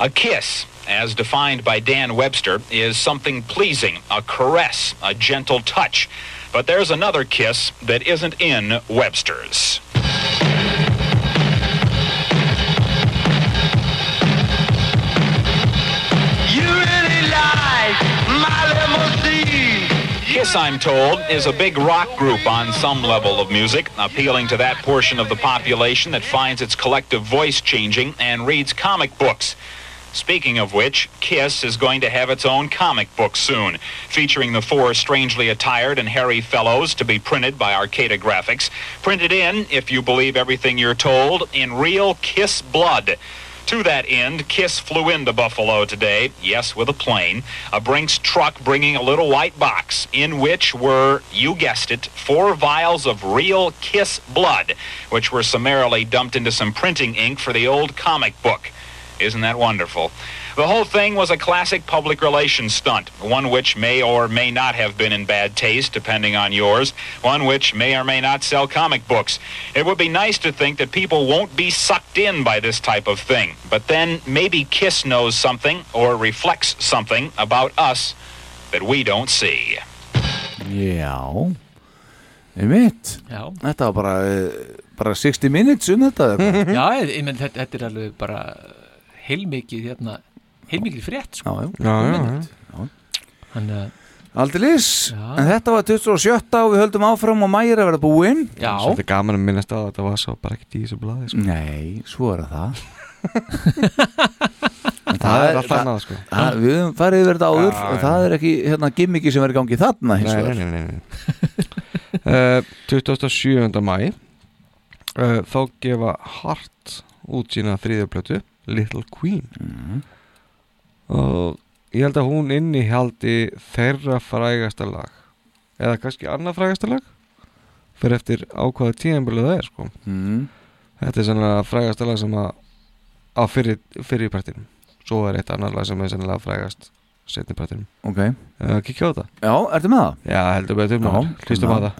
A kiss, as defined by Dan Webster, is something pleasing, a caress, a gentle touch. But there's another kiss that isn't in Webster's. You really like my limousine. Kiss, I'm told, is a big rock group on some level of music, appealing to that portion of the population that finds its collective voice changing and reads comic books. Speaking of which, Kiss is going to have its own comic book soon, featuring the four strangely attired and hairy fellows to be printed by Arcada Graphics. Printed in, if you believe everything you're told, in real Kiss blood. To that end, Kiss flew into Buffalo today, yes, with a plane, a Brinks truck bringing a little white box in which were, you guessed it, four vials of real Kiss blood, which were summarily dumped into some printing ink for the old comic book. Isn't that wonderful? The whole thing was a classic public relations stunt, one which may or may not have been in bad taste, depending on yours, one which may or may not sell comic books. It would be nice to think that people won't be sucked in by this type of thing, but then maybe Kiss knows something or reflects something about us that we don't see. Já Einmitt Já. Þetta var bara, eh, bara 60 minutes um þetta eða hvað? Já, ég ég menn þetta, þetta er alveg bara heilmikið hérna, heilmikið frétt sko. já, Um já, þetta. já, já. Aldeilis, en þetta var 27 og við höldum áfram og mægir að vera búinn Já. Svolítið gaman að minnast á að þetta var svo bara ekkert í þessu blaði sko. Nei, svo er það En Það er allt annað, sko. það, Við höfum farið yfir þetta áður Já, og já. það er ekki hérna gimmiki sem er í gangi þarna hins Nei, vegar. nei, nei, uh, 27. mæ uh, þá gefa Hart út sína þriðjöplötu Little Queen Mhm. og ég held að hún inni haldi þeirra frægasta lag eða kannski annað frægasta lag fyrir eftir ákvaða tíðanbölu það er sko mm. þetta er sennilega frægasta lag sem að á fyrir, fyrir partinum svo er eitt annar lag sem er sennilega frægast setni partinum Ok. uh, Kikki á þetta Já, ertu með það? Já, heldur Já, betur maður. Hlustum á já, það.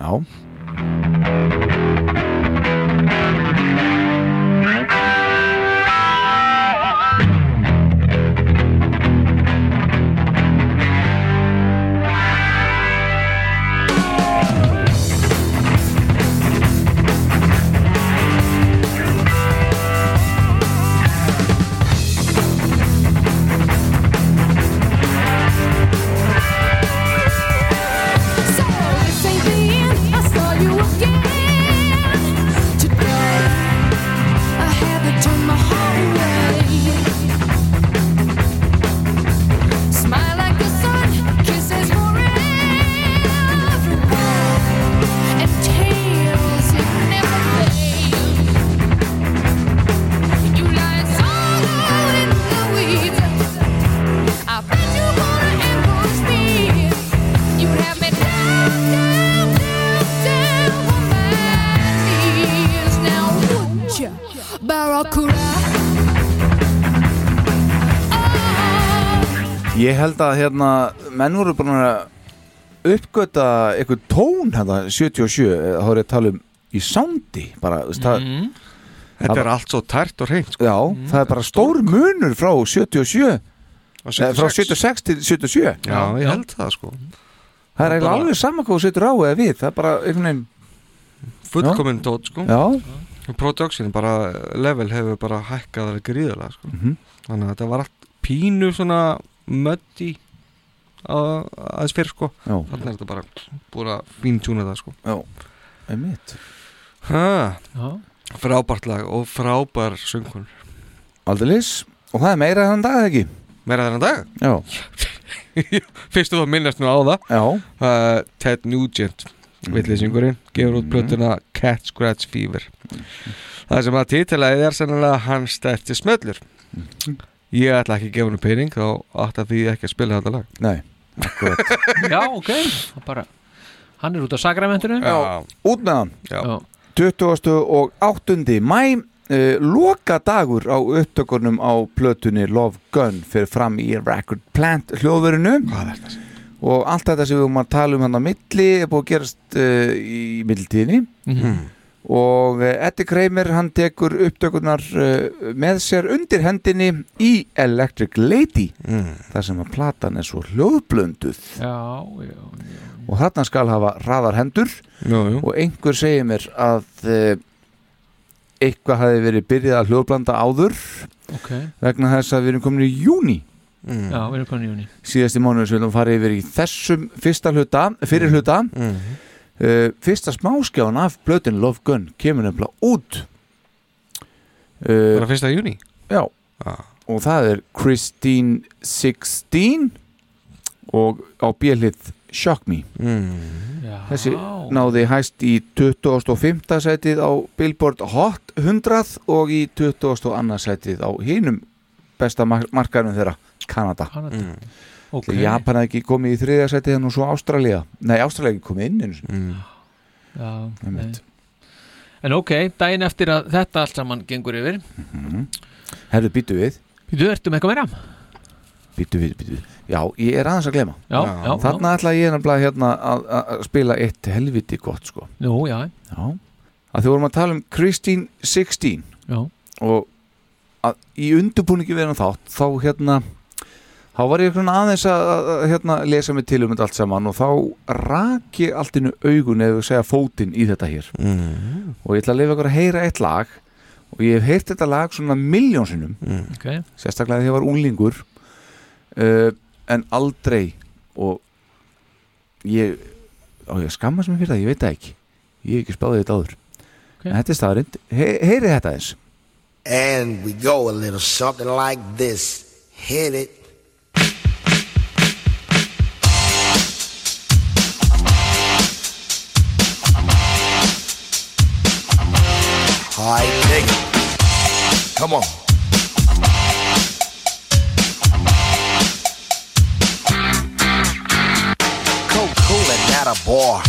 Já So this ain't the end. I saw you again today. I had to turn my heart away. Smile like the sun, kisses for everyone, and tales it never fades. You lie so low in the weeds. I bet you wanna ambush me. You have me down, down, down, down on my knees. Now would ya, Barracuda? Ég held að hérna menn voru búin að uppgöta eitthvað tón hérna 77, eh, þá er ég að tala um í soundi bara, þú veist, það Þetta er allt svo tært og hreint sko. Já, það er bara stór munur frá 77 eh, frá 76 til 77 Já, ég held það sko Það er eiginlega bara- alveg saman hvað þú setur á eða við það er bara einhvern veginn Fullkomin tótt sko Já. Production bara level hefur bara hækkað alveg gríðarlega sko Mhm. Þannig að þetta var allt pínu svona mötti aðeins fyrr sko Já. Þannig er þetta bara búið að fíntjúna það sko Já, einmitt ha, Já. Frábært lag og frábær söngun Aldeilis, og það er meira þann dag eða ekki Meira þann dag? Já Fyrstu þá minnast nú á það Já Mm. uh, Ted Nugent villesingurinn gefur út plötuna Cat Scratch Fever Það sem að titilaðið er sennilega hans stæfti smöllur Ég ætla ekki að gefa hennu pening þá átt að því ekki að spila þetta lag Nei, akkurat já, ok Það bara, Hann er út á sakramentinu Út með hann Já. 20. og 8. mæ uh, loka dagur á upptökunum á plötunni Love Gun fyrir fram í Record Plant hljóðverinu og allt þetta sem við erum að tala um hann á milli er búið að gerast uh, í mildtíðinni Mhm. og uh, Eddie Kramer hann tekur upptökunar uh, með sér undir hendinni í Electric Lady þar sem að platan er svo hljóðblönduð Já, já og þarna skal hafa raðar hendur jú, jú. og einhver segir mér að e, eitthvað hafi verið byrjað að hljóðblanda áður Ok. vegna þess að við erum komin í júni Já, við erum komin í júni síðasti mánuður sem við viljum fara yfir í þessum fyrsta hluta, fyrir hluta Eh, mm. fyrsta smáskján af blötin Love Gun kemur nefnilega út uh, Bara fyrsta júni? Já, og það er Christine 16 og á bjöðlið Shock Me þessi Já. náði hæst í 25. sætið á Billboard Hot 100 og í 22. sætið á hinum besta mar markarum þeirra Kanada, Kanada. Ok. Okay. Japan hafði ekki komið í þriðja sætið en nú svo Ástralía nei, Ástralía hafði ekki komið inn mm. Ah, Já, Einmitt. nei. en ok, daginn eftir að þetta allt saman gengur yfir Mhm. herðu býtu við Þú ertu með eitthvað meira? býtu við, býtu við já, ég er aðeins að glema Já, já, já. þarna ætla ég nefnilega hérna að, að að spila eitt helviti gott sko Nú, já, Já, að þið vorum að tala um Christine 16 Já. og að í undurbúningi við hann þátt þá hérna þá var ég svona aðeins að, að að, hérna, lesa mig til um þetta allt saman og þá rak ég allt innu augun eða segja fótinn í þetta hér mm. og ég ætla að lifa ykkur að heyra eitt lag og ég hef heyrt þetta lag svona miljónsinnum mm. okay. sérstaklega þegar ég var unglingur uh, en aldrei og ég, á, ég að skammast mér fyrir það, ég veit það ekki ég hef ekki spáðið þetta áður en þetta er staðarind, He, heyrið þetta eins And we go a little something like this. Hit it. All right, dig it. Come on. Cool, cool, and at a bar.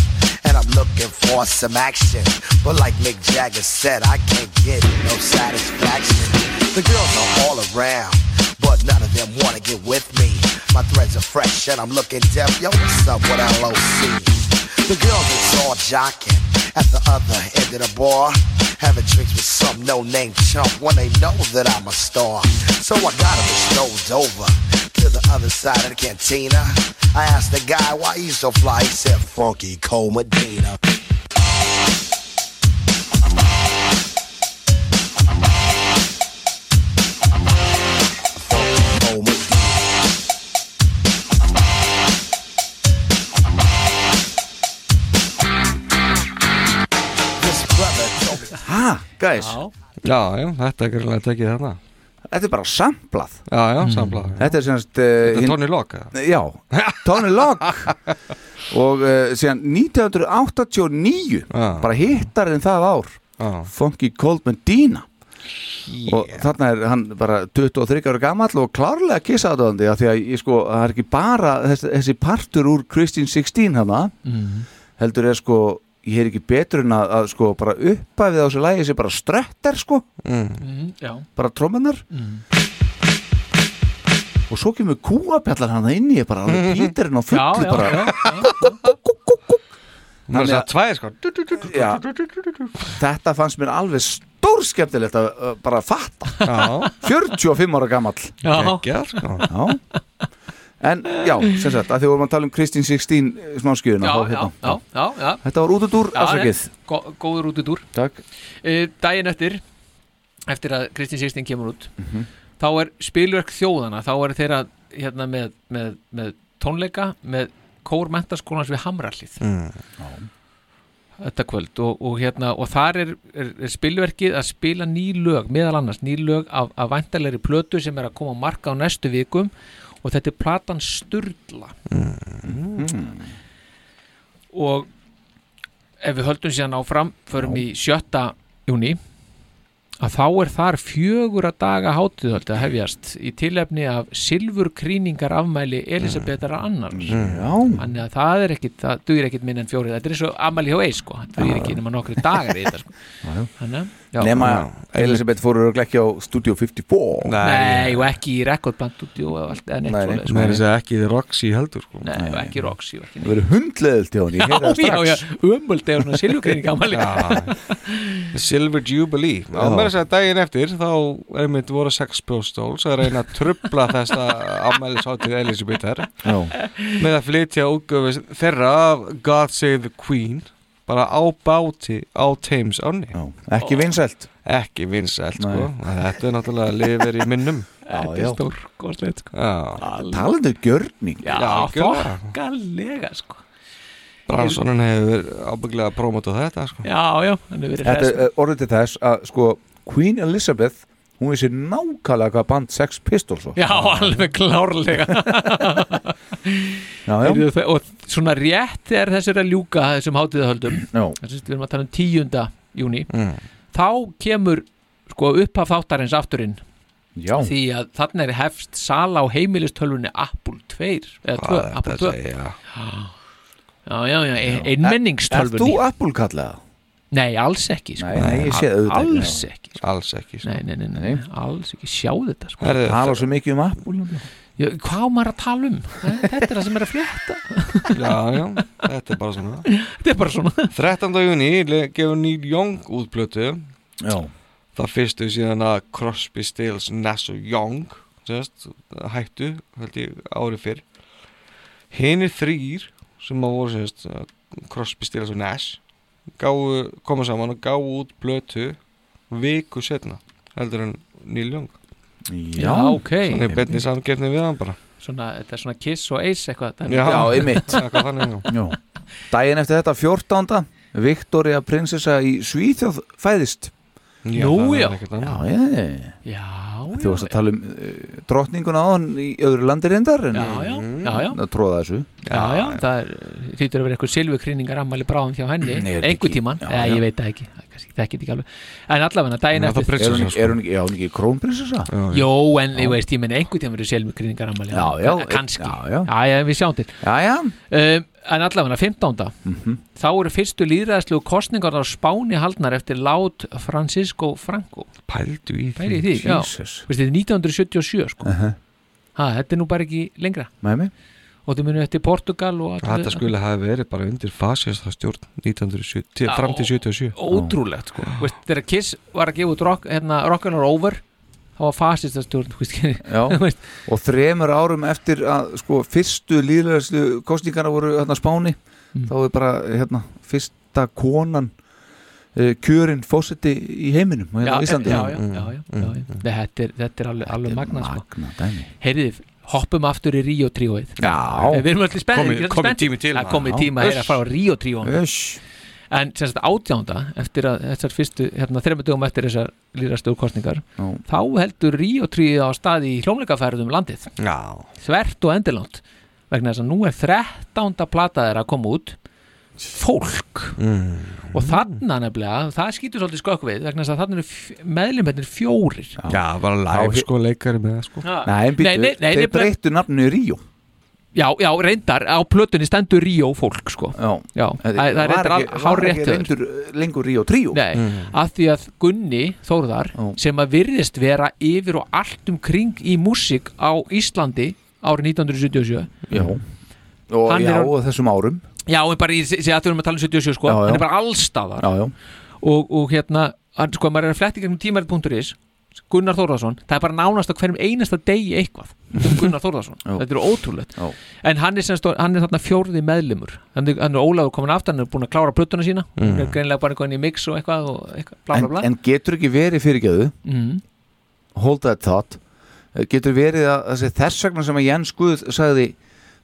And I'm looking for some action. But like Mick Jagger said, I can't get no satisfaction. The girls are all around, but none of them wanna get with me. My threads are fresh and I'm looking deaf. Yo, what's up with LOC? The girls is all jocking at the other end of the bar. Having drinks with some no-name chump when they know that I'm a star. So I got him strolled over to the other side of the cantina. I asked the guy why he's so fly. He said, Funky Cole Medina. Cole Medina. This brother told me. Ha, guys Já, já, þetta er greinlega tekið þarna Þetta er bara samplað Já, já, samplað já. Þetta er semast uh, Þetta er hinn- Tony Locke eða? Já, Tony Locke og uh, síðan 1989 bara hittar en það ár Funky Cold Medina og þarna er hann bara 23 ára gamall og klárlega kissaðandi af því að ég sko, það er ekki bara þessi, þessi partur úr Christine 16 hana heldur er sko ég er ekki betur en að, að sko bara uppæfið á þessu lægi sé bara ströttar sko Mm. Mhm, já. bara trómanar Mm. og svo kemur kúabjallar hann inn í ég bara alveg Mhm. píturinn á fullu Já, já, bara já, Hún er Þannig þess að- að tvæði sko Já. þetta fannst mér alveg stór skemmtilegt að uh, bara fatta Já. 45 ára gamall Já. Geggjað, sko. Já. en já, sem sagt, að því vorum að tala um Kristín eh, 16 smáskjöðuna já, já, já, já, já. hérna. Þetta var út út úr Já, afsakið nei, gó- Góður út út úr Takk uh, Dæin eftir Eftir að Kristín Sýrstin kemur út Þá er spilverk þjóðana Þá er þeirra hérna, með, með, með tónleika Með kór mentaskólans við Hamrallið Þetta kvöld og, og, hérna, og þar er, er, er spilverkið að spila ný lög Meðal annars ný lög af, af væntalegri plötu Sem er að koma á marka á næstu vikum Og þetta er platan Sturla og ef við höldum síðan áfram förum í sjötta júni að þá er þar fjögur að daga hátíðöld að hefjast í tilefni af silfurkrýningar afmæli Mm. Elisabetar annars Já. þannig að það er ekkit, það dugir ekkit minn en fjórið þetta er svo afmæli hjá eis sko það dugir ekki nema nokkri dagar í þetta sko. Þannig, að- já. nema Elisabeth fóru örugglega ekki á Studio 54 Nei, og ekki í rekordband út og allt en eitt svoleið Mér er þess að ekki þið Roxy heldur sko Nei, og ekki Roxy og ekki það verið hundleðilt hjá hann, ég heyra það Já, já, strax já, umöld eða svona silfurkrýning afmæli The Silver Jubilee Já. og mér þess að segja daginn eftir þá er mitt voru sex spjóstóls að reyna að trubla þessa afmælisháttið Elisabetar Já. með að flytja útgöfu þeirra af God Save the Queen bara á báti á Thames áni já. ekki vinsælt ekki vinsælt sko. þetta er náttúrulega lifir í minnum Þetta er stórkostlegt sko. talandi um gjörning Já, Já, gjörða. þokkalega sko Bransonin hefur ábygglega prómótað þetta sko. Já, já, hann hefur verið Þetta hress. er uh, orðið til þess að sko Queen Elizabeth hún vissi nákvæmlega hvað band Sex Pistols var. Já, alveg klárlega Já, já. Heyrðu, þe- og svona rétt er þessir að ljúka þessum hátíðahöldum þessum við erum að tala um 10. júni Mm. þá kemur sko upphaf þáttarins afturinn Já. því að þannig er hefst sala á heimilistölvunni Apple 2 eða 2, Hvað er Apple þetta 2 að segja? já, já, já, einmenningstölvunni Er þú Apple kallaða? Nei, alls ekki sko. Nei, nei, ég sé auðvitað ekki, Alls já. ekki Alls ekki sko. nei, nei, nei, nei, alls ekki Sjá þetta sko Það tala svo mikið um Apple Já, Hvað á maður að tala um? Þetta er það sem er að flétta Já, já, þetta er bara svona Þetta er bara svona 13. júni gefur Neil Young út plötu Já Það fyrstu síðan að Crosby, Stills, Nash og Young sérst, hættu, held ég, árið fyrr Hinir þrýr sem að voru sérst, Crosby, Stills og Nash gáu, koma saman og gáu út plötu viku setna heldur en Neil Young Já, ok. Þannig er betni samgefni við hann bara svona, Þetta er svona kiss og ace eitthvað þetta er- Já. Já, einmitt Eitthvað þannig, já. Dæin eftir þetta 14. Victoria prinsessa í Svíþjóð fæðist Já, Nú, það er já. ekkert Já, annað. ég. Já, Þú varst að tala um uh, drottninguna á hann í öðru landi reyndar en, Já, já, já, já. að tróða þessu Já, já, það er, þýttur að vera eitthvað silfukrýningar ammali bráðum hjá Nei, henni, er þetta einhver ekki- tíman já, já, já. ég veit það ekki, það er kannski- þekki þetta ekki alveg en allavega daginn er, eftir hún, sko. er, hún, er hún ekki krónprinsessa? Jó, en ég veist, ég menn einhvern tíma verið selmugrýningar ammali Já, já, Kannski, já, já, já, við sjáum til Já, já um, En allavega, 15. Þá eru fyrstu líðræðslegu kostningar á Spáni haldnar eftir lát Francisco Franco Pældu í Bæri því, já Jesus. Veistu, þetta er 1977 sko Uh ha, Þetta er nú bara ekki lengra Með mig Og þau munu eftir Portugal og allir- Þetta skulle hafa verið bara undir fasista stjórn 1970, til- Já, fram til 77 ótrúlegt sko Vist, þegar Kiss var að gefa út rock, hérna, Rockin' Over þá var fasista stjórn veist, ekki? Já, og þremur árum eftir að sko, fyrstu líðræðslu kostningarna voru hérna á Spáni Mm. þá er bara hérna fyrsta konan uh, kjörin fósetti í heiminum og hérna á Já, Íslandi Mm. já, já, Mm. já, já, já, já. Nei, þetta, er, þetta er alveg, alveg magna, magna sko. Heyrðið, hoppum aftur í Ríó tríóið Já. Við erum allir spennt Komið- komið tími til, Það komið maður. tíma að heyra Uss. að fara á Ríó tríóið Uss. En sem sagt átjánda eftir að þessar fyrstu, hérna þreymur dögum eftir þessar líðrastöðu kostningar Já. þá heldur Ríó tríóið á staði í hljómleikaferðum landið Já. Þvert og endilangt vegna þess að nú er 13. plata þeirra að koma út Fólk mm. og þarna nefnilega, það skýtur svolítið skökk við vegna þess að þarna eru meðlumhetnir fjórir Já, bara live Þá- sko leikari með það sko Nei, en Nei, býttu, nei, nei, þeir nefnilega- breyttu nafninu í Ríó Já, já, reyndar, á plötunni stendur Ríó fólk sko Já, já. Það, það er reyndar al- var hárrétt ekki hjá þér. reyndur uh, lengur Ríó Tríó Mm. Nei, að því að Gunni Þórðar sem að virðist vera yfir og allt um kring í músík á Íslandi árið 1977 Já, og, Hann já, er- og þessum árum Já, en bara í, sé að við erum að tala um 77 sko Já, já. hann er bara allstaðar Já, já. Og, og hérna, hann, sko, maður er að fletti gegnum tímarit.is Gunnar Þórðarsson, það er bara nánast á hverjum einasta degi eitthvað um Gunnar Þórðarsson, Já. þetta eru ótrúlegt Já. en hann er, semst, hann er þarna fjórði meðlumur hann er, hann er Ólafur komin aftur, hann er búin að klára plötuna sína Mm. hann er greinlega bara eitthvað inn í mix og eitthvað, og eitthvað bla, en, bla, bla. en getur ekki verið fyrirgeðu Mhm. hold that thought eh, getur verið að, að sé þess vegna sem að Jens Guð sagði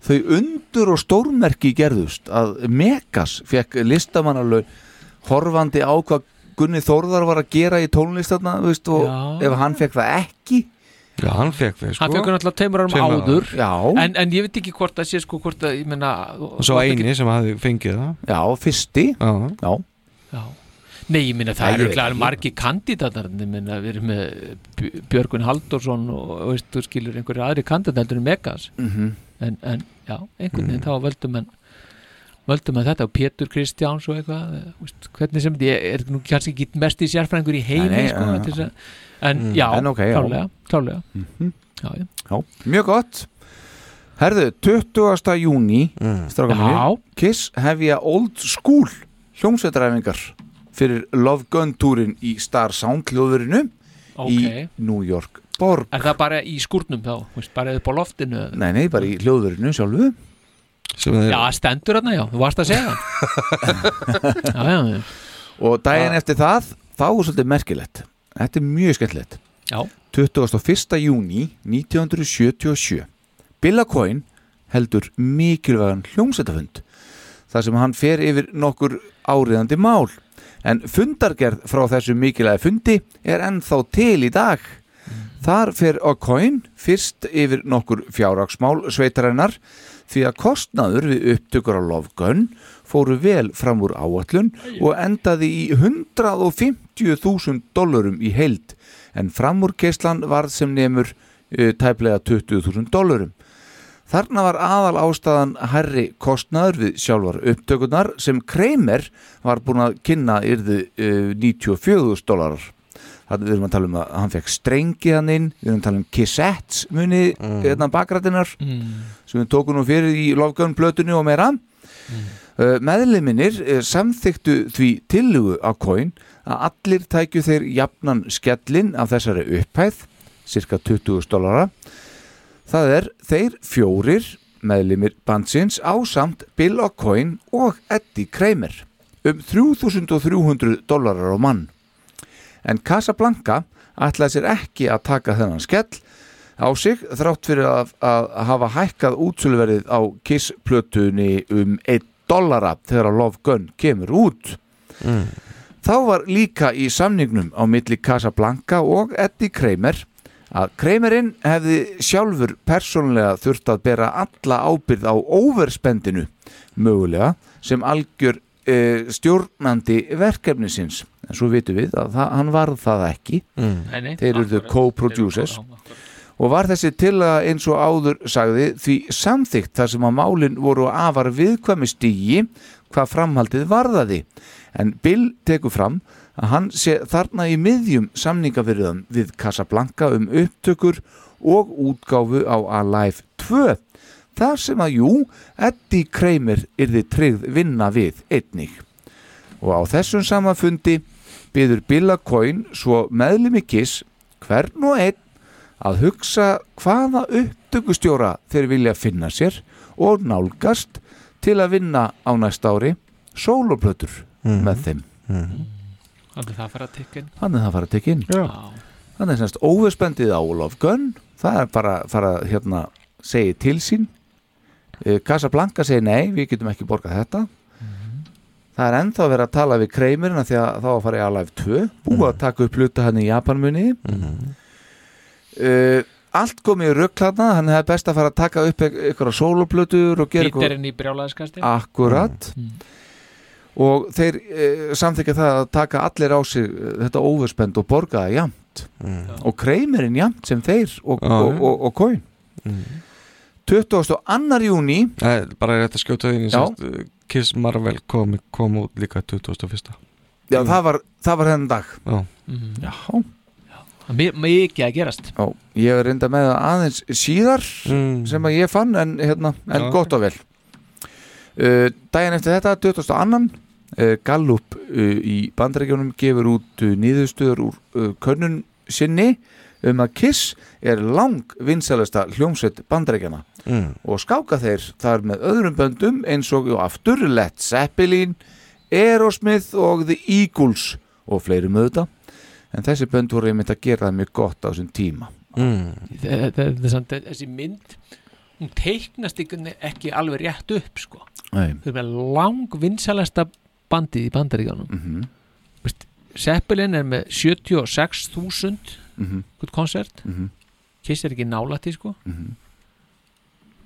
þau undur og stórmerki gerðust að Megas fekk listamannalaun horfandi á hvað Gunni Þórðar var að gera í tónlistarna þú veist, og Já. ef hann fekk það ekki Já, hann fekk það hann fekk hann alltaf tveimur árum Tveimur árum. áður sko- Já. en, en ég veit ekki hvort að sé sko hvort að ég menna Og svo eini sem hafði fengið það Já, fyrsti Já, já. nei ég menna Nei, það ég eru veit klæðar ekki. margi kandidatar ég menna við erum með Bj- Björgvin Halldórsson og og veist þú skilur einhverju aðri kandidatar en Megas Mhm. en, en já einhvern veginn þá völdum en völdum að þetta og Pétur Kristjáns og eitthvað eh, veist, hvernig sem þetta ég er nú kannski ekki mest í sérfræðingur í heimi Nei, nei, sko, já, til þess já. að- en Mm. já, En ok, já. klálega, klálega. Mhm. Já, já. Já, mjög gott Herðu, 20. júni mm. Kiss hefja Old School hljómsveitaræfingar fyrir Love Gun túrin í Star Sound hljóðurinu í Ókei. New York Borg er það bara í skúrnum þá veist, bara upp á loftinu eða- Nei, nei, bara í hljóðurinu sjálfu Já, það stendur hérna, já, þú varst að segja það já, já. Ah. Og daginn eftir það, þá er svolítið merkilegt Þetta er mjög skemmtilegt Já. 21. júni 1977 Billa Coyne heldur mikilvægan hljómsættafund þar sem hann fer yfir nokkur áriðandi mál en fundargerð frá þessu mikilvægi fundi er ennþá til í dag Þar fer O'Coin fyrst yfir nokkur fjárraksmál sveitarinnar því að kostnaður við upptökur á Love Gun fóru vel fram úr áallun og endaði í 150.000 dollurum í heild en framúrkeislan varð sem nemur eh, tæplega 20.000 dollurum. Þarna var aðal ástæðan herri kostnaður við sjálfar upptökurnar sem Kramer var búin að kynna yrði uh, 94.000 dólarar. Þannig við erum að tala um að hann fekk strengi hann inn, við erum að tala um kissettes muni mm. hérna bakrættinar Mm. sem við tókum nú fyrir í Lofgjörn plötunni og meira. Uh, meðliminir uh, samþyktu því tillugu á kóin að allir tækju þeir jafnan skellin af þessari upphæð, cirka 20 dollara. Það er þeir fjórir meðlimir bandsins ásamt Bill O'Coin og Eddie Kramer um 3300 dollarar á mann. En Casablanca ætlaði sér ekki að taka þennan skell á sig þrátt fyrir að, að hafa hækkað útsöluverið á Kiss-plötunni um 1 dollara þegar að Love Gun kemur út. Þá var líka í samningnum á milli Casablanca og Eddie Kramer að Kramerinn hefði sjálfur persónlega þurft að bera alla ábyrð á overspendinu mögulega sem algjör e, stjórnandi verkefnisins en svo vitum við að það, hann varð það ekki Nei, nei, þeir eru akkurat. co-producers og var þessi til að eins og áður sagði því samþygt þar sem að málin voru á afar viðkvæmi stígi hvað framhaldið varðaði en Bill tekur fram að hann sé þarna í miðjum samningafyrðum við Casablanca um upptökur og útgáfu á Alive 2 þar sem að jú, Eddie Kramer yrði tryggð vinna við einnig og á þessum sama fundi byður Billa Coyne svo meðlimi Kiss hvern og einn að hugsa hvaða upptökustjóra þeir vilja finna sér og nálgast til að vinna á næsta ári sóloplötur með þeim Þannig það fara að tikka inn þannig að það fara að tekja inn þannig að semst óverspendið á Olof Gunn það er bara fara hérna segi til sín Eh, Casablanca segi nei, við getum ekki borgað þetta Mhm. það er ennþá verið að tala við kreimirina því að þá að fara í Alive 2 búið Mhm. að taka upp hluta hann í Japanmunni uh, allt komið í rökklaðna hann hefði best að fara að taka upp eit- einhverja sóloplötur og gera eitthvað- Bíterinn í brjálæðiskasti Mhm. Akkurat Og þeir uh, samþykja það að taka allir á sig eh, þetta óverspend og borga það jamt og kreimirinn jamt sem þeir og, Mm. Já, og, já. og, og kóin 22. júni Nei, bara rétt að skjóta því Já. eh, Kiss Marvel kom, kom út líka 2001 Já, það var, það var hennan dag Mm. Já. Já Mikið að gerast Já, ég er reynda með það aðeins síðar sem að ég fann en, hérna, en Já. gott og vel uh, Dæin eftir þetta, 22. Uh, Gallup uh, í bandarækjunum gefur út uh, nýðustuður úr uh, könnun sinni um að Kiss er lang vinsælasta hljómsveit bandarækjana Mm. og skáka þeir þar með öðrum böndum eins og jú, aftur Led Zeppelin, Aerosmith og The Eagles og fleiri með þetta en þessi bönd voru einmitt að gera það mjög gott á þessum tíma mm. Þe- þe- þe- samt að Þessi mynd Hún teiknast ykkur ekki alveg rétt upp sko. Nei. Þau með lang vinsælasta bandið í bandaríkanum mm -hmm. Seppelin er með 76.000 Mhm. hvort konsert Mhm. Kiss er ekki nálætti sko Mm. Mhm.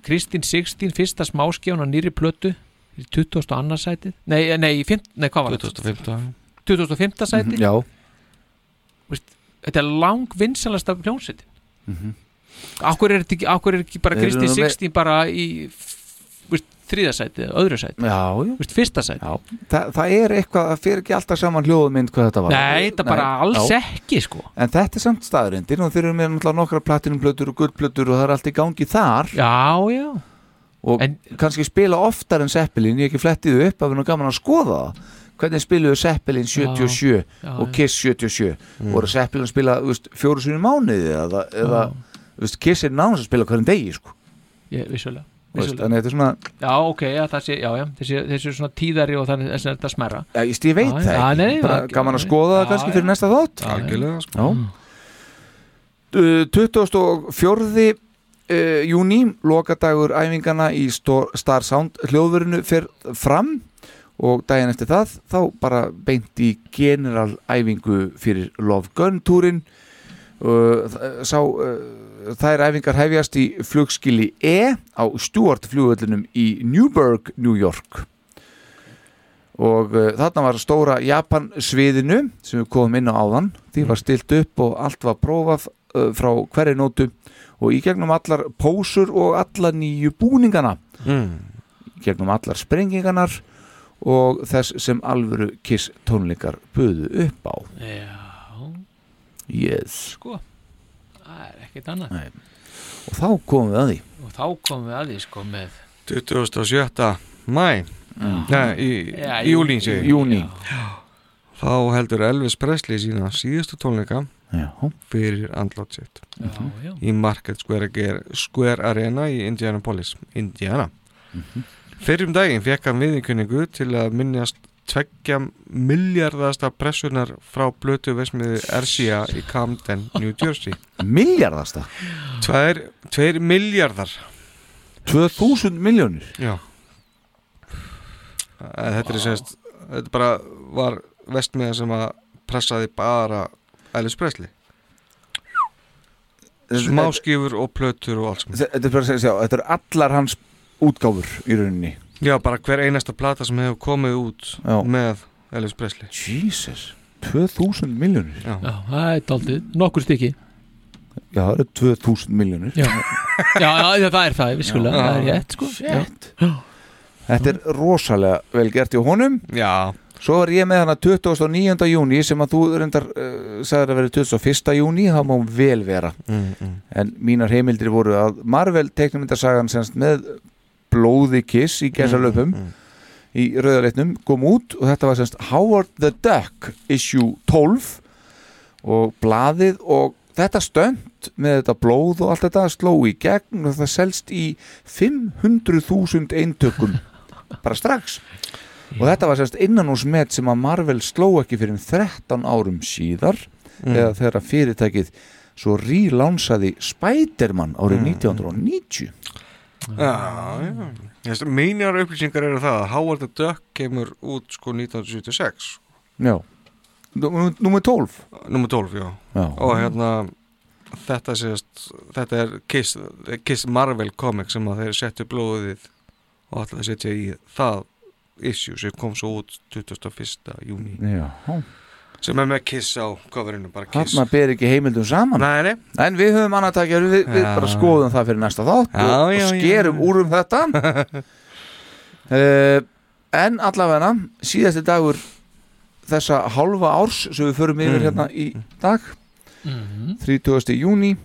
Kristín Sigstín fyrsta smáskján á nýri plötu í 22. sætið nei, eh, nei, í fimt, nei hvað var það? 2015 2005. sæti Já Vist, Þetta er lang vinsalasta hljónsæti Akkur er, þetta ekki, akkur er ekki bara Þeir eru Kristín nú með- Sigstín bara í vist, þriða sæti eða öðru sæti Já, já. Vist, fyrsta sæti já. Þa, það er eitthvað, það fyrir ekki alltaf saman hljóðmynd hvað þetta var Nei, þetta bara alls já. ekki sko En þetta er samt staðurindin og þeir eru með náttúrulega nokkra platinumplötur og gullplötur og það er allt í gangi þar Já, já Og kannski spila oftar en Seppelin, ég hef ekki flettið upp af hennu gaman að skoða það Hvernig spiluðu Seppelin 77 Já, já, Mm. og Kiss 77 Voru Seppelin að spila þú veist, fjóru sinni í mánuði eða, eða þú veist, Kiss er nánast að spila hverjum degi sko. Ég, vissulega, Þú veist, vissulega. Þannig að þetta er svona Já, ok, já, það sé, já, já, þessi, þessi er svona tíðari og þannig þess að þetta smerra Já, ég, ég veit það já, ekki. nei, bara það- gaman að skoða það Já, kannski já. fyrir næsta þátt Algjörlega, sko. 24. Uh, júni lokadagur æfingana í Stor, Star Sound hljóðverinu fer fram og daginn eftir það þá bara beint í general æfingu fyrir Love Gun túrin Uh, þ- sá, uh, þær æfingar hefjast í flugskili E á Stuart flugvöllunum í Newburgh, New York og uh, þarna var stóra Japan sviðinu sem við komum inn á áðan Mm. því var stilt upp og allt var prófað uh, frá hverri nótu og í gegnum allar pósur og alla nýju búningana Mm. í gegnum allar sprenginganar og þess sem alvöru kiss tónleikar buðu upp á Já, yes sko Það er ekkert annað Nei. og þá komum við að því Og þá komum við að því sko með 27. mæ Nei, í, Já, í júli sé ég. Júní. Þá heldur Elvis Presley sína síðustu tónleika Já. fyrir andlátt sitt Mhm. já. í Market Square, Gar- Square Arena í Indianapolis, Indiana Mhm. Fyrrum daginn fekk hann viðinkunningu til að minnjast tveggja miljardasta pressunar frá blötu vesmiði RCA í Camden, New Jersey Miljardasta? Tveir, tveir miljardar 2000 miljónir? Já Eh, Þetta er semst Þetta bara var vestmiða sem að pressaði bara Elvis Presley Smáskífur og plötur og allt saman Þe- þetta er, bara að segja- þetta er allar hans útgáfur í rauninni Já, bara hver einasta plata sem hefur komið út Já. með Elvis Presley Jesus, 2000 miljónir Já, Já, það er daldið, nokkur stykki það eru 2000 miljónir Já, já, já það er það, viskulega, Já. það er rétt sko Shit. Þetta er rosalega vel gert í honum Já Svo var ég með hana 29. júni sem að þú reyndar uh, sagðir að vera 21. júni, það má vel vera Mm, mm. en mínar heimildir voru að Marvel teiknumindasagan semst með blóði kiss í gæsalöpum í rauðarleitnum kom út og þetta var semst Howard the Duck issue 12 og blaðið og þetta stönd með þetta blóð og allt þetta sló í gegn og það selst í 500.000 eintökum bara strax og þetta var semst innan hús met sem að Marvel sló ekki fyrir 13 árum síðar Mm. eða þegar að fyrirtækið svo rílánsaði Spiderman Mm. árið 1990 Já, já. Ég veist, Mínar upplýsingar eru það að Howard the Duck kemur út sko 1976 Já Númer 12 Númer 12, já, Já. Og hérna Þetta, sést, þetta er Kiss, Kiss Marvel comic sem að þeir settu blóðið og ætlaði að setja í það issue sem kom svo út 21. júni Já. sem er með Kiss á coverinu bara Kiss Þarna ber ekki heimildum saman nei, nei. En við höfum annað takja Við, við Já. bara skoðum það fyrir næsta þátt Já, og, já, og já. skerum úr um þetta uh, En allavega Síðasti dagur Þessa hálfa árs sem við förum yfir Mm. hérna í dag Mhm. 30. júni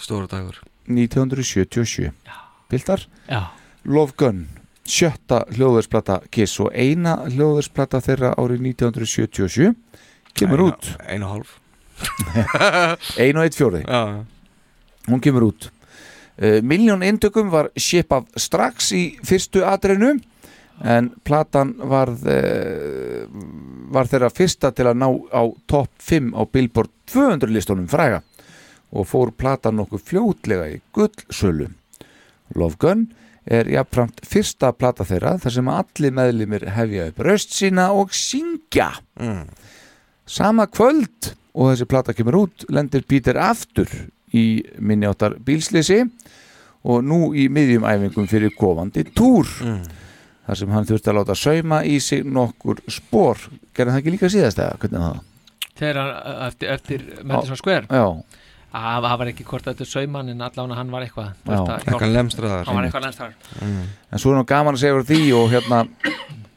Stóra dagur 1977 Bildar Já. Love Gun sjötta hljóðversplata Kiss og eina hljóðversplata þeirra árið 1977 kemur Eina- út ein og hálf ein og eitt fjóri já. hún kemur út uh, miljón indökum var skipað strax í fyrstu atrinu en platan varð uh, var þeirra fyrsta til að ná á topp 5 á Billboard 200 listunum fræga og fór platan nokkuð fljótlega í gullsölu Love Gun er jafnframt fyrsta plata þeirra þar sem allir meðlimir hefja upp röst sína og syngja mm. sama kvöld og þessi plata kemur út lendir Peter aftur í minniáttar bílslisi og nú í miðjum æfingum fyrir kofandi túr þar sem hann þurfti að láta sauma í sig nokkur spór gerði það ekki líka síðast eða hvernig var það? Þegar hann eftir, eftir Madison Square Já. Að- Það var ekki hvort þetta er saumann en allan hann var eitthvað Já. Eitthvað lemstraður. Hann var eitthvað lemstraðar Mm. en svo er nú gaman að segja frá því og hérna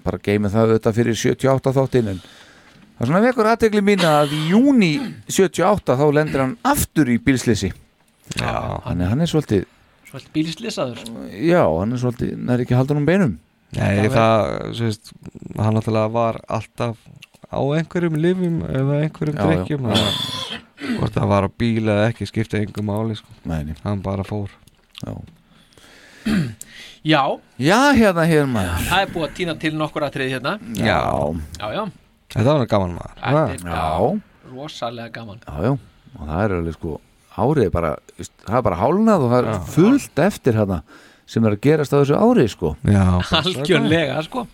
bara geymið það auðvitað fyrir 78 þáttinn en það er svona vekur aðtegli mín að í júni 78 þá lendir hann aftur í bílslisi já, hann, hann er svolítið Svolítið bílislisaður já, hann er svolítið, hann er ekki haldunum beinum Nei, það, þú veist, hann náttúrulega var alltaf á einhverjum lifum eða einhverjum Já, já. drikkjum Já. þannig að hvort það var á bíla eða ekki skipta einhver máli, sko, Nei, nei. hann bara fór Já, Já, já hérna hér maður það er búið að týna til nokkur aðtrið hérna Já. Já, já, Þetta var nú gaman maður Þetta er- Já. rosalega gaman já, já, og það er alveg sko árið er bara, veist, það er bara hálnað og það er fullt eftir hana sem er að gerast á þessu árið sko já, Algjörlega, sko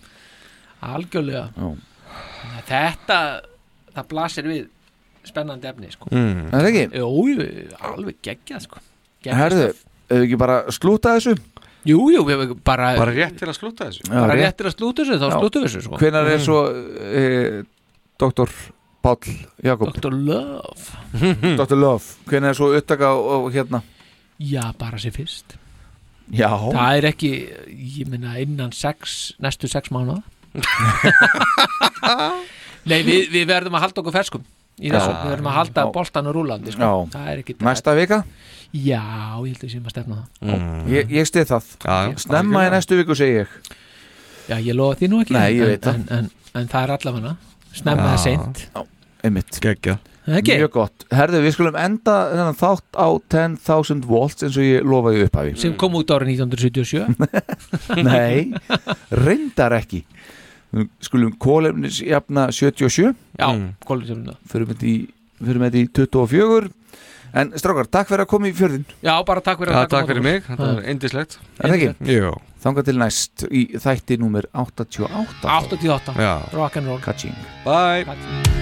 Algjörlega já. Þetta, það blasir við spennandi efni sko. Mm. Er það ekki? Jó, jú, alveg geggjað sko. Geggjað Herðu, stöf. hefur ekki bara slúta þessu? Jú, jú, við hefum bara Bara rétt til að slúta þessu Já, bara rétt. réttir að slúta þessu, þá Já. slúta þessu sko. Mm. Hvenær Mm. er svo e, Dr. Páll Jakob? Dr. Love Dr. Love, hvenær er svo upptaka og, og hérna? Já, bara sér fyrst Já Það er ekki, ég meina innan sex, næstu sex mánuða Nei, við, við verðum að halda okkur ferskum í þessu, Já. við verðum að halda boltan og rúlandi sko. Já. Það er ekki Næsta vika? Já, ég held að við séum að stefna á það Ég, ég stið það Mm. já. Snemma í næstu viku segi ég Já, ég lofa því nú ekki Nei, ég en, veit það. en, en, en það er allavega Snemma það seint Já, einmitt Gekja Ekki? Mjög gott Herðu, við skulum enda þennan þátt á 10.000 volts eins og ég lofaði í upphafi sem kom út árið 1977 Nei, reyndar ekki Við Skulum kólefnisjafna 77 Já, kólefnisjafna Fyrir með þetta í 24 En strákar, takk fyrir að koma í fjörðin Já, bara takk fyrir að taka á móti okkur. indislegt Er það ekki? Jú Þanga til næst í þætti númer 88 88, Já. rock'n'roll Kaching Bye